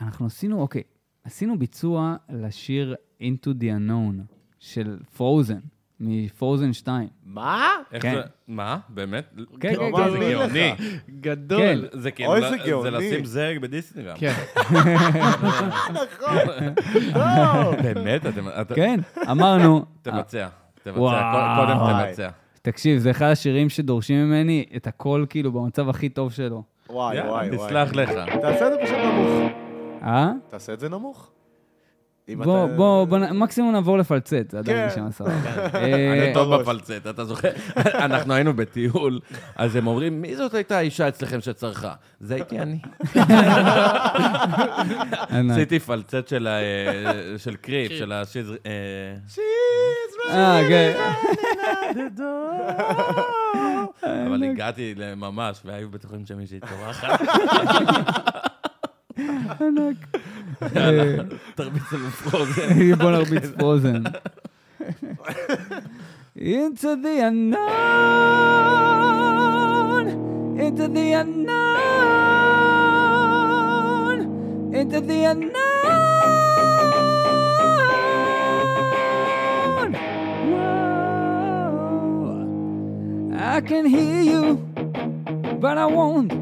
S3: אנחנו עשינו, אוקיי, עשינו ביצוע לשיר Into the Unknown של פרוזן, מפרוזן 2.
S1: מה?
S2: איך
S3: כן.
S2: זה? מה? באמת?
S3: כן,
S1: לא
S3: כן,
S1: מאמין
S3: כן.
S2: זה
S1: לך.
S2: גאוני.
S4: גדול.
S3: כן.
S2: זה כאילו,
S1: אוי,
S2: ל-
S1: זה גאוני.
S2: זה לשים זרק בדיסנגרם.
S4: כן.
S1: כן.
S3: לא!
S2: באמת? אתם... אתה-
S3: כן, אמרנו, אה,
S2: תבצע. תבצע.
S3: וואו.
S2: קוד- קודם תבצע.
S3: תקשיב, זה אחד השירים שדורשים ממני את הכל, כאילו, במצב הכי טוב שלו.
S1: וואי,
S2: יאללה,
S1: וואי, וואי.
S2: נסלח לך.
S1: תעשה את זה פשוט נמוך.
S3: אה?
S1: תעשה את זה נמוך. אם
S3: בוא,
S1: אתה-
S3: בוא, בוא, נ- מקסימום נעבור לפלצט, זה
S1: כן.
S3: עדיין נשמע סבבה.
S2: אני
S3: אה,
S2: טוב
S1: בראש.
S2: בפלצט, אתה זוכר? אנחנו היינו בטיול, אז הם אומרים, מי זאת הייתה האישה אצלכם שצרחה? זה הייתי אני.
S3: ענק.
S2: עשיתי פלצט של ה- אה, של קריפ, של השיז... אה,
S3: אה, כן.
S1: אה,
S2: אבל הגעתי ממש, והיו בטוחים שמישהי צורחת.
S3: אה,
S2: תרביץ לנו פרוזן.
S3: בוא נרביץ פרוזן. Into the unknown, into the unknown, into the unknown. Whoa. I can hear you, but I won't.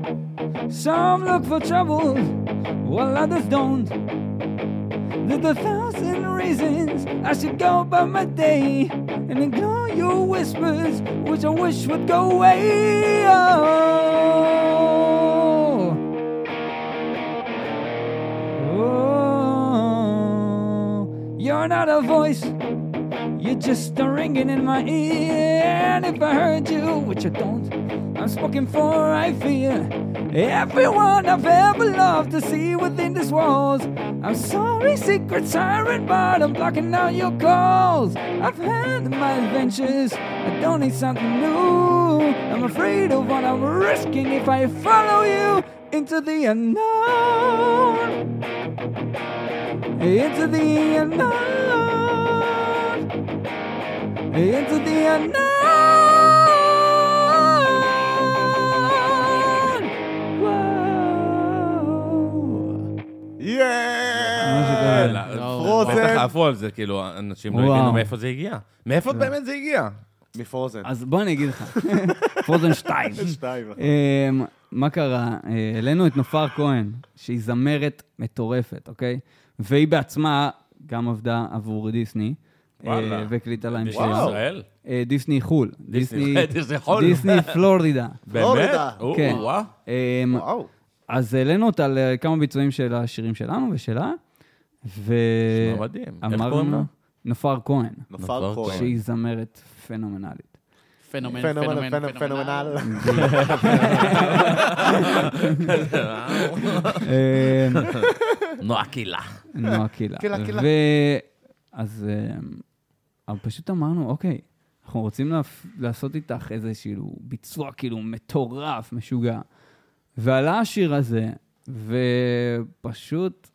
S3: Some look for trouble, while others don't. There's a thousand reasons I should go about my day and ignore your whispers, which I wish would go away. Oh. Oh. You're not a voice, you're just a ringing in my ear. And if I heard you, which I don't, I'm spoken for, I fear. Everyone I've ever loved to see within these walls. I'm sorry, secret siren, but I'm blocking out your calls. I've had my adventures, I don't need something new. I'm afraid of what I'm risking if I follow you into the unknown. Into the unknown into the unknown. וואו. אה.
S1: יאה!
S2: לא,
S1: פרוזן.
S2: בטח עפו על זה, כאילו, אנשים לא
S3: כן. וואו.
S2: הבינו מאיפה זה הגיע. מאיפה באמת זה הגיע?
S1: מפרוזן.
S3: אז בוא אני אגיד לך, פרוזן שתיים.
S1: שתיים. נכון.
S3: אמ, מה קרה? אה, העלינו את נופר כהן, שהיא זמרת מטורפת, אוקיי? והיא בעצמה גם עבדה עבור דיסני. אה,
S2: וואלה.
S3: והקליטה להם
S2: יש
S3: שיר.
S2: ישראל?
S3: אה, דיסני חו"ל. דיסני-
S2: דיסני חו"ל.
S3: דיסני פלורידה.
S2: באמת?
S1: פלורידה.
S2: או,
S3: כן.
S2: וואו.
S3: אמ,
S1: וואו.
S3: אז העלינו אותה לכמה ביצועים של השירים שלנו ושלה, אה,
S2: נשמע לא מדהים. איך קוראים לה?
S3: ואמרנו, נופר כהן,
S1: נופר
S2: נופר
S1: כהן.
S3: שהיא זמרת פנומנלית.
S4: פנומן,
S1: פנומן,
S4: פנומן,
S1: פנומן,
S4: פנומן.
S1: פנומנל.
S3: אה,
S2: נועה קילה.
S3: נועה קילה.
S1: קילה, קילה.
S3: ו- אז אה, אבל פשוט אמרנו, אוקיי, אנחנו רוצים להפ- לעשות איתך איזשהו ביצוע כאילו מטורף, משוגע. ועלה השיר הזה, ופשוט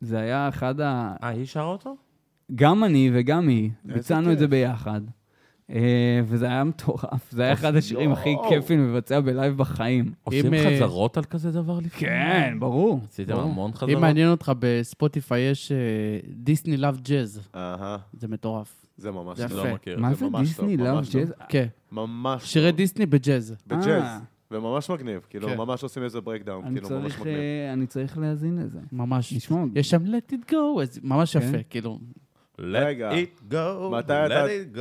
S3: זה היה אחד ה...
S2: אה, היא שרה אותו?
S3: גם אני וגם היא,
S1: איזה
S3: ביצענו את זה
S1: כיף.
S3: ביחד. אה, וזה היה מטורף, זה היה אחד השירים הכי
S1: יואו.
S3: כיפים לבצע בלייב בחיים.
S1: כן,
S2: עושים
S4: אם, אה,
S2: חזרות על כזה דבר לפני?
S3: כן, ברור.
S2: עשיתם המון חזרות?
S4: אם מעניין אותך, בספוטיפיי יש אה, דיסני לאב ג'אז.
S1: אהה,
S4: זה מטורף.
S1: זה ממש
S4: זה
S1: טוב.
S4: יפה.
S2: לא מכיר.
S3: מה זה
S1: ממש
S3: דיסני
S1: טוב,
S3: לאב
S1: ממש טוב. כאילו,
S3: ג'אז?
S4: כן.
S1: ממש
S4: שירי
S1: טוב.
S4: דיסני בג'אז.
S3: אה.
S1: בג'אז. וממש מגניב, כאילו,
S4: כן.
S1: ממש עושים איזה ברייקדאון,
S3: אני
S1: כאילו, ממש
S3: צריך,
S1: מגניב.
S3: אה, אני צריך להאזין לזה.
S4: ממש.
S3: נשמע.
S4: יש שם let it go, אז ממש
S3: כן.
S4: יפה, כאילו.
S1: רגע.
S2: Let it go,
S1: מתי אתה-
S2: let it go.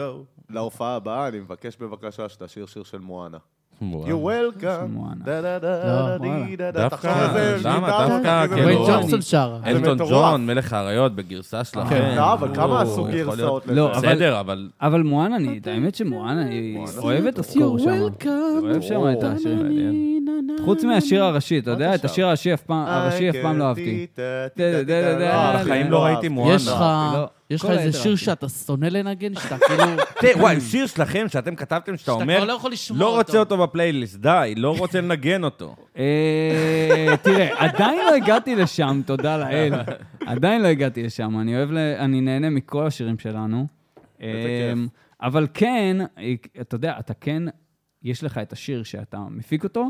S1: להופעה הבאה, אני מבקש בבקשה שתשיר שיר של מואנה.
S2: וואו.
S1: You're welcome.
S3: מואנה.
S1: da da
S4: לא,
S1: da
S3: וואלה.
S1: da da
S2: דווקא,
S1: תחשוב על זה,
S2: למה?
S1: שליטה,
S2: דווקא,
S1: זה כאילו,
S2: כן,
S4: ווייד
S1: מטורף.
S2: לא,
S4: ג'ונסון שר.
S1: זה
S2: אלטון
S1: מטורף.
S2: ג'ון, מלך האריות, בגרסה שלכם.
S1: לא, אבל כמה
S2: וואו,
S1: עשו
S2: יכול להיות.
S1: גרסאות לזה?
S3: כן. לא, אבל-
S2: בסדר, אבל...
S3: אבל מואנה, אני- האמת שמואנה, היא
S1: מואנה.
S3: אוהבת את הסקור שם. אוהב שם את השיר. חוץ מהשיר הראשי, אתה יודע, את השיר הראשי אף פעם, הראשי אף פעם לא אהבתי.
S1: אה,
S3: דה, דה, דה, דה.
S1: לא,
S3: אה,
S1: אני
S2: בחיים לא
S1: כן. לא
S2: ראיתי
S1: אהבתי.
S2: מואנה.
S4: יש לך
S3: לא.
S4: יש לך
S3: כל
S4: איזה
S3: היתר
S4: שיר
S3: אהבתי.
S4: שאתה שונא לנגן, שאתה כאילו...
S2: תה, וואי, שיר שלכם שאתם כתבתם, שאתה
S4: שאתה
S2: אומר,
S4: כבר לא יכול לשמוע
S2: לא רוצה
S4: אותו."
S2: אותו בפלייליסט, די, לא רוצה לנגן אותו.
S3: אה, תראה, עדיין לא הגעתי לשם, תודה לאל. עדיין לא הגעתי לשם, אני אוהב, ל- אני נהנה מכל השירים שלנו.
S1: איזה
S3: אמ, אבל כן, אתה יודע, אתה כן, יש לך את השיר שאתה מפיק אותו,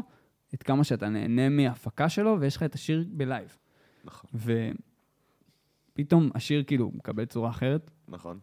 S3: את כמה שאתה נהנה מההפקה שלו, ויש לך את השיר בלייב.
S1: נכון.
S3: ופתאום השיר כאילו מקבל צורה אחרת,
S1: נכון.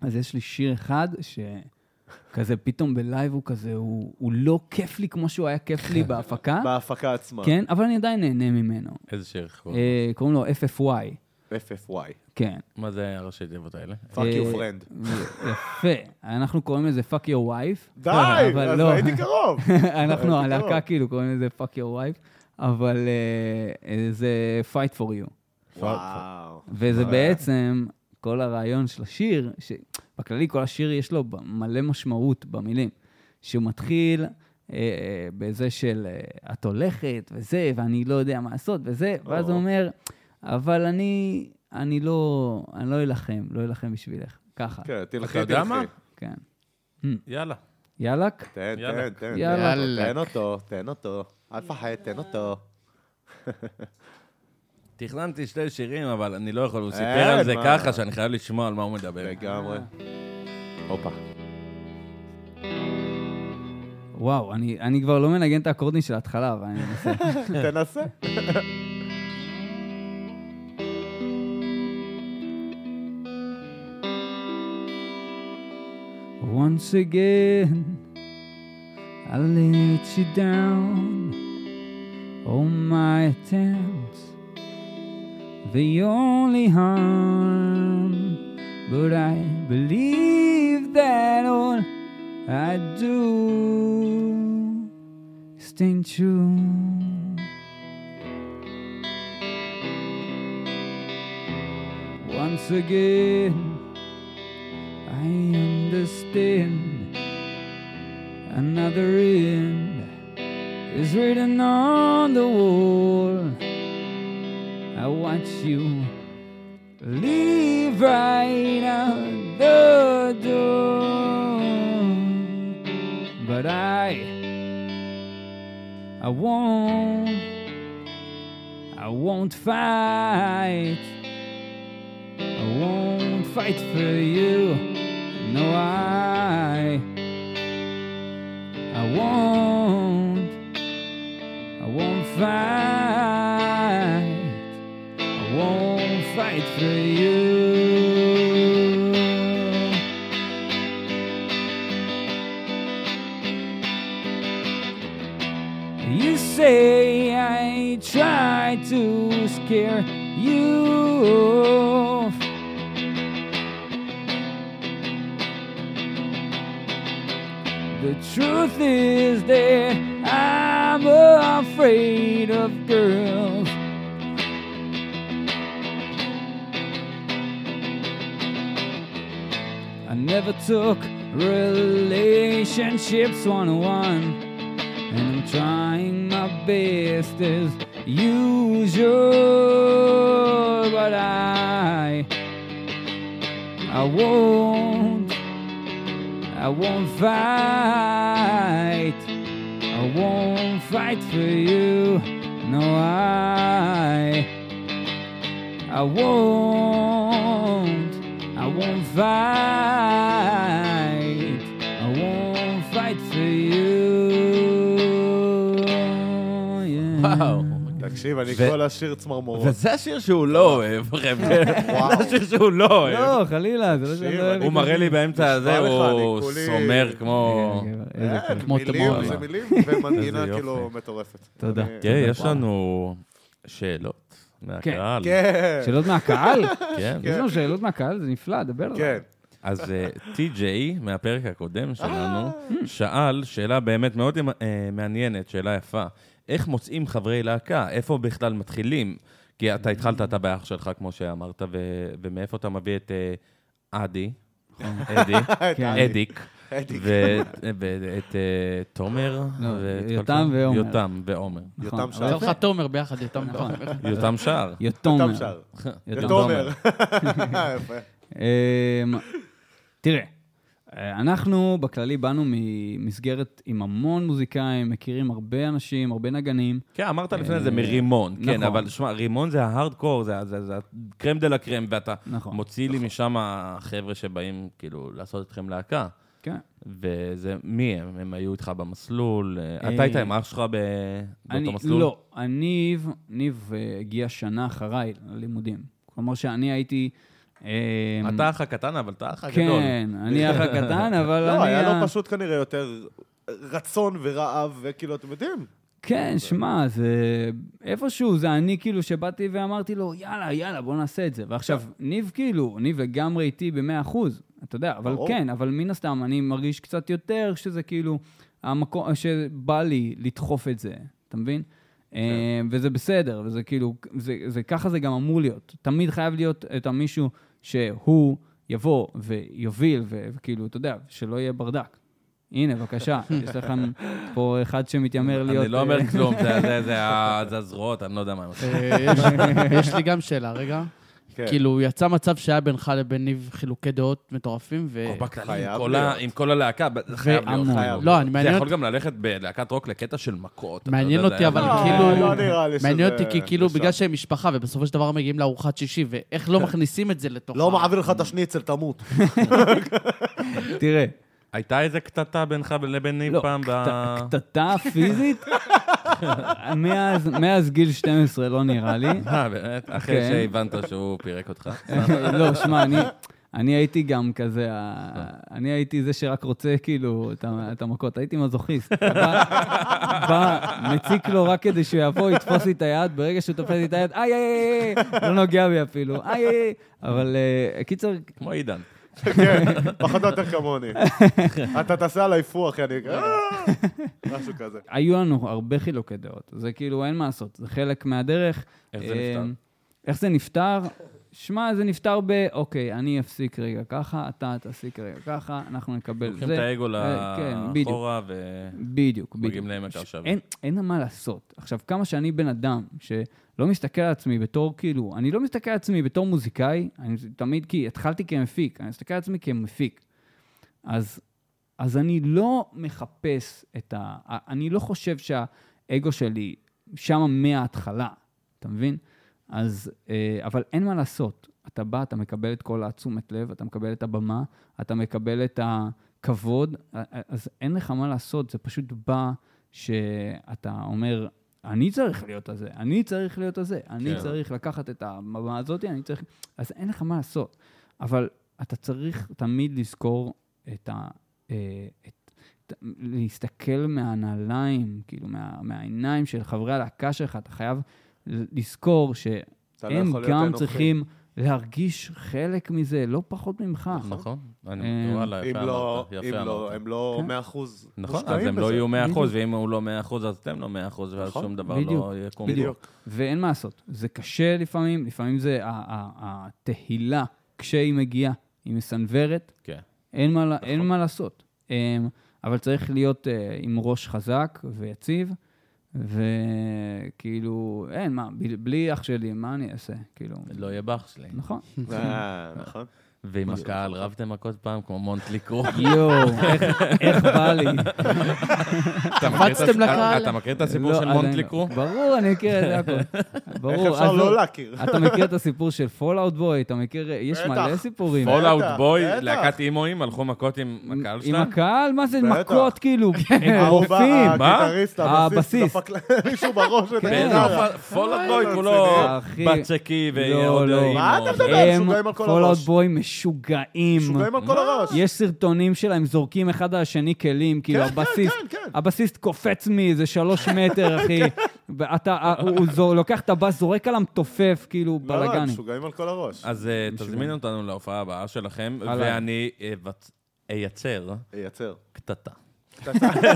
S3: אז יש לי שיר אחד שכזה פתאום בלייב הוא כזה, הוא, הוא לא כיף לי כמו שהוא היה כיף לי בהפקה,
S1: בהפקה עצמה.
S3: כן, אבל אני עדיין נהנה ממנו.
S2: איזה שיר חכו.
S3: אה, קוראים לו FFY,
S1: FFY.
S3: כן.
S2: מה זה הראשי תיבות האלה?
S1: fuck you
S3: אה,
S1: friend.
S3: יפה. אנחנו קוראים לזה fuck your wife.
S1: די,
S3: אבל
S1: אז
S3: לא.
S1: הייתי קרוב.
S3: אנחנו,
S1: פתאום.
S3: הלהקה כאילו קוראים לזה fuck your wife, אבל אה, אה, זה fight for you.
S1: וואו.
S3: וזה בעצם כל הרעיון של השיר, שבכללי כל השיר יש לו ב- מלא משמעות במילים, שהוא מתחיל אה, אה, בזה של אה, את הולכת וזה, ואני לא יודע מה לעשות וזה, ואז
S1: או.
S3: הוא אומר, אבל אני, אני לא, אני לא אלחם, לא אלחם בשבילך. ככה,
S1: כן, תלכי,
S2: אתה
S1: תלכי.
S2: יודע מה?
S3: כן.
S2: יאללה.
S3: יאלק?
S1: תן,
S2: יאללה.
S1: תן, תן.
S3: יאללה.
S1: תן אותו, תן אותו. אל תפחד, תן אותו.
S2: תכננתי שתי שירים, אבל אני לא יכול, הוא סיפר
S1: אין,
S2: על זה
S1: אה, מה?
S2: ככה, שאני חייב לשמוע על מה הוא מדבר.
S1: לגמרי. הופה.
S3: וואו, אני, אני כבר לא מנגן את האקורדים של ההתחלה, אבל אני מנסה.
S1: תנסה.
S3: Once again, I let you down. All my attempts, they only harm. But I believe that all I do is staying true. Once again, I understand another end is written on the wall. I watch you leave right out the door, but I, I won't, I won't fight. I won't fight for you. No, I. I won't. I won't fight. I won't fight for you. You say I try to scare you off. The truth is that I'm afraid of girls. I never took relationships one on one. And I'm trying my best as usual, but I, I won't, I won't fight, I won't fight for you, no I, I won't, I I won't fight. I won't fight for you. Yeah.
S2: וואו.
S1: תקשיב, אני
S2: ו-
S1: כל השיר צמרמורות.
S2: וזה השיר שהוא לא אוהב, חבר'ה. זה השיר שהוא לא אוהב.
S3: לא, חלילה, זה לא שאני לא אוהב
S2: הוא
S3: את
S2: מראה
S3: זה.
S2: לי באמצע הזה,
S1: נשבע לך, אני
S2: הוא
S1: כולי-
S2: סומר כמו...
S3: כן, גבר, איזה
S1: אין,
S3: כיף.
S4: כמו
S1: מילים,
S4: תמורה.
S1: זה מילים, ומנגינה
S2: איזה יופי.
S1: כאילו מטורפת.
S3: תודה.
S1: אני-
S2: תראה, יש לנו שאלות מהקהל.
S1: כן,
S3: שאלות מהקהל?
S2: כן.
S3: יש לנו שאלות מהקהל? זה נפלא, דבר עליו.
S1: כן.
S2: אז אה, טי.ג'יי, מהפרק הקודם שלנו, שאל שאלה באמת מאוד אה, מעניינת, שאלה יפה. איך מוצאים חברי להקה? איפה בכלל מתחילים? כי אתה התחלת, אתה באח שלך, כמו שאמרת, ו- ומאיפה אתה מביא את אה, אדי, אדי,
S3: כן.
S2: אדיק,
S1: אדיק.
S2: ו- ואת אה, תומר,
S3: לא,
S2: ואת כל
S3: יותם
S2: זה?
S3: ועומר.
S2: יותם ועומר.
S3: נכון,
S1: יותם
S3: אבל
S1: שר.
S4: יצא לך תומר ביחד, יותם
S3: נכון.
S4: תומר.
S2: יותם שער.
S1: יותם
S3: יתומר.
S1: שר.
S3: יתומר.
S1: יתומר. יפה.
S3: אמ, תראה, אה, אנחנו בכללי באנו ממסגרת עם המון מוזיקאים, מכירים הרבה אנשים, הרבה נגנים.
S2: כן, אמרת לפני זה מרימון, כן,
S3: אה, נכון.
S2: אבל שמע, רימון זה ההארדקור, זה- זה זה הקרם דה לה קרם, ואתה
S3: נכון.
S2: מוציא לי משם החבר'ה שבאים, כאילו, לעשות אתכם להקה.
S3: כן.
S2: וזה, מי הם? הם היו איתך במסלול?
S3: אה,
S2: אתה היית עם אח שלך ב-
S3: אני,
S2: באותו מסלול?
S3: לא, ניב, ניב אה, הגיע שנה אחריי ללימודים. כלומר שאני הייתי... אמ,
S2: אתה אח הקטן, אבל אתה אח הגדול.
S3: כן, אני האח הקטן, אבל אני... אה,
S1: לא, היה
S3: ה-
S1: לו פשוט כנראה יותר רצון ורעב, וכאילו, אתם יודעים,
S3: כן,
S2: אה,
S3: שמע, זה... איפשהו, זה אני כאילו שבאתי ואמרתי לו, יאללה, יאללה, בוא נעשה את זה. ועכשיו,
S2: כן.
S3: ניב כאילו, ניב לגמרי איתי ב-100 אחוז, אתה יודע, אבל
S1: ברור.
S3: כן, אבל מן הסתם, אני מרגיש קצת יותר שזה כאילו המקום שבא לי לדחוף את זה, אתה מבין?
S2: כן.
S3: אה, וזה בסדר, וזה כאילו, זה, זה, ככה זה גם אמור להיות. תמיד חייב להיות את המישהו שהוא יבוא ויוביל, ו- וכאילו, אתה יודע, שלא יהיה ברדק. הנה, בבקשה, יש לכם פה אחד שמתיימר להיות...
S2: אני לא אומר
S3: אה,
S2: כלום, זה- זה- זה ה- זה הזרועות, אני לא יודע מה הם עושים.
S4: אה, יש- יש לי גם שאלה, רגע.
S1: כן.
S4: כאילו, יצא מצב שהיה בינך לבין ניב חילוקי דעות מטורפים,
S3: אה,
S4: ו...
S2: כל בכללי, עם
S1: חייב
S2: כל ה-
S1: להיות.
S2: עם כל הלהקה, ב- זה חייב להיות.
S3: והמון.
S1: חייב.
S4: לא, אני
S2: זה
S4: מעניין
S2: יכול
S4: אותי,
S2: גם ללכת בלהקת רוק לקטע של מכות. אתה
S4: מעניין
S2: יודע, זה
S4: אותי,
S2: היה
S4: אבל
S2: מאוד-
S1: לא,
S4: כאילו-
S1: לא נראה לי שזה...
S4: מעניין אותי, כי כאילו,
S1: לשם. כן.
S4: בגלל שהם משפחה, ובסופו של דבר מגיעים לארוחת שישי, ואיך לא מכניסים את זה לתוך...
S1: לא
S4: ה-
S1: מעביר לך את השניצל, תמות.
S3: תראה,
S2: הייתה איזה קטטה בינך לבין ניב
S3: לא,
S2: פעם ב...
S3: קט- קטטה פיזית, מאז- מאז גיל 12 לא נראה לי.
S2: אה, באמת? אחרי
S3: כן.
S2: שהבנת שהוא פירק אותך.
S3: לא, שמע, אני... אני הייתי גם כזה, ה- אני הייתי זה שרק רוצה כאילו את ה- את המכות, הייתי מזוכיסט. בא, בא, מציק לו רק כדי שהוא יבוא, יתפוס לי את היד, ברגע שהוא תופס לי את היד, איי, איי, איי, לא נוגע בי אפילו, איי, איי, איי. אבל אה, קיצר,
S2: כמו עידן.
S1: כן, פחות או יותר כמוני. אתה תעשה עליי פוח, יעני, "אה!" משהו כזה.
S3: היו לנו הרבה חילוקי דעות. זה כאילו, אין מה לעשות, זה חלק מהדרך.
S2: איך זה
S3: אה,
S2: נפתר?
S3: איך זה נפתר? שמע, זה נפתר ב, אוקיי, אני אפסיק רגע ככה, אתה תפסיק רגע ככה, אנחנו נקבל זה.
S2: לוקחים את האגו
S3: אה, כן, בדיוק,
S2: לאחורה ו...
S3: בדיוק, בדיוק.
S2: מגיעים לעמק
S3: ש-
S2: השווה.
S3: אין, אין מה לעשות. עכשיו, כמה שאני בן אדם שלא מסתכל על עצמי בתור, כאילו, אני לא מסתכל על עצמי בתור מוזיקאי, אני תמיד, כי התחלתי כמפיק, אני מסתכל על עצמי כמפיק. אז, אז אני לא מחפש את ה... אני לא חושב שהאגו שלי שם מההתחלה, אתה מבין? אז, אה, אבל אין מה לעשות. אתה בא, אתה מקבל את כל התשומת לב, אתה מקבל את הבמה, אתה מקבל את הכבוד, אה, אה, אז אין לך מה לעשות, זה פשוט בא שאתה אומר, אני צריך להיות הזה, אני צריך להיות הזה, אני
S2: כן.
S3: צריך לקחת את הבמה הזאת, אני צריך... אז אין לך מה לעשות. אבל אתה צריך תמיד לזכור את ה... אה, את, ת- להסתכל מהנעליים, כאילו, מה, מהעיניים של חברי הלהקה שלך, אתה חייב לזכור שהם
S1: אתה לא יכול להיות
S3: גם
S1: אנוכי.
S3: צריכים להרגיש חלק מזה, לא פחות ממך.
S2: נכון. אני-
S3: אה,
S2: וואלה,
S1: אם
S2: יפה
S1: לא,
S2: אמרת.
S1: אם
S2: יפה
S1: לא,
S2: אמרת.
S1: הם לא
S3: כן.
S1: 100 אחוז
S2: נכון, אז הם לא יהיו 100%, ואם הוא לא 100%, אז אתם לא 100%, ואז
S1: נכון,
S2: שום דבר
S3: בדיוק,
S2: לא יקום.
S3: בדיוק. ואין מה לעשות, זה קשה לפעמים, לפעמים זה ה- ה- התהילה, כשהיא מגיעה, היא מסנוורת,
S2: כן.
S3: אין מה, נכון. אין מה לעשות. אמ, אבל צריך להיות אה, עם ראש חזק ויציב, וכאילו, אין,
S1: לא.
S3: מה, ב- בלי אח שלי, מה אני אעשה? כאילו,
S2: לא יהיה באח שלי.
S3: נכון.
S1: אה, נכון.
S2: ועם הקהל רבתם מכות פעם, כמו מונטליקרו.
S3: יואו, איך- איך בא לי.
S4: קפצתם לקהל?
S2: אתה מכיר את הסיפור
S3: לא,
S2: של
S3: עדיין לא.
S2: מונטליקרו?
S3: ברור, אני מכיר את זה הכול. ברור.
S1: איך אפשר
S3: עזוב.
S1: לא להכיר?
S3: אתה מכיר את הסיפור של פולאאוט בוי? אתה מכיר, יש
S1: בטח.
S3: מלא סיפורים.
S1: פול-
S2: פולאאוט
S1: בטח,
S2: בוי,
S1: בטח.
S2: להקת אימואים, הלכו מכות עם הקהל
S3: עם
S2: שלהם?
S3: הקהל? מה זה
S1: בטח.
S3: מכות, כאילו?
S4: כן,
S1: האהובה,
S3: רופאים.
S2: מה?
S1: הגיטריסט, הבסיס,
S3: הבסיס.
S1: דפק לה- מישהו בראש את
S3: כן.
S1: הגיטרה.
S2: פולאאוט בוי
S1: אוי,
S2: כולו
S3: אחי.
S2: בצ'קי לא ועוד אוקיי.
S3: לא, לא.
S1: מה אתה
S2: אימו.
S1: לא, מדבר? משוגעים
S3: הם
S1: על כל
S3: פולאאוט
S1: הראש.
S3: בוי משוגעים.
S1: שוגעים על כל הראש.
S3: יש סרטונים שלהם זורקים אחד על השני כלים, כאילו
S1: כן, כן,
S3: הבסיסט,
S1: כן, כן.
S3: הבסיסט קופץ מאיזה שלוש מטר, אחי. ואתה, הוא- הוא זור- לוקח את הבאס, זורק עליו תופף, כאילו
S1: לא, לא, הם
S3: בלאגני.
S1: משוגעים על כל הראש.
S2: אז אה, תזמינו אותנו להופעה הבאה שלכם,
S3: אהלן.
S2: ואני אבצ- אייצר
S1: ייצר.
S2: קטטה.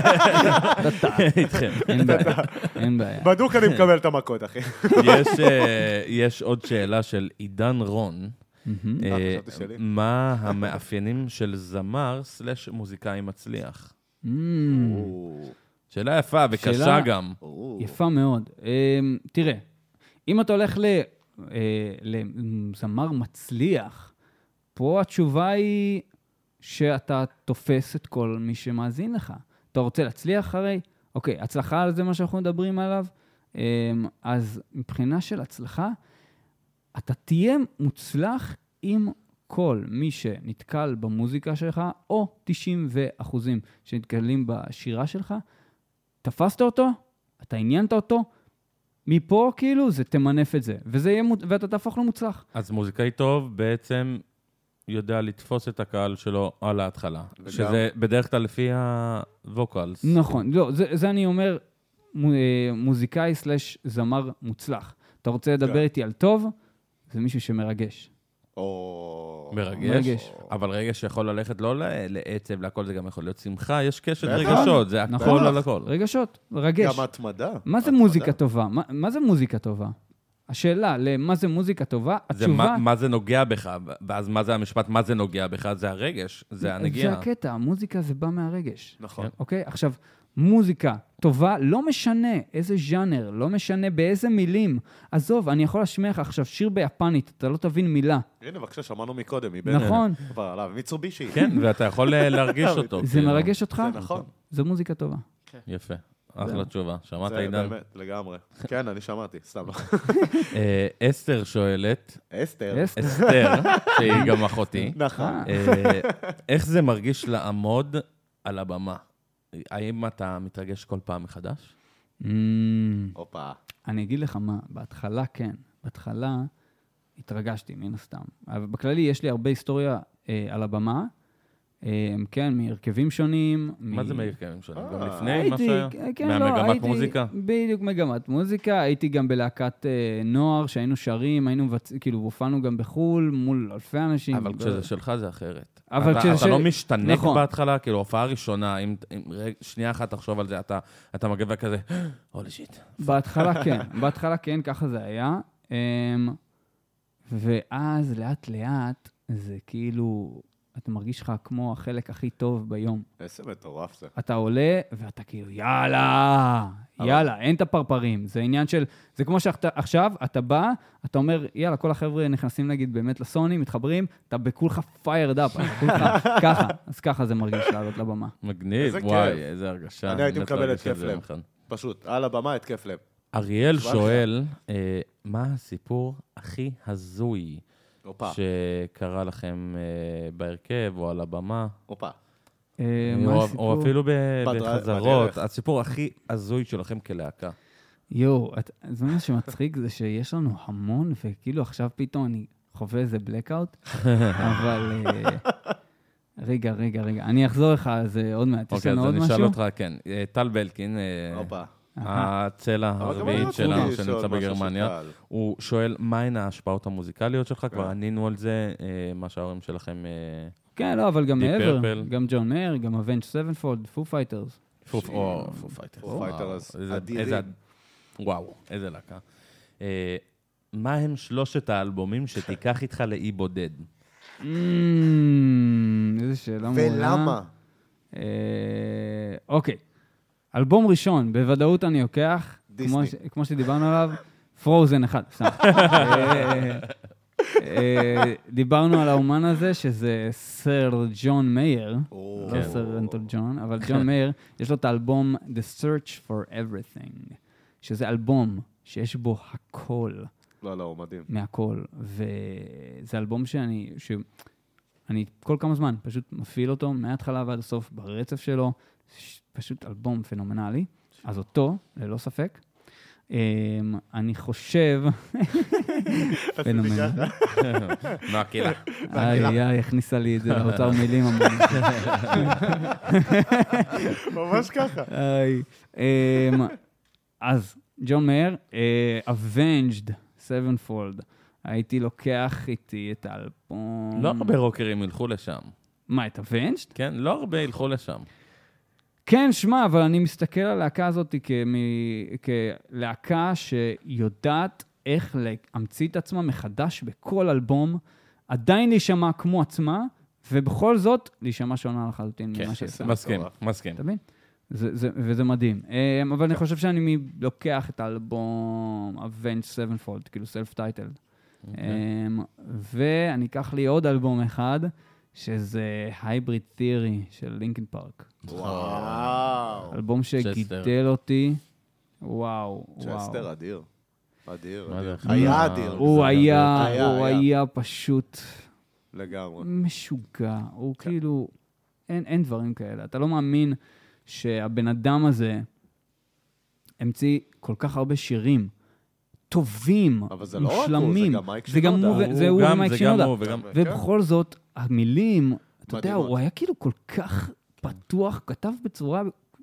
S2: איתכם.
S3: אין בעיה, אין בעיה.
S1: בדוק אני מקבל את המכות, אחי.
S2: יש, אה, יש עוד שאלה של עידן רון. אה,
S1: אה, חשבתי שלי.
S2: מה המאפיינים של זמר סלש מוזיקאי מצליח?
S3: Mm,
S2: שאלה יפה וקשה
S3: שאלה-
S2: גם.
S3: יפה מאוד. אמ, תראה, אם אתה הולך ל- אה, לזמר מצליח, פה התשובה היא שאתה תופס את כל מי שמאזין לך. אתה רוצה להצליח הרי? אוקיי, הצלחה זה מה שאנחנו מדברים עליו. אמ, אז מבחינה של הצלחה, אתה תהיה מוצלח עם כל מי שנתקל במוזיקה שלך, או 90% שנתקלים בשירה שלך. תפסת אותו, אתה עניינת אותו, מפה כאילו זה תמנף את זה, וזה יהיה, מו- ואתה תהפוך למוצלח.
S2: אז מוזיקאי טוב בעצם יודע לתפוס את הקהל שלו על ההתחלה. שזה בדרך כלל לפי הווקלס.
S3: נכון, לא, זה, זה אני אומר מו- אה, מוזיקאי סלש זמר מוצלח. אתה רוצה
S1: כן.
S3: לדבר איתי על טוב, זה מישהו שמרגש.
S1: או...
S2: מרגש.
S3: מרגש.
S2: אבל רגש שיכול ללכת לא ל- לעצב, להכל זה גם יכול להיות שמחה, יש קשת
S1: בטח.
S2: רגשות, זה
S3: נכון.
S2: הכל על הכל.
S3: רגשות, מרגש.
S1: גם התמדה.
S3: מה זה
S1: התמדה.
S3: מוזיקה טובה? מה, מה זה מוזיקה טובה? השאלה למה זה מוזיקה טובה,
S2: זה
S3: התשובה...
S2: מה, מה זה נוגע בך, ואז מה זה המשפט, מה זה נוגע בך, זה הרגש, זה
S3: זה
S2: הנגיעה.
S3: הקטע, המוזיקה זה בא מהרגש.
S1: נכון.
S3: אוקיי? עכשיו, מוזיקה טובה, לא משנה איזה ז'אנר, לא משנה באיזה מילים. עזוב, אני יכול להשמיע לך עכשיו שיר ביפנית, אתה לא תבין מילה.
S1: הנה, בבקשה, שמענו מקודם, מבן...
S3: נכון?
S1: עבר עליו, מיצובישי.
S2: כן, ואתה יכול אה, להרגיש אותו.
S3: זה
S2: כאילו.
S3: מרגש אותך?
S1: זה נכון.
S3: זה מוזיקה טובה.
S2: יפה. אחלה תשובה, שמעת
S1: זה
S2: עידן?
S1: באמת, לגמרי. כן, אני שמעתי, סתם לא.
S2: אה, אסתר שואלת, כן.
S1: אסתר.
S3: אסתר.
S2: אסתר, שהיא גם אחותי,
S1: נכון.
S3: אה,
S2: אה, איך זה מרגיש לעמוד על הבמה? אה, האם אתה מתרגש כל פעם מחדש?
S3: אמ,
S1: הופה.
S3: אני אגיד לך מה, בהתחלה כן. בהתחלה התרגשתי, מן הסתם. אבל בכללי, יש לי הרבה היסטוריה אה, על הבמה. אה, כן, מהרכבים שונים.
S2: מה
S3: מ-
S2: זה מאיר קיימים שונים? גם
S1: אה,
S2: לפני מה שהיה?
S3: כן, לא,
S2: מהמגמת
S3: הייתי-
S2: מוזיקה?
S3: בדיוק, מגמת מוזיקה. הייתי גם בלהקת אה, נוער, שהיינו שרים, היינו, מבצ- כאילו, הופענו גם בחו"ל, מול אלפי אנשים.
S2: אבל
S3: ב-
S2: כשזה שלך זה אחרת.
S3: אבל
S2: אתה,
S3: כשזה
S2: אתה
S3: של-
S2: לא משתנק
S3: נכון.
S2: בהתחלה, כאילו, הופעה ראשונה, אם, אם רגע, שנייה אחת תחשוב על זה, אתה, אתה מגבה כזה, הולי שיט.
S3: בהתחלה כן, בהתחלה כן, ככה זה היה. אמ, ואז לאט-לאט, זה כאילו, אתה מרגיש לך כמו החלק הכי טוב ביום.
S1: איזה מטורף זה.
S3: אתה עולה, ואתה כאילו, יאללה, יאללה, אין את הפרפרים. זה עניין של, זה כמו שעכשיו, אתה בא, אתה אומר, יאללה, כל החבר'ה נכנסים נגיד באמת לסוני, מתחברים, אתה בכולך fired up, אתה כולך ככה, אז ככה זה מרגיש לעלות לבמה.
S2: מגניב,
S1: איזה
S2: וואי,
S1: כיף.
S2: איזה הרגשה.
S1: אני הייתי
S2: מת
S1: מקבל
S2: להרגיש
S1: התקף
S2: את זה
S1: לב.
S2: יום אחד.
S1: פשוט, על הבמה התקף לב.
S2: אריאל
S1: תשמע
S2: שואל, אה, מה הסיפור הכי הזוי
S1: הופה,
S2: שקרה לכם אה, בהרכב או על הבמה?
S1: הופה.
S3: אה,
S2: או-
S3: מה
S2: או
S3: הסיפור?
S2: אפילו ב-
S1: בדר-
S2: בחזרות,
S1: בדרך.
S2: הסיפור הכי הזוי שלכם כלהקה.
S3: יואו, את- זה מה שמצחיק, זה שיש לנו המון, וכאילו עכשיו פתאום אני חווה איזה blackout, אבל... אה, רגע, רגע, רגע, אני אחזור לך על זה עוד מעט. יש
S2: אוקיי,
S3: לנו
S2: אז
S3: עוד
S2: אני
S3: משהו?
S2: אשאל אותך, כן. אה, טל בלקין, אה,
S1: הופה.
S2: הצלע
S1: אבל גם
S2: הרביעית
S1: אני רציתי
S2: שלנו
S1: לשאול
S2: שנמצא
S1: משהו
S2: בגרמניה,
S1: שקל.
S2: הוא שואל, מהן ההשפעות המוזיקליות שלך? כבר
S1: כן.
S2: ענינו על זה, אה, מה שההורים שלכם, אה,
S3: כן, לא, אבל גם
S2: Deep
S3: מעבר.
S2: Purple.
S3: גם ג'ון מאיר, גם אבנג' סבנפולד, פו פייטרס.
S2: פוף או פוף פייטרס.
S1: פוף פייטרס,
S2: וואו, איזה-
S1: אדירים.
S2: איזה- וואו, איזה להקה. אה, מה הם שלושת האלבומים שתיקח איתך לאי בודד?
S3: Mm, איזה שאלה מעולה.
S1: Mm. ולמה?
S3: אה, אוקיי. אלבום ראשון, בוודאות אני לוקח, כמו
S1: דיסני.
S3: ש- כמו שדיברנו עליו, פרוזן אחד, סתם. אה, אה, דיברנו על האומן הזה, שזה סר ג'ון מאייר,
S2: כן.
S3: לא סר אנטון ג'ון, אבל ג'ון מאייר, יש לו את האלבום The Search for Everything, שזה אלבום שיש בו הכל.
S1: לא, לא, הוא מדהים.
S3: מהכל. וזה אלבום שאני, שאני כל כמה זמן פשוט מפעיל אותו מההתחלה ועד הסוף ברצף שלו. ש- פשוט אלבום פנומנלי. אז אותו, ללא ספק. אמ, אני חושב... פנומנלי.
S1: כאילו?
S2: מהקהילה.
S3: איי, איי, הכניסה לי את זה לאוצר מילים. המון.
S1: ממש ככה.
S3: איי. אמ, אז, ג'ון מאיר, אה, Avenged, Sevenfold. הייתי לוקח איתי את האלבום...
S2: לא הרבה רוקרים ילכו לשם,
S3: מה, את Avenged?
S2: כן? לא הרבה ילכו לשם.
S3: כן, שמע, אבל אני מסתכל על הלהקה הזאת כמ... כלהקה שיודעת איך להמציא את עצמה מחדש בכל אלבום, עדיין להישמע כמו עצמה, ובכל זאת להישמע שונה לחלוטין
S2: כן,
S3: ממה שיצא.
S2: מסכים, מסכים.
S3: אתה מבין? זה, זה, וזה מדהים. אמ, אבל אני חושב שאני מ- לוקח את האלבום Avenge Sevenfold, כאילו סלף טייטל. ואני אקח לי עוד אלבום אחד, שזה הייבריד תיארי של לינקן פארק.
S2: נכון.
S1: וואו.
S3: אלבום שגידל אותי, וואו, וואו.
S1: צ'סטר אדיר. אדיר,
S2: מה
S1: אדיר.
S2: זה,
S1: היה
S2: אחד
S1: אדיר.
S2: ה-
S3: הוא היה,
S1: היה,
S3: הוא
S1: היה. נכון.
S3: היה פשוט
S1: לגמרי.
S3: משוגע. הוא
S1: כן.
S3: כאילו, אין אין דברים כאלה. אתה לא מאמין שהבן אדם הזה המציא כל כך הרבה שירים טובים,
S1: אבל זה לא רק הוא, זה
S3: מושלמים.
S1: גם מייק
S3: זה גם
S1: שינודה.
S3: הוא, ו- זה הוא
S2: גם-
S3: ומייק
S2: זה גם
S3: שינודה.
S2: הוא וגם...
S1: כן,
S3: ובכל זאת, המילים, אתה יודע,
S1: מדהימות. כן.
S3: הוא היה כאילו כל כך פתוח, כתב בצורה,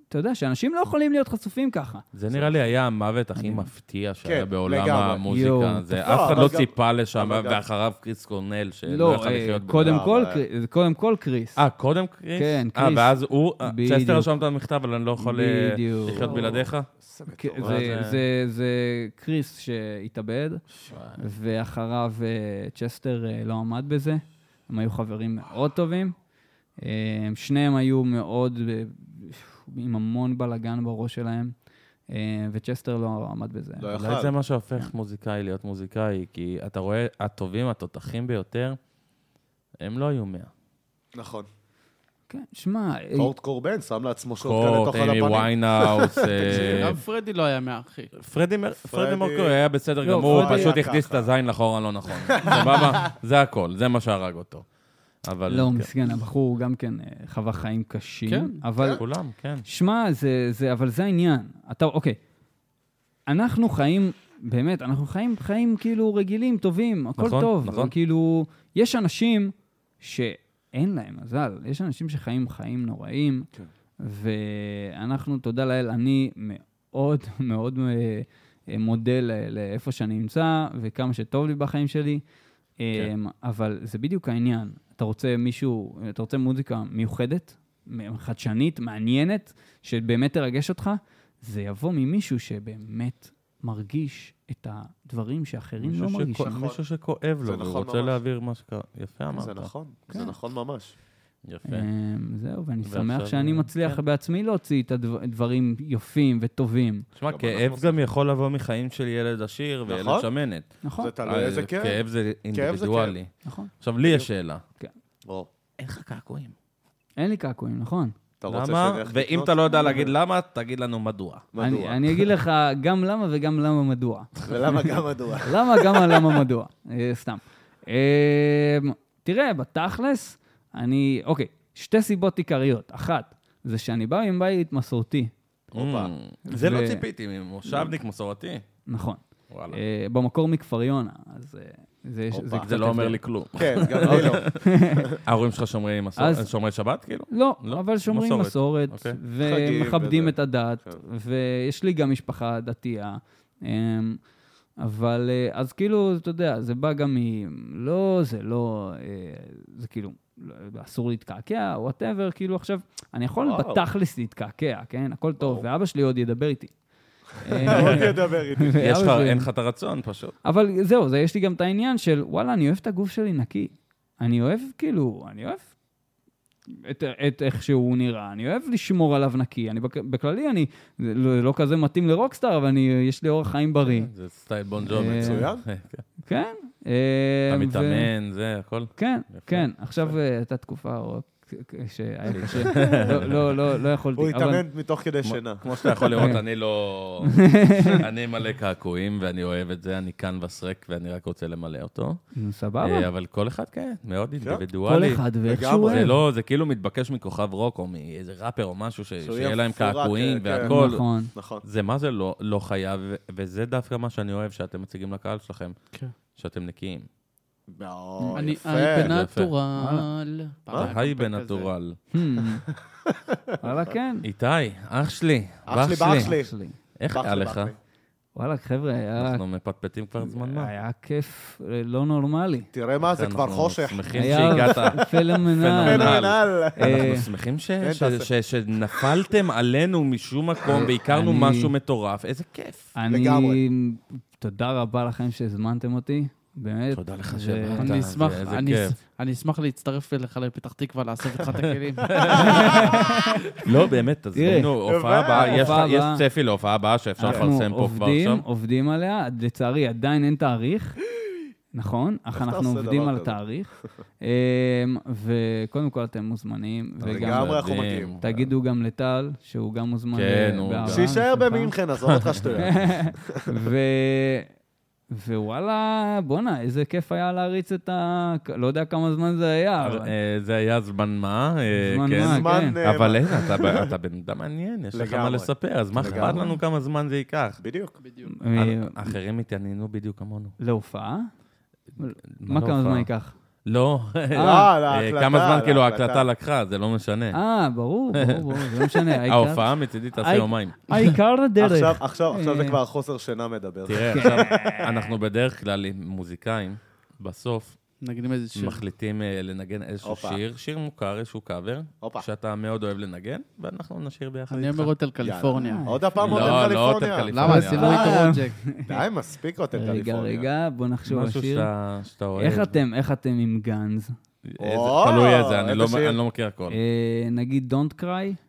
S3: אתה יודע, שאנשים לא יכולים להיות חשופים ככה.
S2: זה נראה לי היה המוות הכי מפתיע שהיה
S1: כן,
S2: בעולם
S1: לגמרי.
S2: המוזיקה.
S3: יואו.
S2: זה-
S1: לא,
S2: אף אחד
S1: אבל
S2: לא
S1: גם-
S2: ציפה לשם,
S1: אבל גם-
S2: ואחריו קריס קורנל, שלא
S3: לא,
S2: יכול
S3: אה,
S2: לחיות.
S3: קודם
S1: בלעם,
S3: כל,
S1: אה.
S3: קרי- קודם כל קריס.
S2: אה, קודם קריס?
S3: כן,
S2: אה,
S3: קריס.
S2: ואז הוא...
S3: בדיוק.
S2: צ'סטר רשם את המכתב, אבל אני לא יכול אה,
S3: בדיוק.
S2: לחיות בלעדיך?
S3: כן,
S2: מטורף.
S3: זה-
S2: זה-
S3: זה- זה קריס שהתאבד, ואחריו אה, צ'סטר אה, לא עמד בזה. הם היו חברים מאוד טובים. אה, שניהם היו מאוד, אה, עם המון בלאגן בראש שלהם, אה, וצ'סטר לא עמד בזה.
S1: לא
S2: אולי
S1: יכל.
S2: זה מה שהופך מוזיקאי להיות מוזיקאי, כי אתה רואה, הטובים, התותחים ביותר, הם לא היו מאה.
S1: נכון.
S3: כן, שמע, אה,
S1: קורט קורבן שם לעצמו שוטקן
S2: קורט,
S1: לתוך על
S2: אימי
S1: הפנים.
S2: ויינהאוס, אה,
S4: גם פרדי לא היה מאחי.
S1: אה,
S2: פרדי מר- פרדי מרקורי היה בסדר
S3: לא,
S2: גמור, הוא
S3: פרדי
S2: פשוט
S1: היה
S2: הכניס את
S1: ככה.
S2: הזין לחור הלא נכון. סבבה? זה הכל, זה מה שהרג אותו. אבל...
S3: לא,
S2: כן,
S3: מסכן, הבחור גם כן אה, חווה חיים קשים.
S4: כן,
S3: אבל
S2: כולם, כן.
S3: שמע, זה, זה, אבל זה העניין. אתה, אוקיי. אנחנו חיים, באמת, אנחנו חיים חיים כאילו רגילים, טובים, הכל
S2: נכון,
S3: טוב.
S2: נכון.
S3: כאילו, יש אנשים שאין להם מזל, יש אנשים שחיים חיים נוראים,
S1: כן.
S3: ואנחנו, תודה לאל, אני מאוד מאוד אה, מודה ל- לאיפה שאני נמצא, וכמה שטוב לי בחיים שלי.
S2: כן.
S3: כן. אבל זה בדיוק העניין. אתה רוצה מישהו, אתה רוצה מוזיקה מיוחדת, מ- חדשנית, מעניינת, שבאמת תרגש אותך, זה יבוא ממישהו שבאמת מרגיש את הדברים שאחרים לא
S2: מישהו שכו-
S3: מרגישים.
S2: מישהו שכואב
S1: זה
S2: לו, והוא
S1: נכון
S2: רוצה
S1: ממש.
S2: להעביר מה שקרה. יפה אמרת.
S1: זה נכון, זה
S3: כן.
S1: נכון ממש.
S2: יפה.
S3: אמ, זהו, ואני
S2: כן. ועכשיו,
S3: שמח שאני
S2: אה,
S3: מצליח
S2: כן.
S3: בעצמי להוציא את הדברים יפים וטובים.
S2: תשמע,
S1: גם
S2: כאב
S1: אנחנו
S2: גם יכול לבוא מחיים של ילד עשיר וילד
S1: נכון.
S2: שמנת.
S3: נכון,
S1: זה תלוי איזה
S2: אה,
S1: כאב.
S2: כאב זה
S1: כאב. כן.
S2: אינדיבידואלי.
S3: נכון.
S2: עכשיו, לי יש שאלה.
S1: או,
S2: אין לך קעקועים.
S3: אין לי קעקועים, נכון.
S1: אתה רוצה
S2: למה?
S1: שאני אלך
S2: ואם
S1: לקנות?
S2: אתה לא יודע להגיד למה, תגיד לנו מדוע.
S3: אני,
S1: מדוע?
S3: אני אגיד לך גם למה וגם למה מדוע.
S1: ולמה גם מדוע?
S3: למה, גם הלמה מדוע? אה, סתם. אה, תראה, בתכלס, אני... אוקיי, שתי סיבות עיקריות. אחת, זה שאני בא מבית מסורתי,
S1: הופה.
S2: Mm, זה לא
S3: ו-
S2: ציפיתי ממושבניק מסורתי.
S3: נכון.
S2: וואלה.
S3: אה, במקור מכפר יונה, אז אה, זה יש-
S1: הופה.
S3: זה קצת...
S2: זה לא אומר
S3: הבדל.
S2: לי כלום.
S1: כן, גם לי לא.
S2: אוקיי. ההורים שלך שומרי מסור-
S3: אז-
S2: שומרי שבת, כאילו?
S3: לא,
S2: לא?
S3: אבל שומרים
S2: מסורת.
S3: מסורת,
S2: אוקיי.
S1: חגים
S3: ומכבדים
S1: וזה.
S3: את הדת,
S1: כן.
S3: ויש לי גם משפחה דתייה. אמ, אבל אה, אז כאילו, אתה יודע, זה בא גם מ... לא, זה לא... אה, זה כאילו, לא, אסור להתקעקע, וואטאבר, כאילו עכשיו, אני יכול
S1: וואו.
S3: בתכלס להתקעקע, כן? הכל טוב, ואבא שלי עוד ידבר איתי. אה,
S1: עוד ידבר איתי.
S2: יש לך,
S3: ואבא שלי-
S2: אין לך את הרצון פשוט.
S3: אבל זהו, זה יש לי גם את העניין של, וואלה, אני אוהב את הגוף שלי נקי. אני אוהב, כאילו, אני אוהב את, את איך שהוא נראה. אני אוהב לשמור עליו נקי. אני, בכ- בכללי, אני זה לא, לא כזה מתאים לרוקסטאר, אבל אני, יש לי אורח חיים בריא.
S2: זה סטייל בון ג'וב.
S3: אה,
S1: לא, מצוין.
S3: כן.
S2: אתה
S3: אה, ו-
S2: מתאמן, זה, הכל.
S3: כן, כן. עכשיו אה, הייתה תקופה רוק, שהיה קשה. לא- לא, לא, לא יכולתי.
S1: הוא
S3: אבל-
S1: התאמן מתוך כדי שינה.
S2: כמו שאתה יכול לראות, אני לא... אני מלא קעקועים, ואני אוהב את זה, אני כאן וסרק, ואני רק רוצה למלא אותו.
S3: נו,
S2: אה,
S3: סבבה.
S2: אבל כל אחד, כן, מאוד
S3: כל
S2: אינדיבידואלי.
S3: אחד ואיך
S1: לגמרי.
S3: שהוא
S2: זה
S3: אוהב.
S2: לא, זה כאילו מתבקש מכוכב רוק, או מאיזה ראפר או משהו, ש-
S1: שהוא
S2: שיהיה
S1: יהיה
S2: להם
S1: מפורק,
S2: קעקועים
S1: כן, כן.
S2: והכל.
S3: נכון.
S1: נכון.
S2: זה מה זה לא, לא חייב, ו- וזה דווקא מה שאני אוהב שאתם מציגים לקהל שלכם,
S4: כן.
S2: שאתם נקיים. אה,
S1: מאוד
S4: אני
S1: יפה.
S4: היי
S2: זה יפה.
S4: בנטורל. פעם היה
S2: היי
S4: קמפיין כזה.
S2: בנטורל.
S3: וואלה, כן.
S2: איתי, אח שלי,
S1: אח שלי, באח שלי.
S3: אח שלי.
S2: איך
S1: באח
S2: היה
S1: שלי,
S2: לך?
S1: באח שלי.
S3: וואלה, חבר'ה, היה-
S2: אנחנו מפטפטים כבר זמן מה.
S3: היה כיף אה, לא נורמלי.
S1: תראה מה, אה, זה
S2: כן,
S1: כבר
S2: נכון.
S1: חושך. אה, כן,
S2: אנחנו שמחים
S3: היה
S2: שהגעת.
S3: פלמנל.
S2: נכון.
S1: פנומנל.
S3: אה,
S2: אנחנו שמחים ש- ש-
S1: כן, תעשה.
S2: ש- שנפלתם עלינו משום מקום והכרנו
S3: אני-
S2: משהו מטורף, איזה כיף.
S3: אני...
S1: לגמרי.
S3: תודה רבה לכם שהזמנתם אותי, באמת.
S2: תודה לך
S3: זה-
S2: שבאת.
S4: אני אשמח,
S2: איזה
S4: אני-
S2: כיף.
S4: אני אשמח להצטרף אליך לפתח תקווה, לאסוף איתך את הכלים.
S2: לא, באמת,
S3: תראה,
S2: תזמינו, הופעה הבאה, יש-
S3: הופעה
S2: יש
S3: הבאה.
S2: צפי להופעה הבאה שאפשר
S3: אנחנו
S2: לפרסם פה כבר
S3: עובדים,
S2: עכשיו?
S3: עובדים עליה, לצערי עדיין אין תאריך, נכון? אך
S1: אתה
S3: אנחנו
S1: עושה
S3: עובדים
S1: דבר
S3: על
S1: כזה?
S3: התאריך. אמ, וקודם כל אתם מוזמנים, וגם
S1: לגמרי אנחנו
S2: מדהים.
S1: מגיעים.
S3: תגידו גם לטל, שהוא גם מוזמן.
S2: כן,
S3: אה,
S2: הוא
S3: בארבעה,
S2: גם.
S1: שיישאר
S3: בשמחה.
S1: במינכן, עזוב אותך שטויות.
S3: ו- ווואלה, בואנה, איזה כיף היה להריץ את ה... לא יודע כמה זמן זה היה, אבל...
S2: אה, זה היה זמן מה, אה,
S3: זמן
S2: כן.
S3: מה,
S1: זמן...
S3: כן.
S1: אה,
S2: אבל אין, אתה- אתה בן אדם מעניין, יש לך מה
S1: לגמרי.
S2: לספר, אז מה אכפת
S1: לגמרי.
S2: לנו כמה זמן זה ייקח?
S1: בדיוק.
S3: אה,
S2: אחרים התעניינו בדיוק כמונו.
S3: להופעה? מה
S2: לא
S3: כמה זמן
S2: הופעה?
S3: ייקח?
S2: לא,
S1: אה,
S2: אה,
S1: להקלטה,
S2: כמה זמן כאילו
S1: להקלטה.
S2: ההקלטה לקחה, זה לא משנה.
S3: אה, ברור, ברור, ברור, זה לא משנה. העיקר-
S2: ההופעה מצידי תעשה
S3: אה,
S2: יומיים.
S3: העיקר
S1: עכשיו,
S3: הדרך.
S1: עכשיו, עכשיו זה
S3: אה.
S1: כבר חוסר שינה מדבר.
S2: תראה, עכשיו, אנחנו בדרך כלל עם מוזיקאים, בסוף
S4: נגנים איזה שיר.
S2: מחליטים אה, לנגן איזשהו
S1: הופה.
S2: שיר, שיר מוכר, איזשהו קאבר,
S1: הופה.
S2: שאתה מאוד אוהב לנגן, ואנחנו נשיר ביחד
S4: אני
S2: איתך.
S4: אומר הוטל קליפורניה.
S1: עוד הפעם
S2: לא,
S1: הוטל קליפורניה.
S2: לא, הוטל קליפורניה.
S4: למה? עשינו
S3: אה.
S4: איתו רוג'ק.
S1: די, מספיק הוטל
S3: רגע,
S1: קליפורניה.
S3: רגע, בוא נחשוב על
S2: משהו
S3: שיר.
S2: שאתה שאתה אוהב.
S3: איך אתם, איך אתם עם גאנז?
S2: איזה-
S1: או,
S2: תלוי איזה, אני
S1: איזה
S2: לא-
S1: שיר.
S2: אני לא מכיר הכל.
S3: אה, נגיד Don't Cry,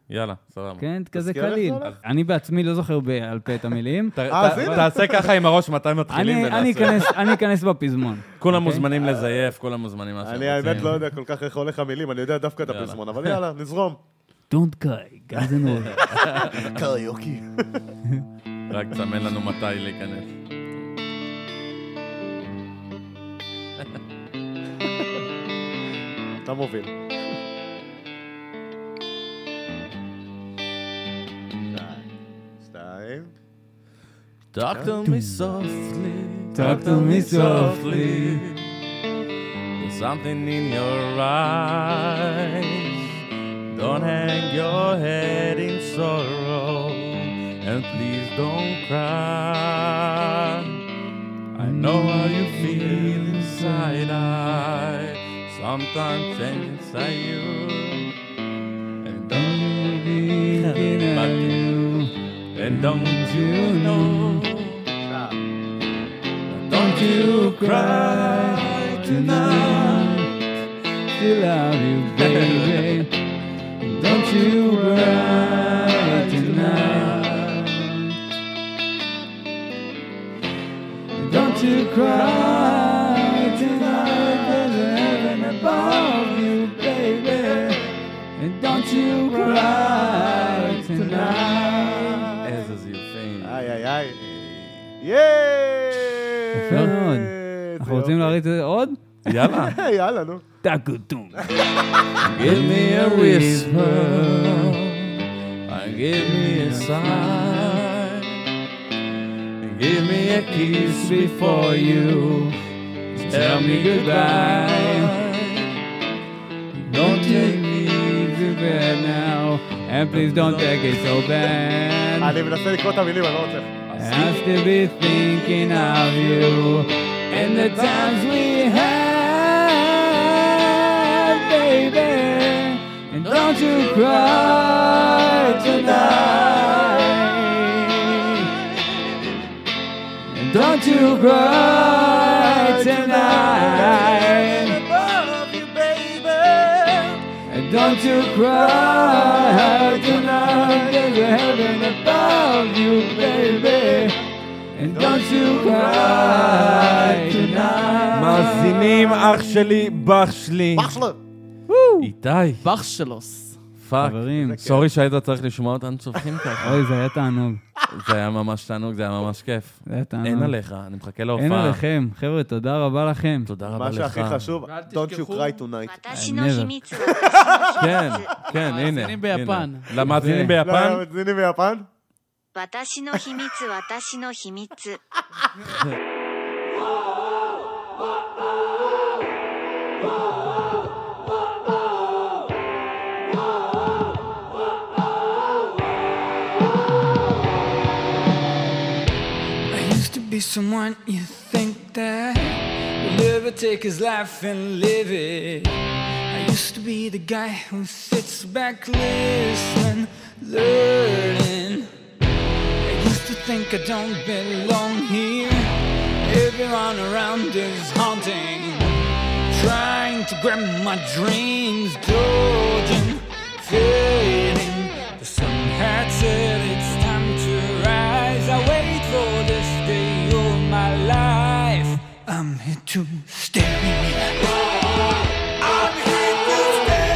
S2: יאללה, סבבה.
S3: כן? כזה
S1: תזכיר איך זה
S3: קליל.
S1: הולך?
S3: אני בעצמי לא זוכר בעל פה את המילים.
S2: ת-
S1: אה,
S2: ת-
S1: אז הנה.
S2: תעשה ככה עם הראש מתי מתחילים
S3: אני- אני
S2: ונעשה.
S3: אכנס- אני אכנס בפזמון.
S2: כולם מוזמנים לזייף, כולם מוזמנים מה
S1: אני
S2: שהם
S1: האמת
S2: רוצים.
S1: לא יודע כל כך איך הולך המילים, אני יודע דווקא את
S2: יאללה.
S1: הפזמון, אבל יאללה, נזרום.
S3: Don't Cry, גאנז אנד רול.
S1: קריוקי.
S2: רק תסמן לנו מתי להיכנס.
S1: אתה לא מוביל. שתיים.
S2: Talk to me softly,
S3: Talk to me softly.
S2: There's something in your eyes. Don't hang your head in sorrow. And please don't cry. I know how you feel inside I sometimes change inside you. And don't you be thinking about it. And don't you know Don't you cry tonight.
S3: Still love you, baby. Don't you cry tonight. Don't you cry tonight. There's a heaven above you, baby. And don't you cry tonight.
S2: איזה זיופים.
S1: איי איי איי.
S3: יפה
S1: יאיי!
S3: מאוד. אנחנו רוצים להריץ את זה עוד?
S2: יאללה.
S1: יאללה, נו.
S3: טאקו טום.
S2: Give me a whisper. And give me a sign. And give me a kiss before you. Tell me goodbye.
S3: Don't take me to bed now, and please don't take it so bad.
S1: אני מנסה לקרוא את המילים, אני לא רוצה.
S3: I still be thinking of you and the times we had, baby. And don't you cry tonight. And don't you cry tonight. And don't
S7: want to cry tonight. There's a heaven above you, baby. And don't you cry tonight.
S2: מאזינים, אח שלי, בח שלי. איתי,
S4: בח שלוס.
S2: פאק.
S7: חברים,
S2: סורי שהיית צריך לשמוע אותנו צופחים ככה.
S7: אוי, זה היה תענוג.
S2: זה היה ממש תענוג, זה היה ממש כיף.
S7: זה היה
S1: אה.
S7: תענוג.
S2: אין עליך, אני מחכה
S7: אין
S2: להופעה.
S7: עליכם. חבר'ה, תודה רבה לכם.
S2: תודה רבה
S1: מה
S2: לך.
S1: שהכי חשוב,
S4: ואל
S1: Don't you
S4: תשכחו-
S1: cry tonight.
S6: 私の
S7: never.
S6: 秘密、私の秘
S2: כן,
S6: 密、
S2: כן, הנה.
S4: למאזינים ביפן.
S2: הנה. למאזינים
S1: לא,
S2: ביפן?
S1: לא, מזינים ביפן?
S6: 私の秘密、私の秘密。
S3: I used to be someone you think that would never take his life and live it. I used to be the guy who sits back, listening, learning. I used to think I don't belong here. Everyone around is haunting, trying to grab my dreams, dodging, fading. The sun had said it's time to rise. I wait for this day of my life. I'm here to stay. I'm here to stay. I'm here to stay.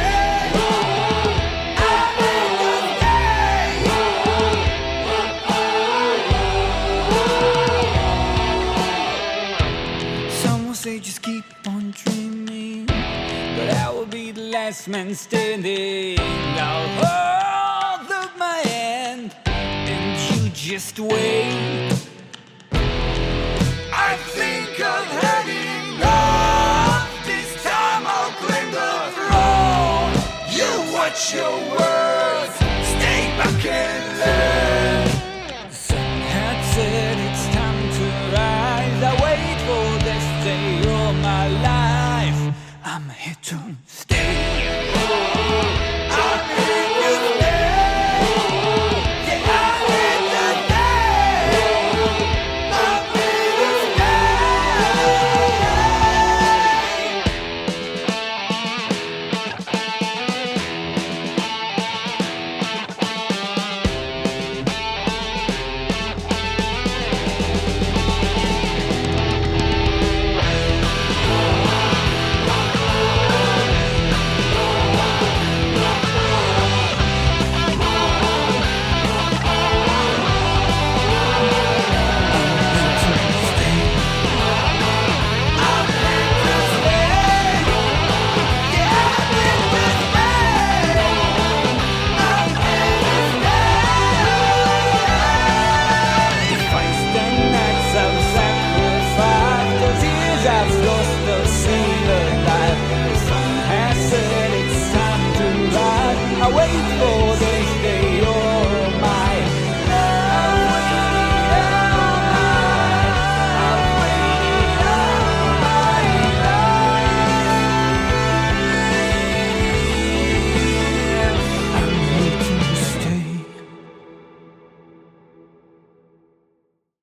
S3: Some will say just keep on dreaming, but I will be the last man standing. I'll hold up my hand, and you just wait. I think of heading off. This time I'll claim the throne. You watch your words. Stay back and